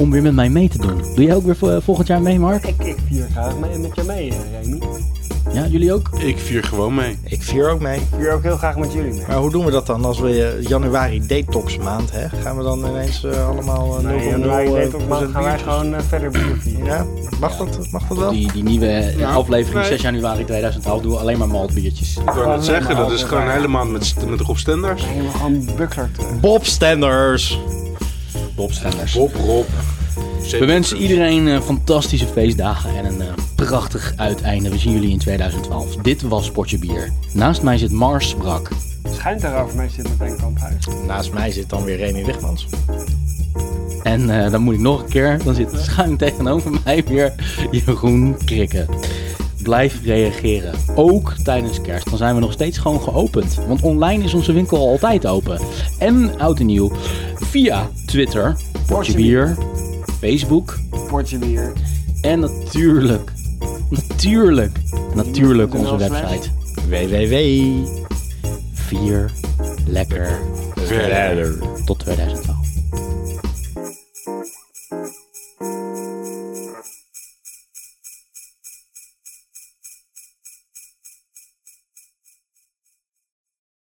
S1: om weer met mij mee te doen. Doe jij ook weer vo- eh, volgend jaar mee, Mark?
S2: Ik, ik vier graag mee, met jou mee, eh, Remy. Ik
S1: Ja, jullie ook?
S3: Ik vier gewoon mee.
S4: Ik vier ook mee.
S2: vier ook heel graag met jullie mee.
S4: Maar hoe doen we dat dan? Als we eh, januari detox maand, hè? Gaan we dan ineens eh, allemaal uh,
S2: Nee,
S4: 0,0
S2: januari,
S4: eh,
S2: nee, toch, maar
S4: procent
S2: gaan wij
S4: biertjes?
S2: gewoon eh, verder bier vieren.
S4: Ja, mag dat, mag dat wel?
S1: Die, die nieuwe eh,
S3: Ja.
S1: aflevering
S3: Nee.
S1: 6 januari 2012 doen we alleen maar maltbiertjes.
S3: Ik wou
S2: Gewoon
S3: net zeggen,
S2: helemaal
S3: dat is gewoon
S2: waar.
S3: helemaal met, met Rob Stenders.
S2: Nee, we gaan buckler terug.
S4: Bob Stenders!
S1: Bobstanders.
S3: Bob, Rob.
S1: We wensen iedereen eh, fantastische feestdagen en een eh, prachtig uiteinde. We zien jullie in 2012. Dit was Potje Bier. Naast mij zit Mars Brak.
S2: Schijnt daarover mij zit met een kamphuis.
S4: Naast mij zit dan weer Remy Wichmans.
S1: En eh, dan moet ik nog een keer. Dan zit schuin tegenover mij weer Jeroen Krikke. Blijf reageren. Ook tijdens kerst. Dan zijn we nog steeds gewoon geopend. Want online is onze winkel altijd open. En oud en nieuw. Via Twitter, Potje Bier, Facebook.
S2: Potje bier.
S1: En natuurlijk, natuurlijk, natuurlijk onze
S2: Nul slash.
S1: website.
S4: www.
S1: Vier lekker
S3: Verder.
S1: tot 2012.